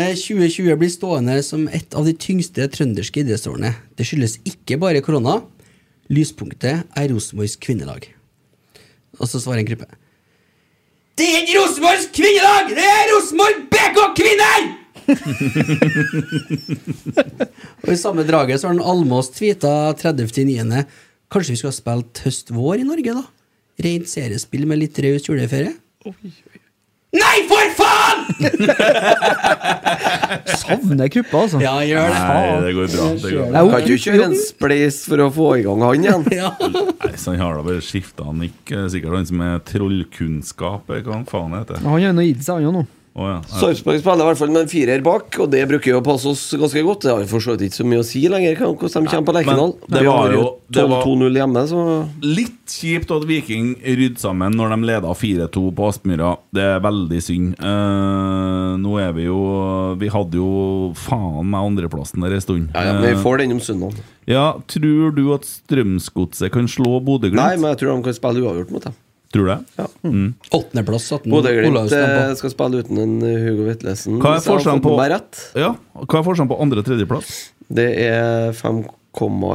Eh, 2020 blir stående som et av de tyngste trønderske idrettsårene. Det skyldes ikke bare korona. Lyspunktet er Rosenborgs kvinnelag. Og så svarer en gruppe. Det er ikke Rosenborgs kvinnelag! Det er Rosenborg BK Kvinner! Og I samme draget så har den Almås tweeta 30.9. Kanskje vi skal ha spilt høst-vår i Norge, da? Rent seriespill med litt raus juleferie? Nei, for faen! Savner gruppa, altså. Ja, gjør det. Nei, det går bra. Det går bra. Jeg Kan ikke du kjøre en spleis for å få i gang han igjen? Ja. Nei, så han har da bare skifta nikk. eh, Sikkert han som er trollkunnskap, eller hva han faen heter. Han har jo nå gitt seg, han jo nå. Å, ja. Ja. Sarpsborg spiller i hvert fall med en firer bak, og det bruker jo å passe oss ganske godt. Det har jo for så vidt ikke så mye å si lenger hva- hvordan de kommer på Lerkendal. men det Vi var har jo- det var- 12-2-0 hjemme, så Litt kjipt at Viking rydde sammen når de leda 4-2 på Aspmyra. Det er veldig synd. Eh, nå er vi jo Vi hadde jo faen meg andreplassen der en stund. Eh, ja, ja, men Vi får den om søndagen. Ja, tror du at Strømsgodset kan slå Nei, Bodø-Glimt? men jeg tror de kan spille uavgjort mot dem. Tror du det? Ja. Åttendeplass satt den Bodø-Glimt eh, Olavskamp på. skal spille uten en eh, Hugo Vetlesen. Hva er hvis jeg har forskjellen fått på- meg rett. Ja. Hva er forskjellen på andre- og tredjeplass? Det er 5,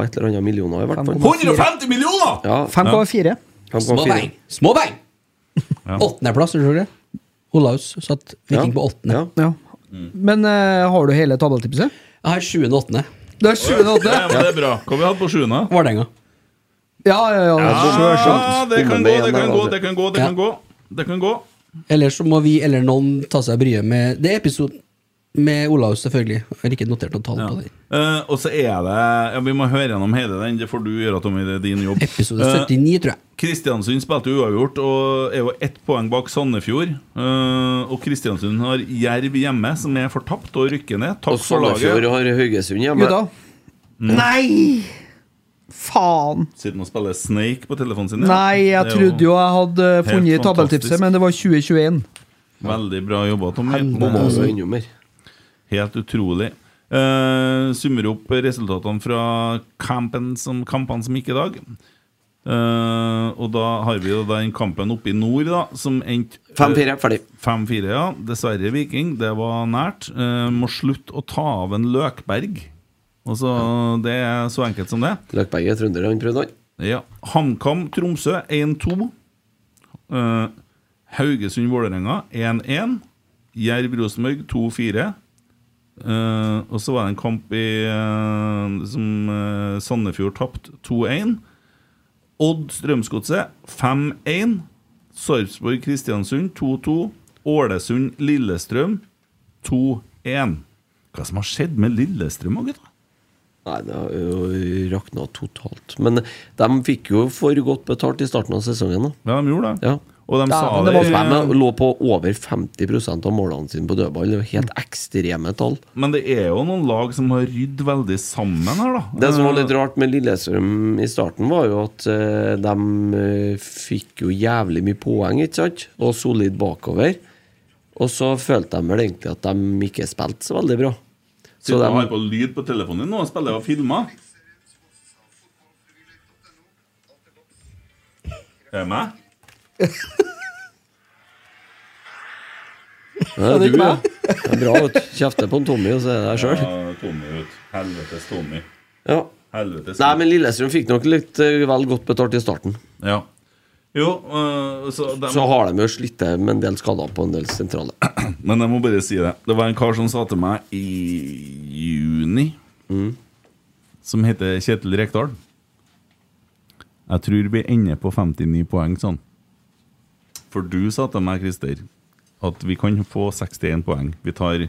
et eller annet millioner, i hvert fall. 150 millioner! Ja, 5,4. Små 5,4. bang! Små bang! Åttendeplass, tror du det? Olaus satt Viking Ja, på åttende. ja. Ja. Men eh, har du hele tabelltipset? Jeg har sjuende og åttende. Det er 7,8. Ja, men det er bra. Hva har vi hatt på sjuende? Vålerenga. Ja, ja, ja. Ja, Ah, det kan Om gå, det det igjen kan der, gå, altså. det kan gå. Det Ja. kan gå. Det kan gå. Ellers så må vi eller noen ta seg bryet med Det er episoden med Olaus, selvfølgelig. Jeg har ikke notert noe tall Ja. på det. Eh, og så er det ja, Vi må høre gjennom hele den. Det får du gjøre, Tommy. Det er din jobb. Episode Eh, 79, tror jeg. Kristiansund spilte jo uavgjort og er jo ett poeng bak Sandefjord. Eh, og Kristiansund har Jerv hjemme, som er fortapt og rykker ned. Og Takk for Sandefjord laget. har Haugesund hjemme. Jo da. Mm. Nei! Faen! Sitter og spiller Snake på telefonen sin. ja. Nei, jeg Det er trodde jo jeg hadde funnet fantastisk. tabelltipset, men det var 2021. Veldig bra jobba, Tommy. Bomma også innom her. Helt utrolig. Eh, summer opp resultatene fra kampen som, kampene som gikk i dag. Eh, og da har vi jo den kampen oppe i nord, da, som endte 5-4, ferdig. 5-4, ja. Dessverre Viking. Det var nært. Eh, må slutte å ta av en Løkberg. Altså, Det er så enkelt som det. Løkberg er trønder, han prøvde han. Ja. HamKam Tromsø 1-2. Eh, Haugesund Vålerenga 1-1. Jerv Rosenborg 2-4. Eh, og så var det en kamp i, eh, som eh, Sandefjord tapte 2-1. Odd Strømsgodset 5-1. Sarpsborg Kristiansund 2-2. Ålesund Lillestrøm 2-1. Hva som har skjedd med Lillestrøm, da, gutta? Nei, det har jo rakna totalt. Men eh, de fikk jo for godt betalt i starten av sesongen, da. Ja, de gjorde det. Ja. Og de sa men det var i- De lå på over 50 av målene sine på dødball. Det var helt ekstreme tall. Men det er jo noen lag som har rydd veldig sammen her, da. Eh, Det som var litt rart med Lillestrøm i starten, var jo at eh, de eh, fikk jo jævlig mye poeng, ikke sant? Og solid bakover. Og så følte de vel egentlig at de ikke spilte så veldig bra. Så Sitter de, og har på lyd på telefonen din nå og spiller og filmer. Er det meg? ja, du, ja. Det er bra, vet du. Kjefter på en Tommy, og så er det deg sjøl. Ja, Tommy ut. Helvetes Tommy. Ja. Helvetes Nei, men Lillestrøm fikk nok litt eh, vel godt betalt i starten. Ja. Jo, øh, så de, Så har de jo slitt til med en del skader på en del sentrale. Men jeg må bare si det. Det var en kar som sa til meg i juni, som heter Kjetil Rekdal Jeg tror vi ender på 59 poeng, sånn. For du sa til meg, Christer, at vi kan få 61 poeng. Vi tar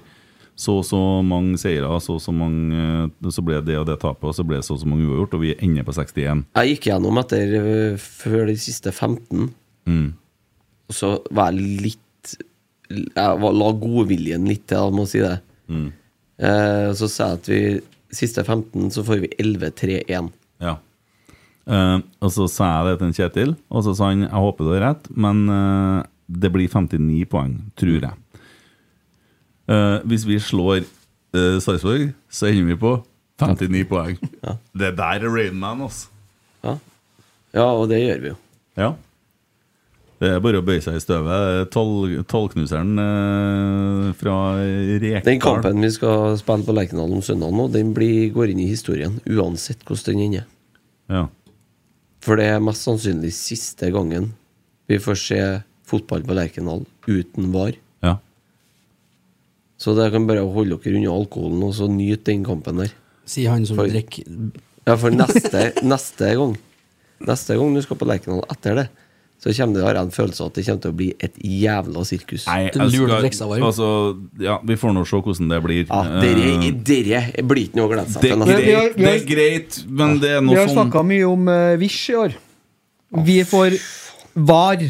så og så mange seire, så og så mange eh, Så ble det og det tapet, og så ble det så og så mange uavgjort, og vi ender på 61. Jeg gikk gjennom etter øh, før de siste 15. Og så var jeg litt Jeg var, la godviljen litt til, jeg må si det. Eh, og så sa jeg at vi siste 15 så får vi 11-3-1. Ja. Eh, og så sa jeg det til en Kjetil, og så sa han jeg håper du har rett, men eh, det blir 59 poeng, tror jeg. Eh, hvis vi slår uh, Sarpsborg, så ender vi på 59 poeng. Det der er Rainman, altså. Ja. ja, og det gjør vi jo. Ja. Det er bare å bøye seg i støvet. Tall- Tallknuseren eh, fra Rekdal Den kampen vi skal spille på Lerkendal om søndag nå, den blir, går inn i historien. Uansett hvordan den ender. Ja. For det er mest sannsynlig siste gangen vi får se fotball på Lerkendal uten var. ja. Så dere kan bare holde dere unna alkoholen og så nyte den kampen der. Sier han som For- drikker Ja, for neste, neste gang Neste gang du skal på Lerkendal etter det, så kommer det har jeg en følelse av at det kommer til å bli et jævla sirkus. Nei, Den jeg lurte skal- leksa var jo. Altså, ja, vi får nå se hvordan det blir. Ja, Eh, dere, dere blir ikke noe å glede seg Det er til. Men vi har- greit, vi det har- er greit men det er Vi noe har sånn snakka mye om eh, Vish i år. Vi får VAR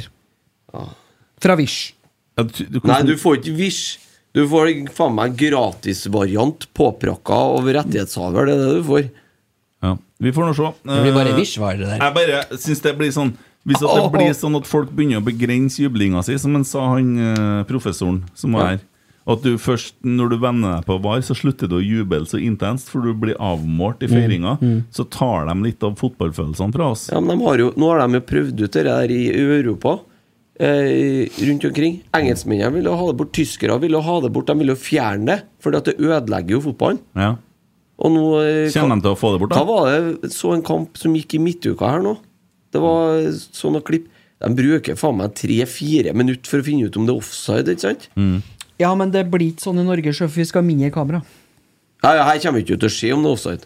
fra Vish. Ja, du- du- Nei, du får ikke Vish. Du får faen meg gratisvariant påprakka av rettighetshaver. Det er det du får. ja. Vi får nå se. Eh, Det blir bare visjvar, det der. Jeg bare syns det blir sånn Hvis at det blir sånn at folk begynner å begrense jublinga si, som han sa han eh, professoren som var her At du først, når du vender deg på VAR, så slutter du å juble så intenst, for du blir avmålt Mm. i feiringa. Så tar de litt av fotballfølelsene fra oss. Ja, men de har jo, nå har de jo prøvd ut det der i Europa. Eh, rundt omkring. Engelskmennene ville ha det bort, tyskere ville ha det bort. De ville jo fjerne det, for det ødelegger jo fotballen. Ja. Og nå eh, Kommer de til å få det bort, Da da? var det så en kamp som gikk i midtuka her nå. Det var sånne klipp. De bruker faen meg tre-fire minutter for å finne ut om det er offside, ikke sant? Ja, men det blir ikke sånn i Norge, sjøl, for vi skal ha mindre kamera. Her, her kommer vi ikke til å se om det er offside.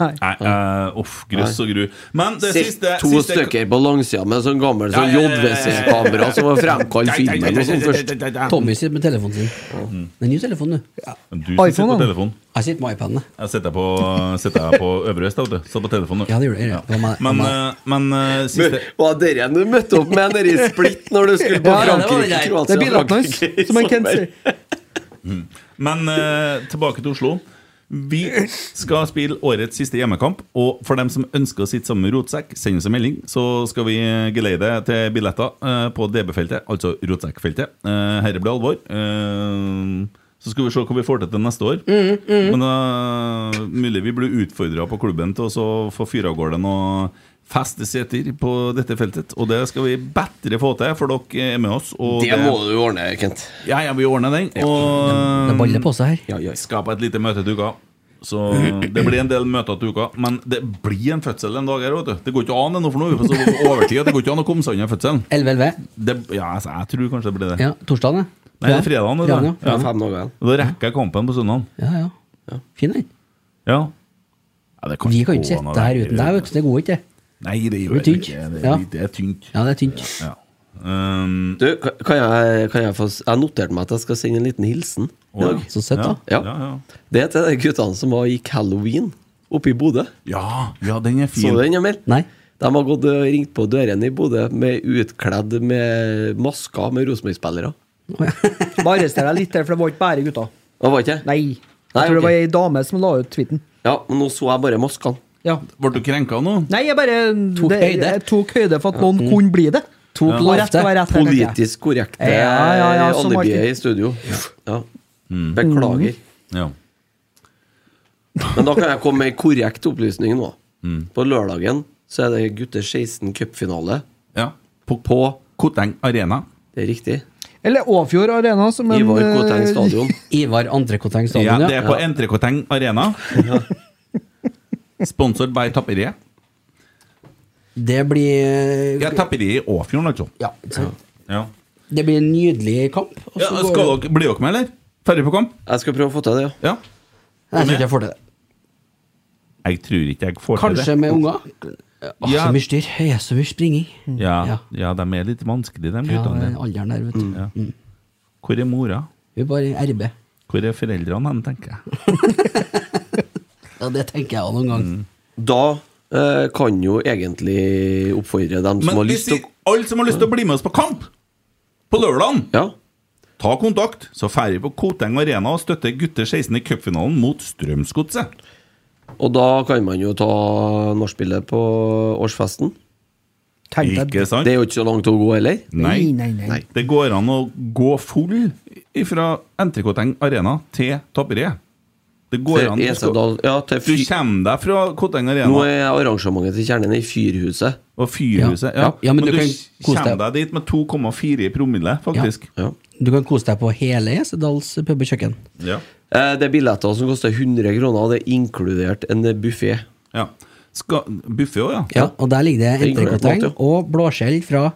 Nei. Nei, eh, uff, grøss og gru. Men det Sett siste to siste- stykker på langsida med sånn gammel sånn Ja, ja, ja, ja, ja, ja. JVC-kamera som har fremkalt filmen og sånn først. Tommy sitter med telefonen sin. Det er ny telefon, du. Men Du som sitter iPhone, på da. telefon. Jeg sitter med iPaden. jeg. Jeg sitter på, sitter jeg på øvre øst, da, vet du. Satt på telefonen. du. Ja, det gjorde jeg, ja. Det var meg- Men, det eh, men eh, siste Var det den du møtte opp med nede i Split når du skulle på Ja, det var den Frankrike? der. Det Kroatia, er bilene hans, Frankrike i som han Kent sommer? sier. Men eh, tilbake til Oslo. Vi skal spille årets siste hjemmekamp. Og for dem som ønsker å sitte sammen med Rotsekk, send oss en melding, så skal vi geleie det til billetter eh, på DB-feltet, altså Rotsekk-feltet. Uh, Herre blir alvor. Eh, så skal vi se hva vi får til til neste år. Men uh, mulig vi blir utfordra på klubben til å så få fyre av gårde noe feste seter på dette feltet. Og det skal vi bedre få til, for dere er med oss. Og Det må du ordne, Kent. Ja, ja, vi ordner den. Og Det baller på seg her. Ja, ja. skape et lite møte til uka. Så Det blir en del møter til uka, men det blir en fødsel en dag her. Vet du. Det går ikke an ennå, for nå er vi på så overtid at det går ikke an å komme seg unna fødselen. 11.11. Det, ja, altså, jeg tror kanskje det blir det. Ja, torsdagen, ja. Nei, det er fredagen. vet du. Fredagen, Det ja. er fem dager igjen. Da rekker jeg kampen på søndag. Ja, ja. Fin den. Ja. Ja, det Vi kan ikke gå an å sitte her være- uten deg, vet du. Det går ikke. Nei, det gjør jeg Det blir ikke. tynt. Det, Ja. er- det er tynt. Ja, det er tynt. Ja. Um, Du, kan- kan jeg, kan jeg få s- Jeg noterte meg at jeg skal sende en liten hilsen. i dag. Så søtt, da. Ja, Ja. ja, ja. Det er til de guttene som var gikk halloween oppe i Bodø. ja, ja, den er Så fin. du den, Emil? Nei. De har gått og ringt på dørene i Bodø med utkledd med masker med Rosenborg-spillere. Bare arrester deg litt der, for det var ikke bare gutter. Det var ikke Nei. Jeg Nei, tror det ok. var ei dame som la ut tweeten. Ja, men nå så jeg bare maskene. Ja. Ble du krenka nå? Nei, jeg bare Tok det, høyde. Jeg tok høyde for at noen Mm. kunne bli det. Tok Ja. og rett var rett her, tenker jeg. Politisk korrekte Ja, ja, ja, Mm. som alibiet alltid. i studio. Ja. Beklager. Ja. Men da kan jeg komme med en korrekt opplysning nå. Mm. På lørdagen så er det gutter 16 cupfinale ja. På på Koteng Arena. Det er riktig. Eller Åfjord Arena, som en Ivar Koteng eh, stadion. Ivar Andrekoteng Ja, stadion, det er ja. på Entrecoteng Arena. Sponsored by Tapperiet. Det blir Ja, Tapperiet i Åfjorden, altså. Ja, ikke sant? Ja. Det blir en nydelig kamp. og Ja, så går skal det- dere, blir dere med, eller? Ferdig på kamp? Jeg skal prøve å få til det, ja. Ja. Nei, Jeg tror ikke jeg får til det. Jeg tror ikke jeg får til Kanskje det. med unger. Åh, Ja. Så mye styr. Det er så mye springing. Ja, Ja. ja, de er litt vanskelige, de Ja, guttene. den der. alderen der, vet du. Mm, Ja. Hvor er mora? Vi er bare i RB. Hvor er foreldrene hen, tenker jeg. Ja, det tenker jeg også noen Mm. gang. Da eh, kan jo egentlig oppfordre dem som Men har hvis lyst til de- å alle som har lyst til å bli med oss på kamp på lørdagen, Ja. ta kontakt, så drar vi på Koteng Arena og støtter gutter 16 i cupfinalen mot Strømsgodset. Og da kan man jo ta nachspielet på årsfesten. tenkte jeg. Ikke sant? Det er jo ikke så langt å gå heller. Nei. Nei, nei, nei. Det går an å gå full fra NTK-teng Arena til Tapperiet. Det går an. Til Du, skal, Esedal Ja, til du Fyr... kommer deg fra Koteng Nå Arena er arrangementet til Kjernen i Fyrhuset. og Fyrhuset. Ja, Ja, ja, men men du, du kan kose kommer deg deg. dit med 2,4 i promille, faktisk. Ja. Du kan kose deg på hele Esedals pub og kjøkken. Ja. Eh, Det er billetter som koster 100 kroner, og det er inkludert en buffé. ja. Skal, buffet òg, ja. Ja, og der ligger det Det er inkludert mat, entrecôteng ja. og blåskjell fra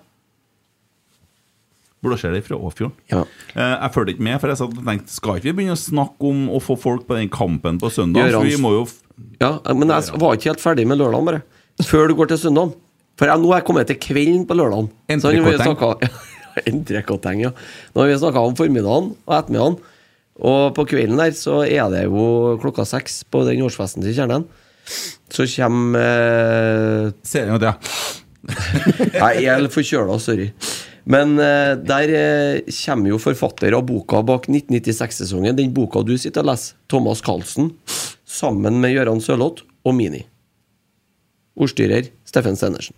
Blåskjeller fra Åfjorden. Ja. Eh, Jeg følte ikke med, for jeg satt og tenkte skal ikke vi begynne å snakke om å få folk på den kampen på søndag? Gjør For vi han- må jo f- Ja, men jeg var ikke helt ferdig med lørdagen, bare. Før du går til søndagen. For jeg, nå er jeg kommet til kvelden på lørdagen. Så nå har vi Entrecôteng. snakket- Ja, Entrecôteng, ja. Nå har vi snakka om formiddagen og ettermiddagen. Og på kvelden der så er det jo klokka seks på den årsfesten til Kjernen. Så kommer eh, se en gang til. ja. Nei, jeg er forkjøla, sorry. Men eh, der eh, kommer jo forfatter av boka bak 1996-sesongen, den boka du sitter og leser, Thomas Carlsen, sammen med Gøran Sørloth og Mini. Ordstyrer Steffen Stenersen.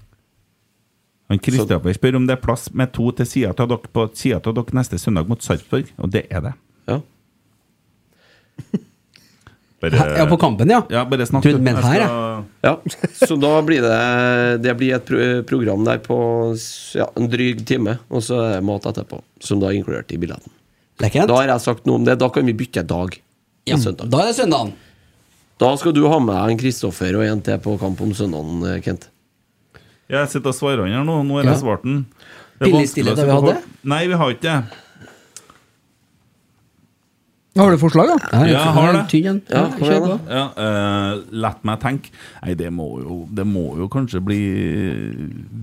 Han Kristoffer spør om det er plass med to til sida av dere på sida av dere neste søndag mot Sarpsborg, og det er det. Ja. Bare, Ja, på kampen, ja. Eh, Ja, bare snakk. Du, men Jeg her, skal- ja. Så da blir det Det blir et pro eh, program der på s- ja, en dryg time, og så er det mat etterpå, som da er inkludert i billetten. Lekkert. Da har jeg sagt noe om det. Da kan vi bytte dag. Ja, søndag. da er det søndagen. Da skal du ha med en Kristoffer og en til på kamp om søndagen, eh, Kent. Jeg sitter og svarer han her nå. Nå har Ja. jeg svart den. Det er Billig vanskelig å stillhet sitte har vi og- hatt Nei, vi har ikke det. Har du forslag, da? Ja, jeg har det. Tynn en. Ja, kom kjør igjen, på. da. Ja, eh, lett meg tenke Nei, det må, jo, det må jo kanskje bli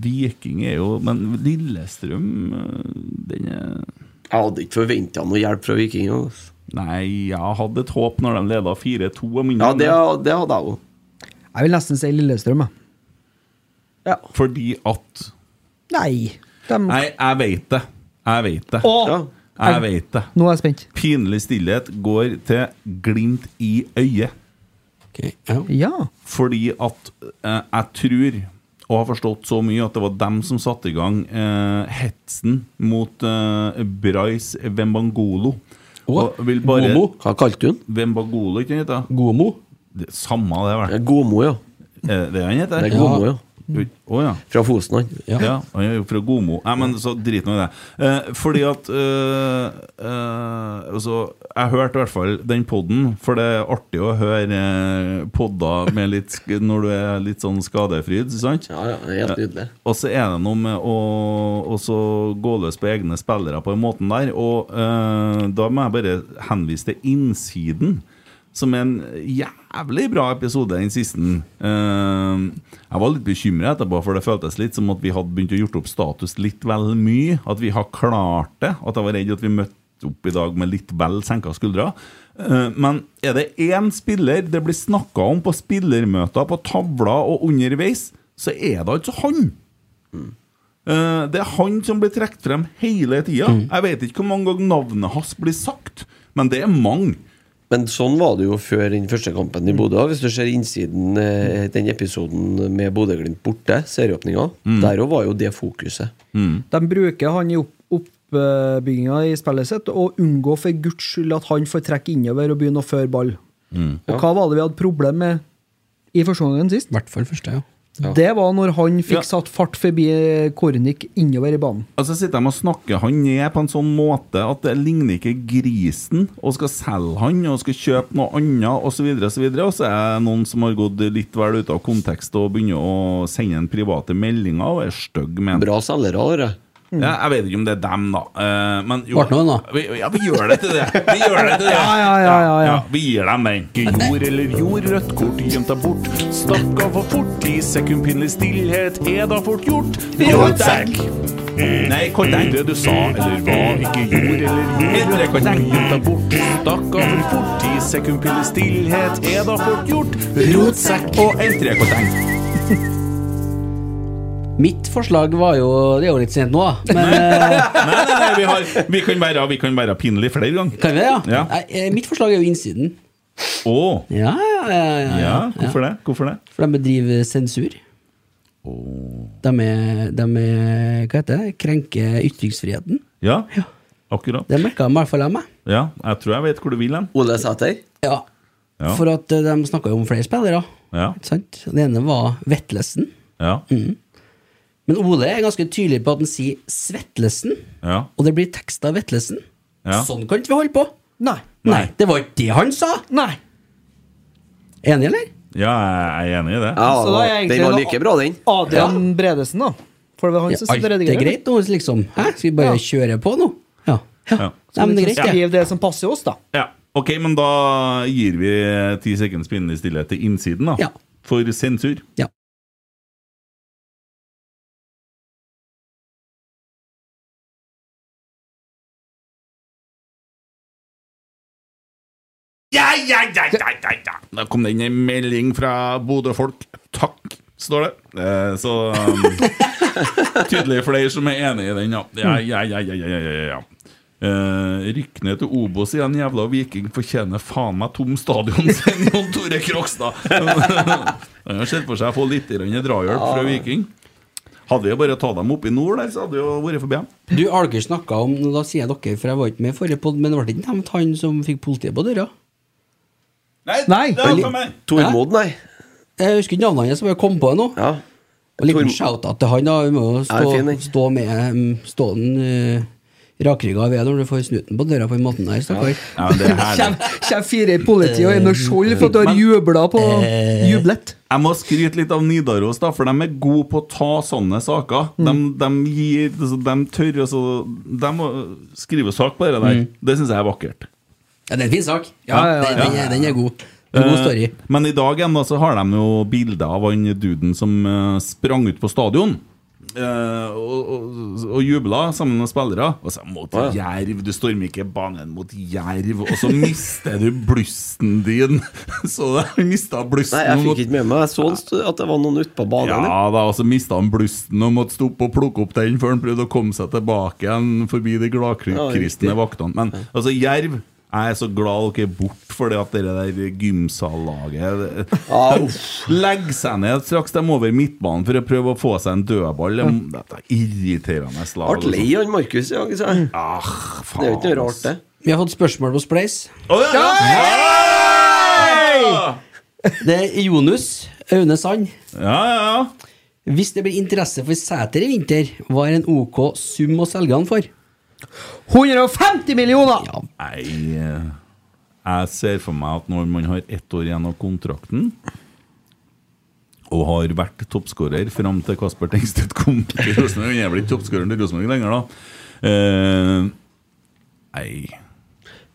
Viking er jo Men Lillestrøm eh, Den er Jeg hadde ikke forventa noe hjelp fra vikingene. altså. Nei, jeg hadde et håp når de leda 4-2. om Ja, inngangen. det, det hadde jeg òg. Jeg vil nesten si Lillestrøm. jeg. Fordi at Nei. Dem. Nei, jeg veit det. Jeg veit det. Ja. Jeg vet det. Nå er jeg spent. Pinlig stillhet går til glimt i øyet. Ok, ja. Ja. Fordi at eh, jeg tror, og har forstått så mye, at det var dem som satte i gang eh, hetsen mot eh, Brais Vembangolo. Å, Og vil bare Momo? Hva kalte du den? Vembangolo, ikke sant? da? Gomo? Det- Samme det, vel. Ja, Gomo, ja. Er det det han heter? Det er Gomo, ja. Å ja. Fra Fosen, han. Ja. Ja. han er jo fra Gomo. Nei, men så drit nå i det. Eh, fordi at eh, eh, altså, Jeg hørte i hvert fall den poden, for det er artig å høre eh, podder med litt, sk- når du er litt sånn skadefryd. Sant? Ja, ja, det er Helt nydelig. Og så er det noe med å å så gå løs på egne spillere på den måten der. Og eh, da må jeg bare henvise til Innsiden, som er en jævlig bra episode, den siste. Eh, jeg var litt bekymra etterpå, for det føltes litt som at vi hadde begynt å gjort opp status litt vel mye. At vi har klart det. At jeg var redd at vi møtte opp i dag med litt vel senka skuldre. Eh, Men er det én spiller det blir snakka om på spillermøter, på tavler og underveis, så er det altså han. Eh, Det er han som blir trukket frem hele tida. Jeg vet ikke hvor mange ganger navnet hans blir sagt, men det er mange. Men sånn var det jo før den første kampen i Bodø. Hvis du ser innsiden eh, den episoden med Bodø-Glimt borte, serieåpninga, der òg var jo det fokuset. Mm. De bruker han i opp oppbygginga i spillet sitt, og unngå for guds skyld at han får trekke innover og begynne å føre ball. Mm. Og hva var det vi hadde problem med i første omgang sist? I hvert fall første, ja. Det var når han Ja. fikk satt fart forbi eh, Kornik innover i banen. Altså sitter de og snakker han ned på en sånn måte at det ligner ikke grisen, og skal selge han, og skal kjøpe noe annet, osv., osv. Og så er det noen som har gått litt vel ut av kontekst og begynner å sende en private meldinger og er stygg med en. Bra selgere, dere. Ja, jeg vet ikke om det er dem, da. Eh, men jo, Ble det noen, da? Vi, ja, vi gjør det til det. Vi gjør det til det. Ja, ja, ja, ja, ja. Vi gir dem den. Jord eller jord, rødt kort, gjemt deg bort. Stakk av for fort, i sekundpinnelig stillhet er da fort gjort. Rådsekk! Nei, hva tenkte du sa, eller hva ikke gjorde, eller gjorde Hva tenkte du bort? Stakk av for fort i sekundpille stillhet, er da fort gjort? Rotsekk og entre, hva tenkte Mitt forslag var jo Det er jo litt sent nå, da. Men eh, Nei, nei, nei, vi, har, vi, kan være, vi kan være pinlig flere ganger. kan vi det, ja? Ja. Nei, eh, mitt forslag er jo innsiden. Å, Ja, ja, ja. ja, ja, ja. hvorfor det? Hvorfor det? For de bedriver sensur. De er, de er Hva heter det? Krenker ytringsfriheten. Ja, akkurat. Det merka de i hvert fall av meg. Ja, jeg tror jeg vet hvor du vil hen. Ole Sæter. Ja. Ja. For at eh, de snakka jo om flere spillere. Ja, ikke Sant? Den ene var Vetlesen. ja, Men Ole er ganske tydelig på at han sier Svetlesen, ja. og det blir teksta Vetlesen. Ja. Sånn kan ikke vi holde på! Nei. Nei, det var ikke det han sa! Nei. Enig, eller? Ja, jeg er enig i det. Ja, Så da er jeg den egentlig var en- like bra, den. Adrian Bredesen, da. For det var han Ja, som alt sitter og er redigerer. greit nå, liksom. Hæ? Skal vi bare kjøre på nå? Ja. ja. Ja. Nei, men det er greit, det. Skriv det som passer oss, da. Ja, ok, men da gir vi ti sekunds pinnelig stillhet til innsiden, da. Ja. For sensur. Ja. Ja, ja, ja, ja, ja, ja. Da kom det inn en melding fra Bodø-folk. Takk, står det. Eh, så um, tydelig flere som er enig i den, ja. Ja, ja, ja, ja, ja, ja, ja. Eh, Rykk ned til Obos igjen, jævla viking. Fortjener faen meg tom stadion, sier Jon Tore Krokstad. Han har sett for seg å få litt grann drahjelp fra Viking. Hadde vi bare tatt dem opp i nord der, så hadde vi jo vært forbi dem. Du, har dere snakka om nå Da sier jeg dere, for jeg var ikke med i forrige pod, men det ble ikke nevnt han som fikk politiet på døra? Nei. det var for meg. Tormod, nei. Jeg husker ikke navnet hans, jeg bare kom på det nå. Ja. Og liten Torm- shout-out til han, da. Vi må jo stå, Ja, fin, den. stå med mm, Stå den eh, rakrygga ved når du får snuten på døra på den måten der, stakkar. Ja, men det er herlig. Kjem fire i politiet og en og skjold for at du har jubla på jublet. Jeg må skryte litt av Nidaros, da, for de er gode på å ta sånne saker. De, de, gir, altså, de tør altså, De må skrive sak på det der. Det syns jeg er vakkert. Ja, det er en fin sak. Ja, Ja, ja, den- ja. Den, er, den er god. Det er en god Eh, story. Men i dag igjen da, så har de jo bilder av han duden som eh, sprang ut på stadion. eh, og, og, og jubla sammen med spillere. Og så mot Å, jerv, du stormer ikke banen mot jerv, og så mister du blussen din! Så han mista blussen. Nei, jeg og fikk måtte- ikke med meg. Jeg så en stu- at det var noen ute på banen. jeg. ja da, og så mista han blussen og måtte stoppe og plukke opp den før han prøvde å komme seg tilbake igjen forbi de Ja, riktig. gladkristne vaktene. Men altså, Jerv jeg er så glad dere er borte, fordi at det der gymsallaget Ja, Legger seg ned straks de er over midtbanen for å prøve å få seg en dødball. Det- Dette er irriterende slag. altså. Ble lei han Markus i dag, sa jeg. Ah, faen, Det er jo ikke noe rart, ass. det. Vi har fått spørsmål på Spleis. Å, ja, ja. Det er Jonus Aune Sand. ja, ja, ja. Hvis det blir interesse for Sæter i vinter, hva er en OK sum å selge han for? 150 millioner! Ja, Nei eh, Jeg ser for meg at når man har ett år igjen av kontrakten og har vært toppskårer fram til Kasper Tengstedt kom til Rosenborg Han er vel ikke toppskåreren til Rosenborg lenger, da. Eh, nei,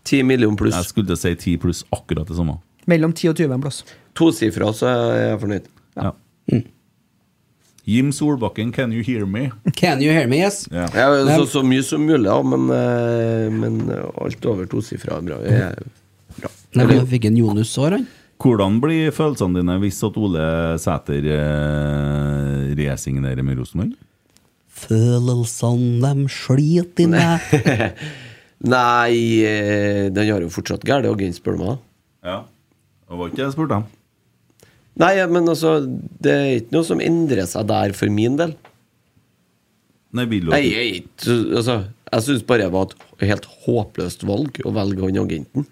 10 millioner jeg pluss. skulle til å si 10 pluss akkurat det samme. Mellom 10 og 20 en plass. Tosifra, så er jeg fornøyd. Ja. Jim Solbakken, can you hear me? Can you hear me, yes? Ja. Ja, så, så mye som mulig, ja, men, eh, men alt over tosifra er bra. Jeg, Nei, men jeg fikk en Jonus år, han. Hvordan blir følelsene dine hvis at Ole Sæter eh, resignerer med Rosenborg? Følelsene dem sliter i meg. Nei, eh, den har jo fortsatt gæren agent, spør du meg. Ja. Det var ikke det jeg spurte om. Nei, men altså, det er ikke noe som endrer seg der for min del. Nei, vil du Nei, at- jeg, er ikke- altså, jeg syns bare det var et helt håpløst valg å velge han agenten.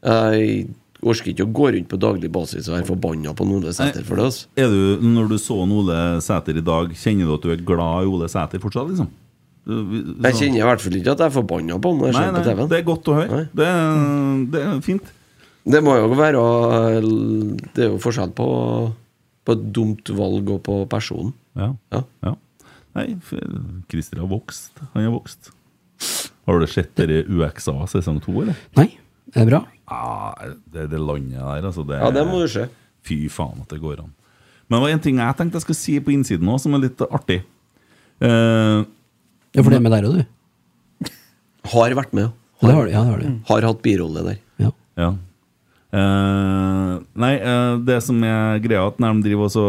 Jeg orker ikke å gå rundt på daglig basis og være forbanna på Nordre Sæter for det. Altså. Er du, når du så en Ole Sæter i dag, kjenner du at du er glad i Ole Sæter fortsatt, liksom? Du- Jeg så- kjenner i hvert fall ikke at jeg er forbanna på han når jeg Nei, ser på nei, TV-en. det er godt å høre. Nei. Det er, det er fint. Det må jo være å- Det er jo forskjell på, på et dumt valg og på personen. Ja. Ja. ja. Nei, f- Christer har vokst. Han har vokst. Har du sett dere UXA sesong to, eller? Nei, det er bra. Ja, det, det landet der, altså. Det, Ja, det må du se. Fy faen at det går an. Men det var en ting jeg tenkte jeg skulle si på innsiden òg, som er litt artig. Eh, Ja, for det er med der òg, du. Har vært med, Ja, det har du. Ja, det har du. har hatt birolle der. Ja. Ja. Eh, nei, eh, det som er greia, at når de driver og så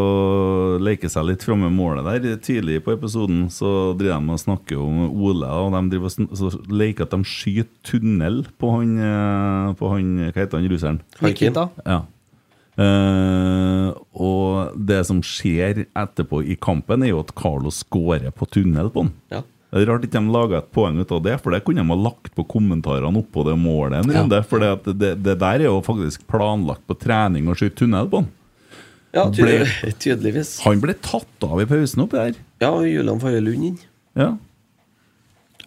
leker seg litt framme med målet der Tidlig på episoden så driver de og snakker om Ole, og de driver og sn- så leker at de skyter tunnel på han, eh, på han Hva heter han russeren? Haikin. Nikita. Ja. Eh, og det som skjer etterpå i kampen, er jo at Carlo scorer på tunnel på han. Ja. Det er Rart ikke de laga et poeng ut av det, for det kunne de ha lagt på kommentarene oppå det målet en Ja. runde. For det, at det, det der er jo faktisk planlagt på trening å skyte tunnel på han. Ja, Ble- tydelig, tydeligvis. Han ble tatt av i pausen oppi der. Ja, og Julian Faye Lund inn. Ja.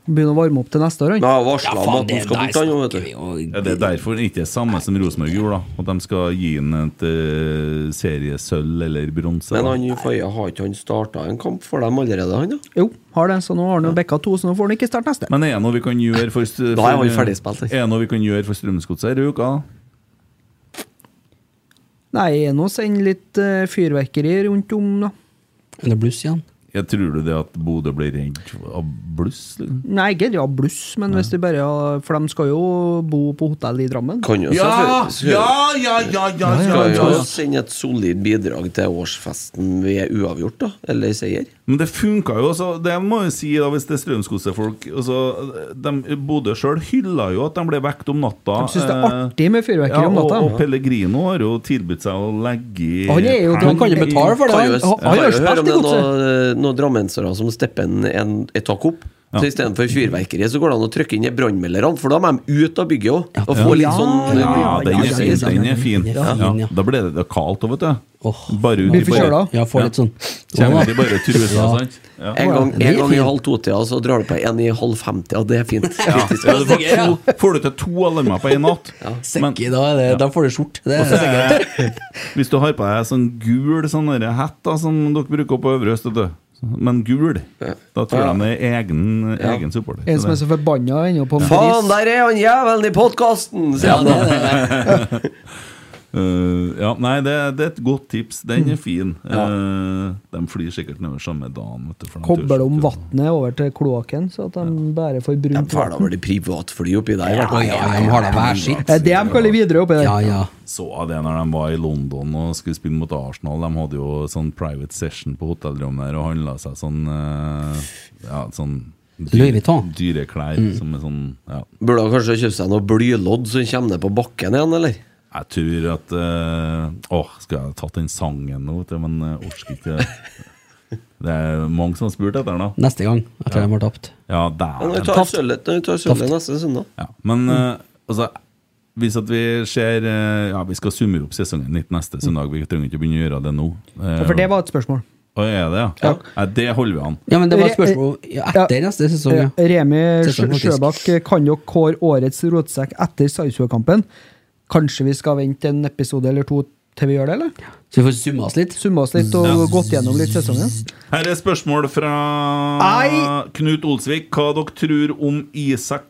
Begynner å varme opp til neste år, han. Ja, varsla om at det han skal der bort, han òg, vet snakker du. vi jo- Ja, det er derfor det ikke er samme som Rosenborg gjorde, da. At de skal gi ham et eh, seriesølv eller bronse. Men da. han Faye har ikke han starta en kamp for dem allerede, han da? Jo, har det, så nå har han jo bekka to, så nå får han ikke starte neste. Men er det noe vi kan gjøre for, st- Da er han for- ferdig spilt, liksom. er det noe vi kan gjøre for Strømsgodset i uka? Nei, nå sender litt eh, fyrverkeri rundt om, da. Eller bluss igjen. Jeg tror du det at Bodø blir redd av bluss? Liksom? Nei, ikke ja, bluss, men hvis de bare har For de skal jo bo på hotell i Drammen. Kan jo Ja, selvfølgelig- ja, ja, ja, ja, ja, Skal ja. jo sende et solid bidrag til årsfesten ved uavgjort, da. Eller seier. Men det funka jo, altså. Det må jeg si da hvis det er Strømsgodset-folk. Altså, de- Bodø sjøl hylla jo at de ble vekt om natta. De syns det er eh, artig med fyrverkeri ja, om natta. Og, og Pellegrino har jo tilbudt seg å legge i Han er jo- Han kan jo betale for det. Kan jo, Han, kan han jo har spilt høre om i det er Godset. noen noe drammensere som stepper en, en et tak opp. Så Istedenfor fyrverkeri så går det an å trykke inn i brannmelderne, for da må de ut av bygget òg. Og få litt sånn Ja, den er fin. Den er fin. Den er fin, ja. Ja, da ble det, det er kaldt òg, vet du. Åh. Bare ut Blir i bare forkjøla. Ja, får litt sånn Kjenner de bare trusa, sant? Ja. En gang, Den er en gang i fin. halv to-tida, så drar du på en i halv fem-tida. Det er fint. Ja. Kritisk. Ja, du får, to, får du til to alarmer på én natt? Men- Sekki, da, er det, da får du skjort. Det er sikkert. Hvis du har på deg sånn gul sånn der hett da, som dere bruker på Øvre Øst, vet du. men gul. Da tror jeg han er egen, Ja. egen supporter. En som er Så så forbanna ennå på en Faen, pris. der er han jævelen i podkasten! Ja, det er det. det- Eh, ja, nei, det, det er et godt tips. Den Mm. er fin. Eh, de flyr sikkert nedover samme dagen. Vet du, for de Kobler de tør ikke. vannet over til kloakken, så at de bare får De brunt drar da vann? vel i privatfly oppi der? i hvert Ja, fall. ja, de har det hver sitt. Eh, Det er det de kaller Widerøe oppi der. Ja, ja. Så jeg det når de var i London og skulle spille mot Arsenal. De hadde jo sånn private session på hotellrommet der og handla seg sånn eh, Ja, sånn Louis Vuitton. dyreklær Mm. som er sånn Ja. Burde han kanskje kjøpe seg noe blylodd som kommer ned på bakken igjen, eller? Jeg tror at eh, Åh, skal jeg ha tatt den sangen nå, vet du, men jeg orker ikke Det er mange som har spurt etter den, da. Neste gang, etter at de har tapt. Ja, Ja, Når vi dæven. tar sølvet når vi tar sølvet neste søndag. Ja, men eh, altså hvis at vi ser eh, Ja, vi skal summere opp sesongen litt neste søndag. Vi trenger ikke å begynne å gjøre det nå. Eh, For det var et spørsmål. Å, er det, ja? Ja. Nei, det holder vi an. Ja, men det var et spørsmål ja, etter neste sesong, Eh, ja. Remi Sesong, Sjø- faktisk. Sjøbakk, eh, kan dere kåre årets rotsekk etter Sarpsborg-kampen? Kanskje vi skal vente en episode eller to til vi gjør det, eller? Så vi får summa oss litt. Summe oss litt og gått gjennom litt sesongen? Her er spørsmål fra Ei. Knut Olsvik. Hva dere tror om Isak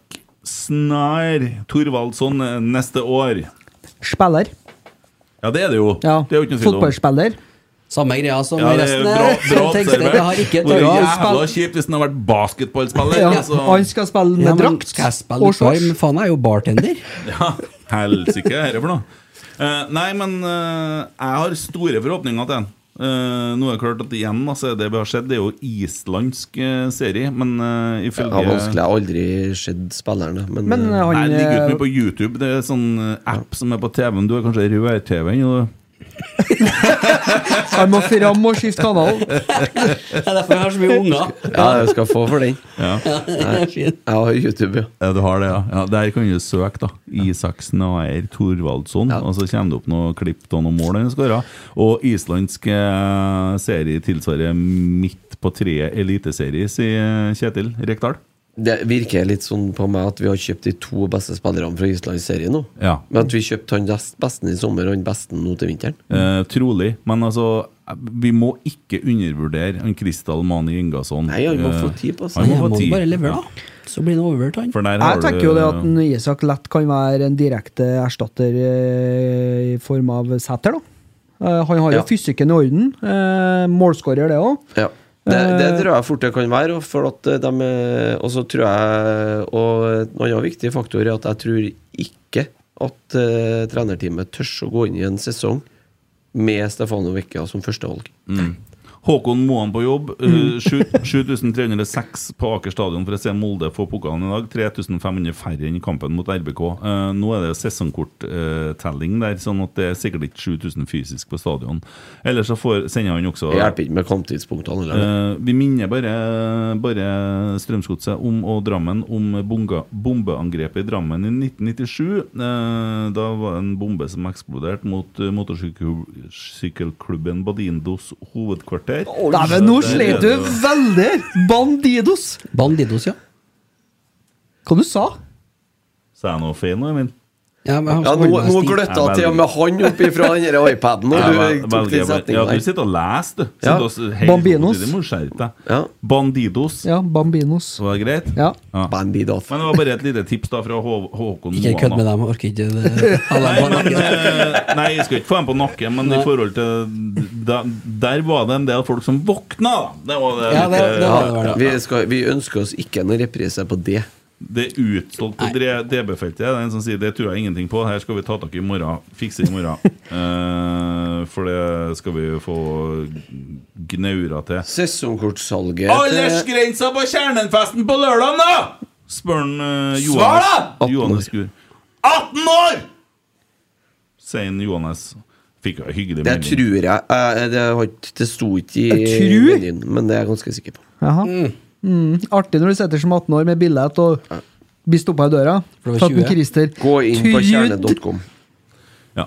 Snær Thorvaldsson eh, neste år? Spiller. Ja, det er det jo. Ja. Det er jo ikke noe tvil om. Fotballspiller. Samme greia som Ja, det er resten. bra, eh, bra teksten. observert. Jeg har ikke Det er tørre å jævla spille kjipt hvis han har vært basketballspiller. Ja, altså. han skal spille med ja, men drakt Skal jeg og spille litt varm? shorts. Faen, jeg er jo bartender. Ja, helsike, hva er det for noe? Eh, nei, men eh, jeg har store forhåpninger til den. Eh, nå er det klart at igjen, altså, det vi har sett, det er jo islandsk eh, serie, men eh, Det ifølge har vanskelig, jeg har aldri sett spillerne, men, Men eh, Nei, han det ligger ut mye eh, på YouTube. Det er sånn eh, app som er på TV-en. Du har kanskje rød-TV-en? han må fram og skifte kanal. Det er derfor jeg har så mye unger. ja, jeg skal få for den. Fint. Jeg har YouTube, ja. Ja, du har det, ja. ja. Der kan du søke, da. Isaksen og Eier Thorvaldsson. Ja. Og så kommer det opp noen klipp av noen mål han skåra. Og islandsk eh, serie tilsvarer midt på treet eliteserie, sier eh, Kjetil Rekdal. Det virker litt sånn på meg at vi har kjøpt de to beste spillerne fra Islands serie nå. Ja. Men at vi kjøpte han nest besten i sommer og han besten nå til vinteren. Eh, trolig. Men altså, vi må ikke undervurdere han Kristal Mani Ingasson. Nei, han må Eh, få tid på seg. han Jeg få må tid. bare levere, da. Så blir det overhørt, han. For der har Jeg du- tenker jo det at en Isak lett kan være en direkte erstatter eh, i form av Sæter, da. Eh, Han har jo Ja. fysikken i orden. Eh, Målskårer, det òg. Ja. Det, det tror jeg fort det kan være. og For at de, er- og så tror jeg Og en annen viktig faktor er at jeg tror ikke at eh, trenerteamet tør å gå inn i en sesong med Stefano Vecchia som førstevalg. Håkon Moan på jobb. eh, Mm. sju- 7306 på Aker stadion for å se Molde få pokalen i dag. 3500 færre enn i kampen mot RBK. Eh, nå er det sesongkorttelling der, sånn at det er sikkert ikke 7000 fysisk på stadion. Ellers så får, sender han jo også Det hjelper ikke med kamptidspunktene. Eller. Eh, vi minner bare, bare Strømsgodset om, og Drammen om bunga, bombeangrepet i Drammen i 1997. Eh, da var det en bombe som eksploderte mot eh, motorsykkelklubben Badindos hovedkvarter. Dæven, nå det- slet du veldig! Bandidos! Bandidos, ja. Hva du sa Sa jeg noe feil nå, Emil? Ja, men han Ja, skal nå, ordne nå stil. gløtta Jeg til og med han opp ifra den der iPaden når Jeg du vel- velger tok den bare- ja, du setninga der. sitter og leser, du. Ja. Sitter og s- helt Bambinos. samtidig, må du skjerpe deg. Ja. Bandidos. Ja, Bambinos. Var det greit? Ja. Bandido. Men det var bare et lite tips da fra Hå Håkon Ikke kødd da. med dem, jeg orker ikke det. Alle Nei, er men, bare- eh, nei, jeg skal ikke få dem på nakken, men i Nei. forhold til da, Der var det en del folk som våkna, da. Det var det, Ja, det- litt, eh, det var det. Vi, skal, vi ønsker oss ikke en reprise på det. det er utsolgt på dre- DB-feltet. Det er en som sier det tror jeg ingenting på, her skal vi ta tak i i morgen. Fikse i morgen. Eh, for det skal vi få gnaura til. Sesongkortsalget eh, til- Aldersgrensa på Kjernenfesten på lørdag, da! Spør han eh, Johannes. da! Johannes Gur. 18 år! Sier han Johannes. Fikk jo en hyggelig Det tror jeg. eh, Det, har ikke- det sto ikke Jeg i tror? menyen, men det er jeg ganske sikker på. Jaha. Mm. Artig når du sitter som 18 år med billett og blir stoppa i døra. For det var Tatt en 20. Christer. Gå inn på Trud- kjerne.com. Ja.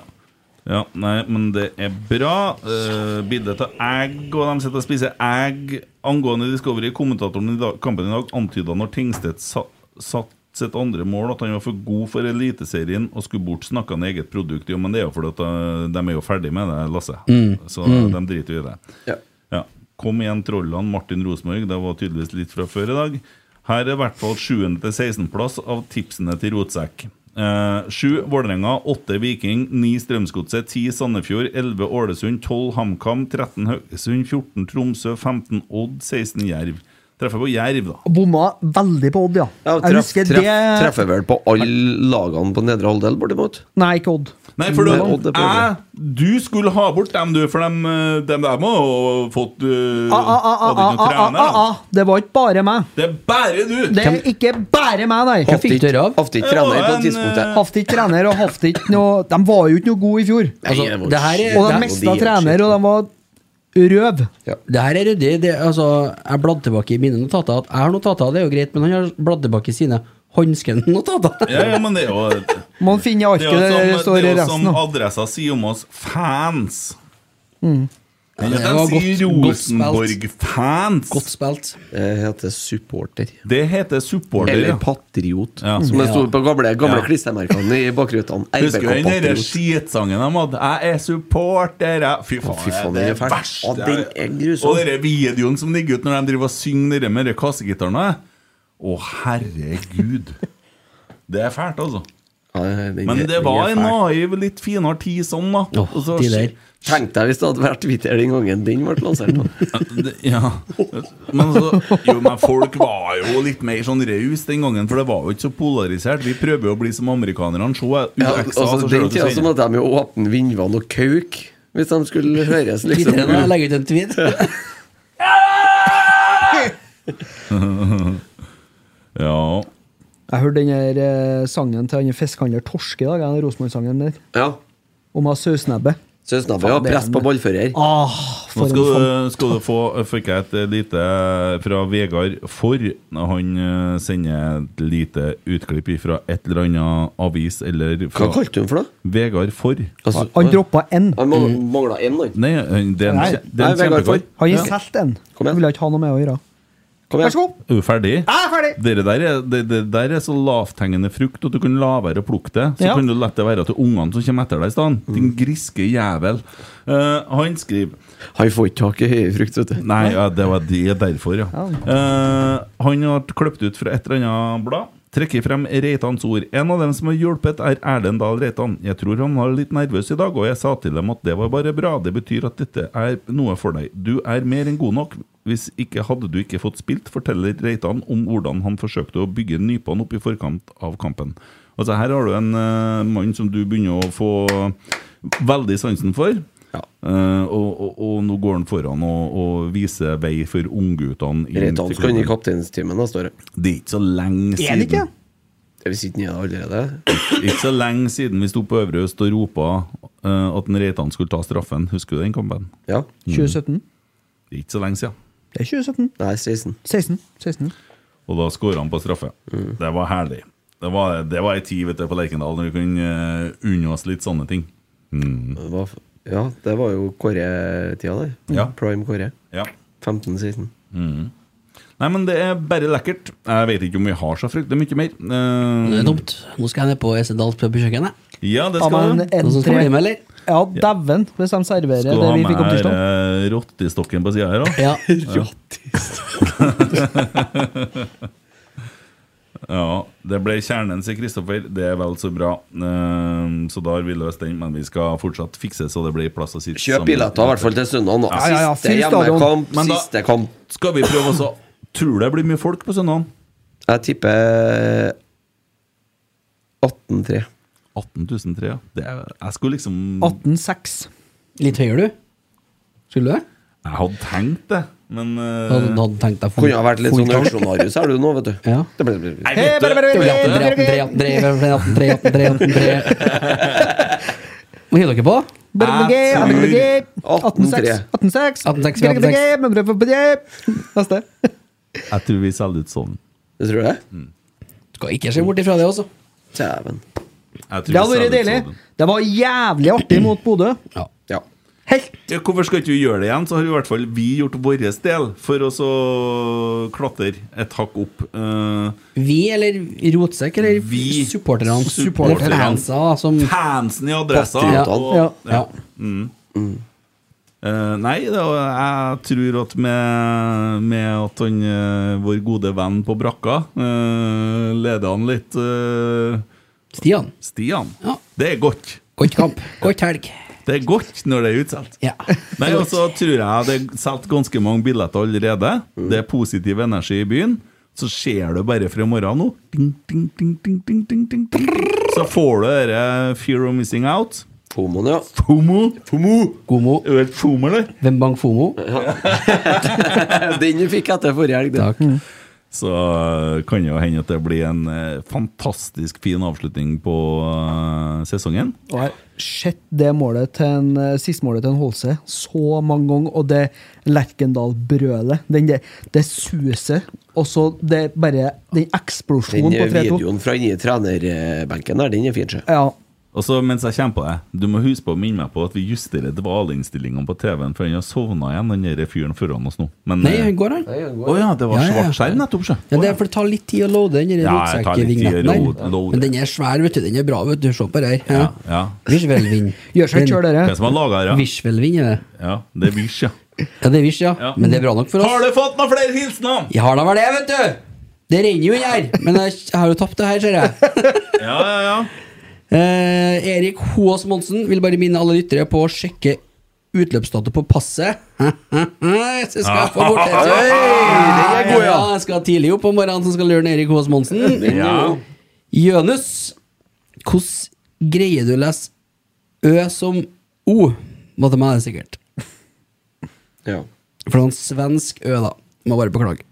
ja. Nei, men det er bra. Uh, Bilde av egg, og de sitter og spiser egg. Angående Discovery, kommentatoren i dag, kampen i dag antyda når Tingstedt sa, satt sitt andre mål at han var for god for Eliteserien og skulle bort snakka ned eget produkt. Jo, men det er jo fordi at eh, de er jo ferdig med det, Lasse. Så de driter jo i det. Ja. Ja. Kom igjen, trollene. Martin Rosenborg. Det var tydeligvis litt fra før i dag. Her er i hvert fall 7. til 16.-plass av tipsene til Rotsekk. Eh, 7 Vålerenga, 8 Viking, 9 Strømsgodset, 10 Sandefjord, 11 Ålesund, 12 HamKam, 13 Haugesund, 14 Tromsø, 15 Odd, 16 Jerv. Treffer på Jerv, da. Bomma veldig på Odd, ja. Ja, jeg treff, husker treff, det Treffer vel på alle lagene på nedre halvdel, bortimot. Nei, ikke Odd. Nei, for du, Nei, Odd er på jeg, du skulle ha bort dem, du, for dem, eh, dem der må ha fått Ah, eh, ah, ah, Hadde ah, ikke noe ah, ah, ah, trener. da. ah. Det var ikke bare meg. Det er bare du! Det er ikke bare meg, nei. Hva fikk dere av? Haft ikke trener på Ja, en, det tidspunktet. Haft ikke trener, og haft ikke noe De var jo ikke noe gode i fjor. Nei, Altså, det var det her er, Og det, de Nei, mista og de- trener, og de var røv. det her er ryddig. Det, altså, jeg bladde tilbake i mine notater. At jeg har notater, det er jo greit, men han har bladd tilbake i sine håndskende-notater. Ja, ja, men det er jo Man finner Det er jo arket der det som, det står er jo som resten av. adressa sier om oss fans. Ja, Ja, det de var sier godt- godt spilt. Rosenborg-fans. Godt spilt. Det heter supporter. Det heter supporter. Eller ja. patriot, Ja. som det sto på gamle, gamle Ja. klistremerkene i bakrutene. Husker du den der RBK-patriot. skitsangen de hadde? 'Jeg er supporter', jeg Fy faen, fy det faen, den er er fæl. verst. Ja, den er grusom. Og den videoen som ligger ute når de driver og synger dere med de kassegitaren. Å, herregud. Det er fælt, altså. Ja, den Men er- det den var er en fæl. naiv, litt finere tid sånn, da. Åh, Og så- de der. Tenk deg hvis det hadde vært Twitter den gangen den ble lansert. da. Ja, det- Ja. Men, så, jo, men folk var jo litt mer sånn rause den gangen, for det var jo ikke så polarisert. Vi prøver jo å bli som amerikanerne. Se Ja, UXA, så altså, ser du den tida så til måtte de jo åpne vinduene og kauke hvis de skulle høres, liksom. Twitter nå, jeg legger ut en tweet. Ja. Jeg hørte den der eh, sangen til han fiskehandler Torske i dag, den Rosenborg-sangen der, Ja. om å ha sausnebbe. Søsnabbe, ja. Press på ballfører. Ah, Nå for skal, en fan. du- skal du få Fikk jeg et lite eh, fra Vegard Forr. Han eh, sender et lite utklipp fra et eller annet avis eller Hva fra kalte du den for noe? Vegard Forr. Altså, Han droppa en. Han mang- manglet én, han. Nei, eh, det er en, Nei, kje- det er en nei, Vegard Forr. kjempekar. Han har solgt en. Kom igjen. Ville ikke ha noe med å gjøre. Kom Vær så igjen. god. Er du ferdig? Jeg er ferdig! Dere der er, det, det der er så lavthengende frukt at du kan la være å plukke det. Så Ja. kan du la det være til ungene som kommer etter deg i stedet. Din griske jævel. Eh, han skriver Han får ikke tak i høye frukt, vet du. Nei, ja, det var det derfor, ja. Eh, han har kløpt ut fra et eller annet blad. Trekker frem Reitans ord. En av dem som har hjulpet, er Erlend Dahl Reitan. Jeg tror han var litt nervøs i dag, og jeg sa til dem at det var bare bra. Det betyr at dette er noe for deg. Du er mer enn god nok. Hvis ikke hadde du ikke fått spilt, forteller Reitan om hvordan han forsøkte å bygge nypene opp i forkant av kampen. Altså Her har du en eh, mann som du begynner å få veldig sansen for. Ja. Eh, og, og, og nå går han foran og, og viser vei for ungguttene. inn Reitan til skal inn i klubben. kapteinstimen neste år. Det er ikke så lenge Er han siden ikke? Hvis ikke han er det allerede. Ikke så lenge siden vi sto på Øvre Øst og ropa eh, at en Reitan skulle ta straffen. Husker du den kampen? Ja. 2017. Det er ikke så lenge siden. Det er 2017. Nei, 16. 16. 16. Og da skåra han på straffe. Det var herlig. Det var, det var ei tid vet du, på Lerkendal når vi kunne eh, unne oss litt sånne ting. Det var, ja, det var jo Kåre-tida der. Ja. Prime Kåre. Ja. 15-16. Nei, men det er bare lekkert. Jeg vet ikke om vi har så fryktelig mye mer. Det Eh, er dumt. Nå skal jeg ned på Esedal på kjøkkenet. ja, det Ja, skal men du. Noen som skal bli med, eller? Ja, dæven, hvis de serverer Skal du det ha vi fikk opp med tirsdag. eh, rottestokken på sida her, da? Ja. Ja, det ble kjernen, sier Kristoffer. Det er vel så bra. Ehm, så da har vi løst den, men vi skal fortsatt fikse så det blir plass å sitte Kjøp sammen. billetter, i hvert fall til søndag. nå. Ja, ja, ja, Siste fyll stadion. hjemmekamp, Men da- siste kamp. Skal vi prøve også Tror det blir mye folk på søndagen? Jeg tipper 18-3. 18.003, ja. Det er, jeg skulle liksom 18-6. Litt høyere, du? Skulle du det? Jeg hadde tenkt det, men eh, Hadde, hadde tenkt deg Kunne ha vært litt sånn auksjonarius her du nå, vet du. Ja. Det ble, ble, ble. Nei, vet du, Hva hiver dere på? Jeg 18-6. 18-6. 18-6, 18-6. Neste. jeg tror vi selger ut sånn. Det tror jeg. Skal ikke se bort ifra det også. Dæven. Jeg tror Det hadde vi vært deilig. selger ut sånn. Det var jævlig artig mot Bodø. Ja. Helt Ja, hvorfor skal ikke vi gjøre det igjen? Så har i hvert fall vi gjort vår del for å så klatre et hakk opp. Eh, Vi eller Rotsekk eller Vi. supporterne? Supporterne. Eller fansa som fansen i adressa. Patriotene. og- ja. Eh, nei, det, var- jeg tror at med, med at han, eh, vår gode venn på brakka eh, leder han litt eh, Stian. Stian. Ja. Det er godt. Godt kamp. Godt helg. Det er godt når det er utsolgt. Ja. Nei, og så tror jeg det er solgt ganske mange billetter allerede. Mm. Det er positiv energi i byen. Så ser du bare fra i morgen nå ding, ding, ding, ding, ding, ding, ding, ding. Så får du dette Fear of Missing Out. Fomoen, ja. FOMO. Fomo! Gomo. Er du helt FOMO, eller? Hvem bang fomo? Den du fikk etter forrige helg, den. Takk. Så eh, kan det jo hende at det blir en eh, fantastisk fin avslutning på eh, sesongen. Og jeg har sett det målet til en, eh, siste målet til en Holse så mange ganger, og det Lerkendal-brølet den der- Det suser, og så det bare Den eksplosjonen Den eh, på 3-2. videoen fra inni trenerbenken der, den er fin, sjø. Ja, Og så mens jeg kommer på det, du må huske på å minne meg på at vi justerer dvaleinnstillingene på TV-en, for han har sovna igjen, den der fyren foran oss nå. Men, Nei, eh, han går, han. Å ja, det var Ja, ja, ja. svart skjerm nettopp, sjø. Ja, det er for det tar litt tid å loade den Ja, det tar litt tid å ryggsekkvignetten load- der. loade. Men den er svær, vet du. Den er bra, vet du. Se på det her. Ja. Ja. Visuellvind. gjør seg ikke sjøl, Hvem dere. som har laga det? ja? Visuellvind er det. Ja, det er Vish, ja. Ja, det er Vish, ja. Ja. Men det er bra nok for oss. Har du fått noen flere hilsener? Jeg har da vel det, vet du! Det renner jo inn her. Men jeg, jeg har jo tapt det her, ser jeg. Ja, ja, ja. Eh, Erik Hoas Monsen vil bare minne alle lyttere på å sjekke utløpsdato på passet. så skal jeg få bort det. den er god, ja. Jeg skal tidlig opp om morgenen, så skal jeg lure Erik Hoas Monsen. Ja. Jønus, hvordan greier du å lese Ø som O? Måtte meg det sikkert. Ja. For det var en svensk Ø, da. Må bare beklage.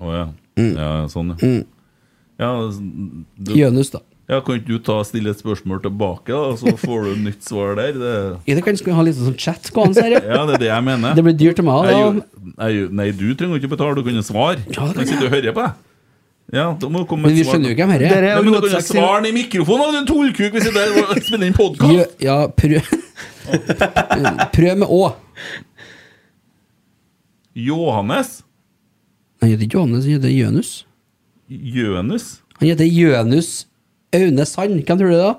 Å ja. Mm. ja. Sånn, ja. Ja, du, Jønus, da. ja, kan ikke du ta stille et spørsmål tilbake, da, og så får du nytt svar der? Det, Ja, det kan skal vi ha litt sånn chat gående, seriøst. ja, det er det jeg mener. Det blir dyrt til meg Jeg òg, da. gjorde- jeg gjorde- nei, du trenger jo ikke betale, du kan jo svare. Ja, det kan Jeg sitter og hører på deg. Ja, da må du komme med Men et vi svar. skjønner jo ikke hvem dette er. Dere Nei, er men du kan jo rotsekk sin- svare den i mikrofonen, da, du tullkuk, hvis det er å spille inn Gjø podkast! ja, prøv Prøv med Å. Johannes? Han heter ikke Johannes, han heter Jønus. Jønus? Han heter Jønus Aune Sand. Hvem tror du det, da?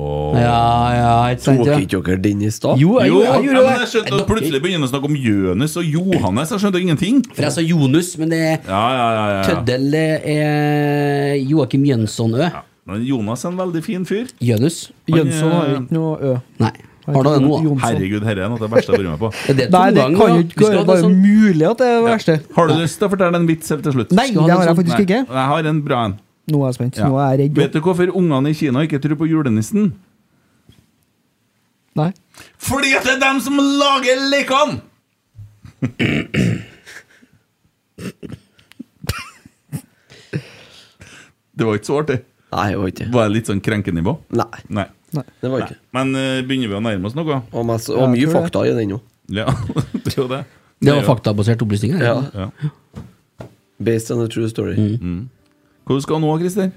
Åh. Ja, ja, ikke sant? Tok Ja. ikke dere den i stad? Jo, jeg Jo, gjorde- jeg ja, gjorde men jeg det. skjønte at plutselig begynner han å snakke om Jønus og Johannes. Jeg skjønte ingenting. For jeg sa Jonus, men det er Ja, ja, ja, ja, ja. Tøddel er Joakim Jønssonø. ja. Men Jonas er en veldig fin fyr. Jønus? Jønsson har jo ikke noe Ø. Nei. Har du det nå? da? Jonsson. Herregud, dette er noe av det verste jeg har vært med på. Er det Nei, det tomgang, kan Eh, da? jo Vi ikke skal være ha det bare sånn- mulig at det er det verste. Har du lyst til å fortelle en vits helt til slutt? Nei, Skal ha det har det jeg sånn- faktisk ikke. Jeg har en bra en. Nå er jeg spent. Ja. Nå er jeg redd. Vet du hvorfor ungene i Kina ikke tror på julenissen? Nei. Fordi at det er dem som lager lekene! Det var ikke så artig. Nei, det var ikke det. Var det litt sånn krenkenivå? Nei, Nei. det var Nei. ikke det. Men eh, begynner vi å nærme oss noe? Og, mest, og mye tror det. fakta i den òg. Ja, det er jo det. Det var faktabasert opplysninger. Ja. Ja. Mm. Based on a true story. Hvor skal du nå, Christer?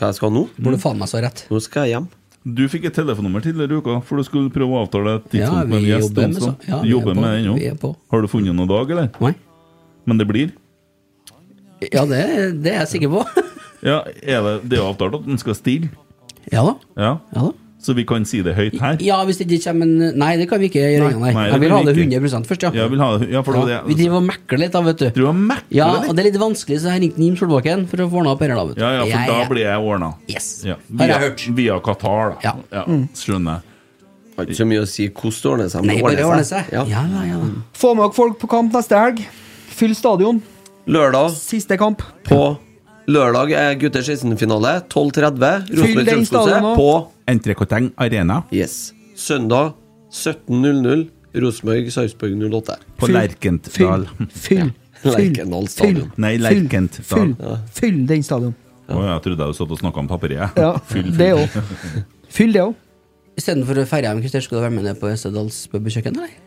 Hva jeg skal nå? Burde faen meg så ha rett. Nå skal jeg hjem. Du fikk et telefonnummer tidligere i uka, for du skulle prøve å avtale et Ja, tidspunkt med en vi gjest. jobber med også. så- ja, Du vi er jobber på. med den Vi er ennå. på. Har du funnet noen dag, eller? Nei? Men det blir? Ja, det, det er jeg sikker på. Ja, er det, det er jo avtalt at den skal stille. Ja da. Ja. Ja da. Så vi kan si det høyt her. Ja, hvis det ikke kommer en Nei, det kan vi ikke gjøre. Nei, Nei, det jeg vil kan ha det vi ikke. 100 først, ja. Ja, vil ha, ja for det Ja, var vi det driver og mekler litt, da, vet du. Du har meklet Ja, litt. og det er litt vanskelig, så jeg ringte Nim Solbakken for å få ordna opp dette, da, vet du. Ja, ja, for Jeg- da blir jeg ordna. Yes. Ja. Har Via, jeg hørt. via Qatar, da. Ja. Mm. Skjønner jeg. Har ikke så mye å si hvordan det ordner seg. men Nei, det bare ordne seg. Ja. Ja, ja, ja. da. Få med dere folk på kamp neste helg. Fyll stadion. Lørdag Siste kamp. på Lørdag er gutter 16-finale. 12.30. Fyll den stadion Rosenborg-Strømskose nå. på Entrecoteng Arena Yes. Søndag 17.00. Rosenborg-Sarpsborg 08. på Fyll- Lerkendal. Fyll. Fyll. Lerkendal stadion. Nei, Fyll. Lerkent Fyll. stadion. Fyll den stadion. Å, jeg trodde jeg satt og snakka om papiret. Ja, Fyll, det fyll. òg. Fyll det òg. Istedenfor Istedenfor å feire hjem, Christer, skal du være med ned på Østerdals pub og kjøkken, eller?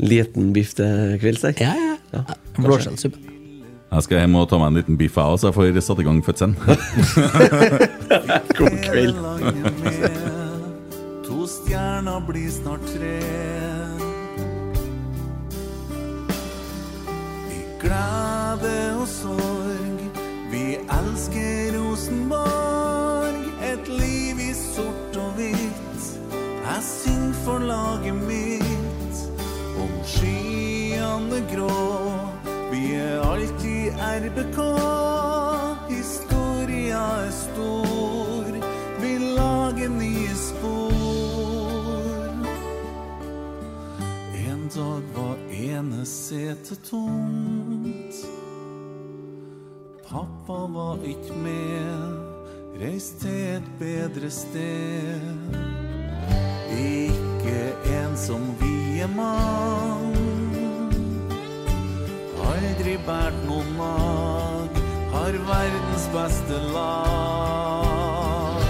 Liten biff til kvelds der. Ja, ja. ja. Blåskjellsuppe. Jeg skal hjem og ta meg en liten biff, jeg òg, så jeg får satt i gang fødselen. God kveld. To stjerner blir snart tre. I glede og sorg, vi elsker Rosenborg. Et liv i sort og hvitt. Jeg synger for laget mitt. RBK. Historia er stor, vi lager nye spor. En dag var ene setet tomt. Pappa var ikke med, reist til et bedre sted. Ikke en som vi er mang. Aldri bært noen mag, har verdens beste lag.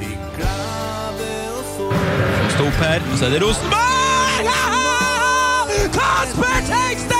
Vi gleder oss over Stå opp her, og så er det Rosenborg! Kasper Tengstedt!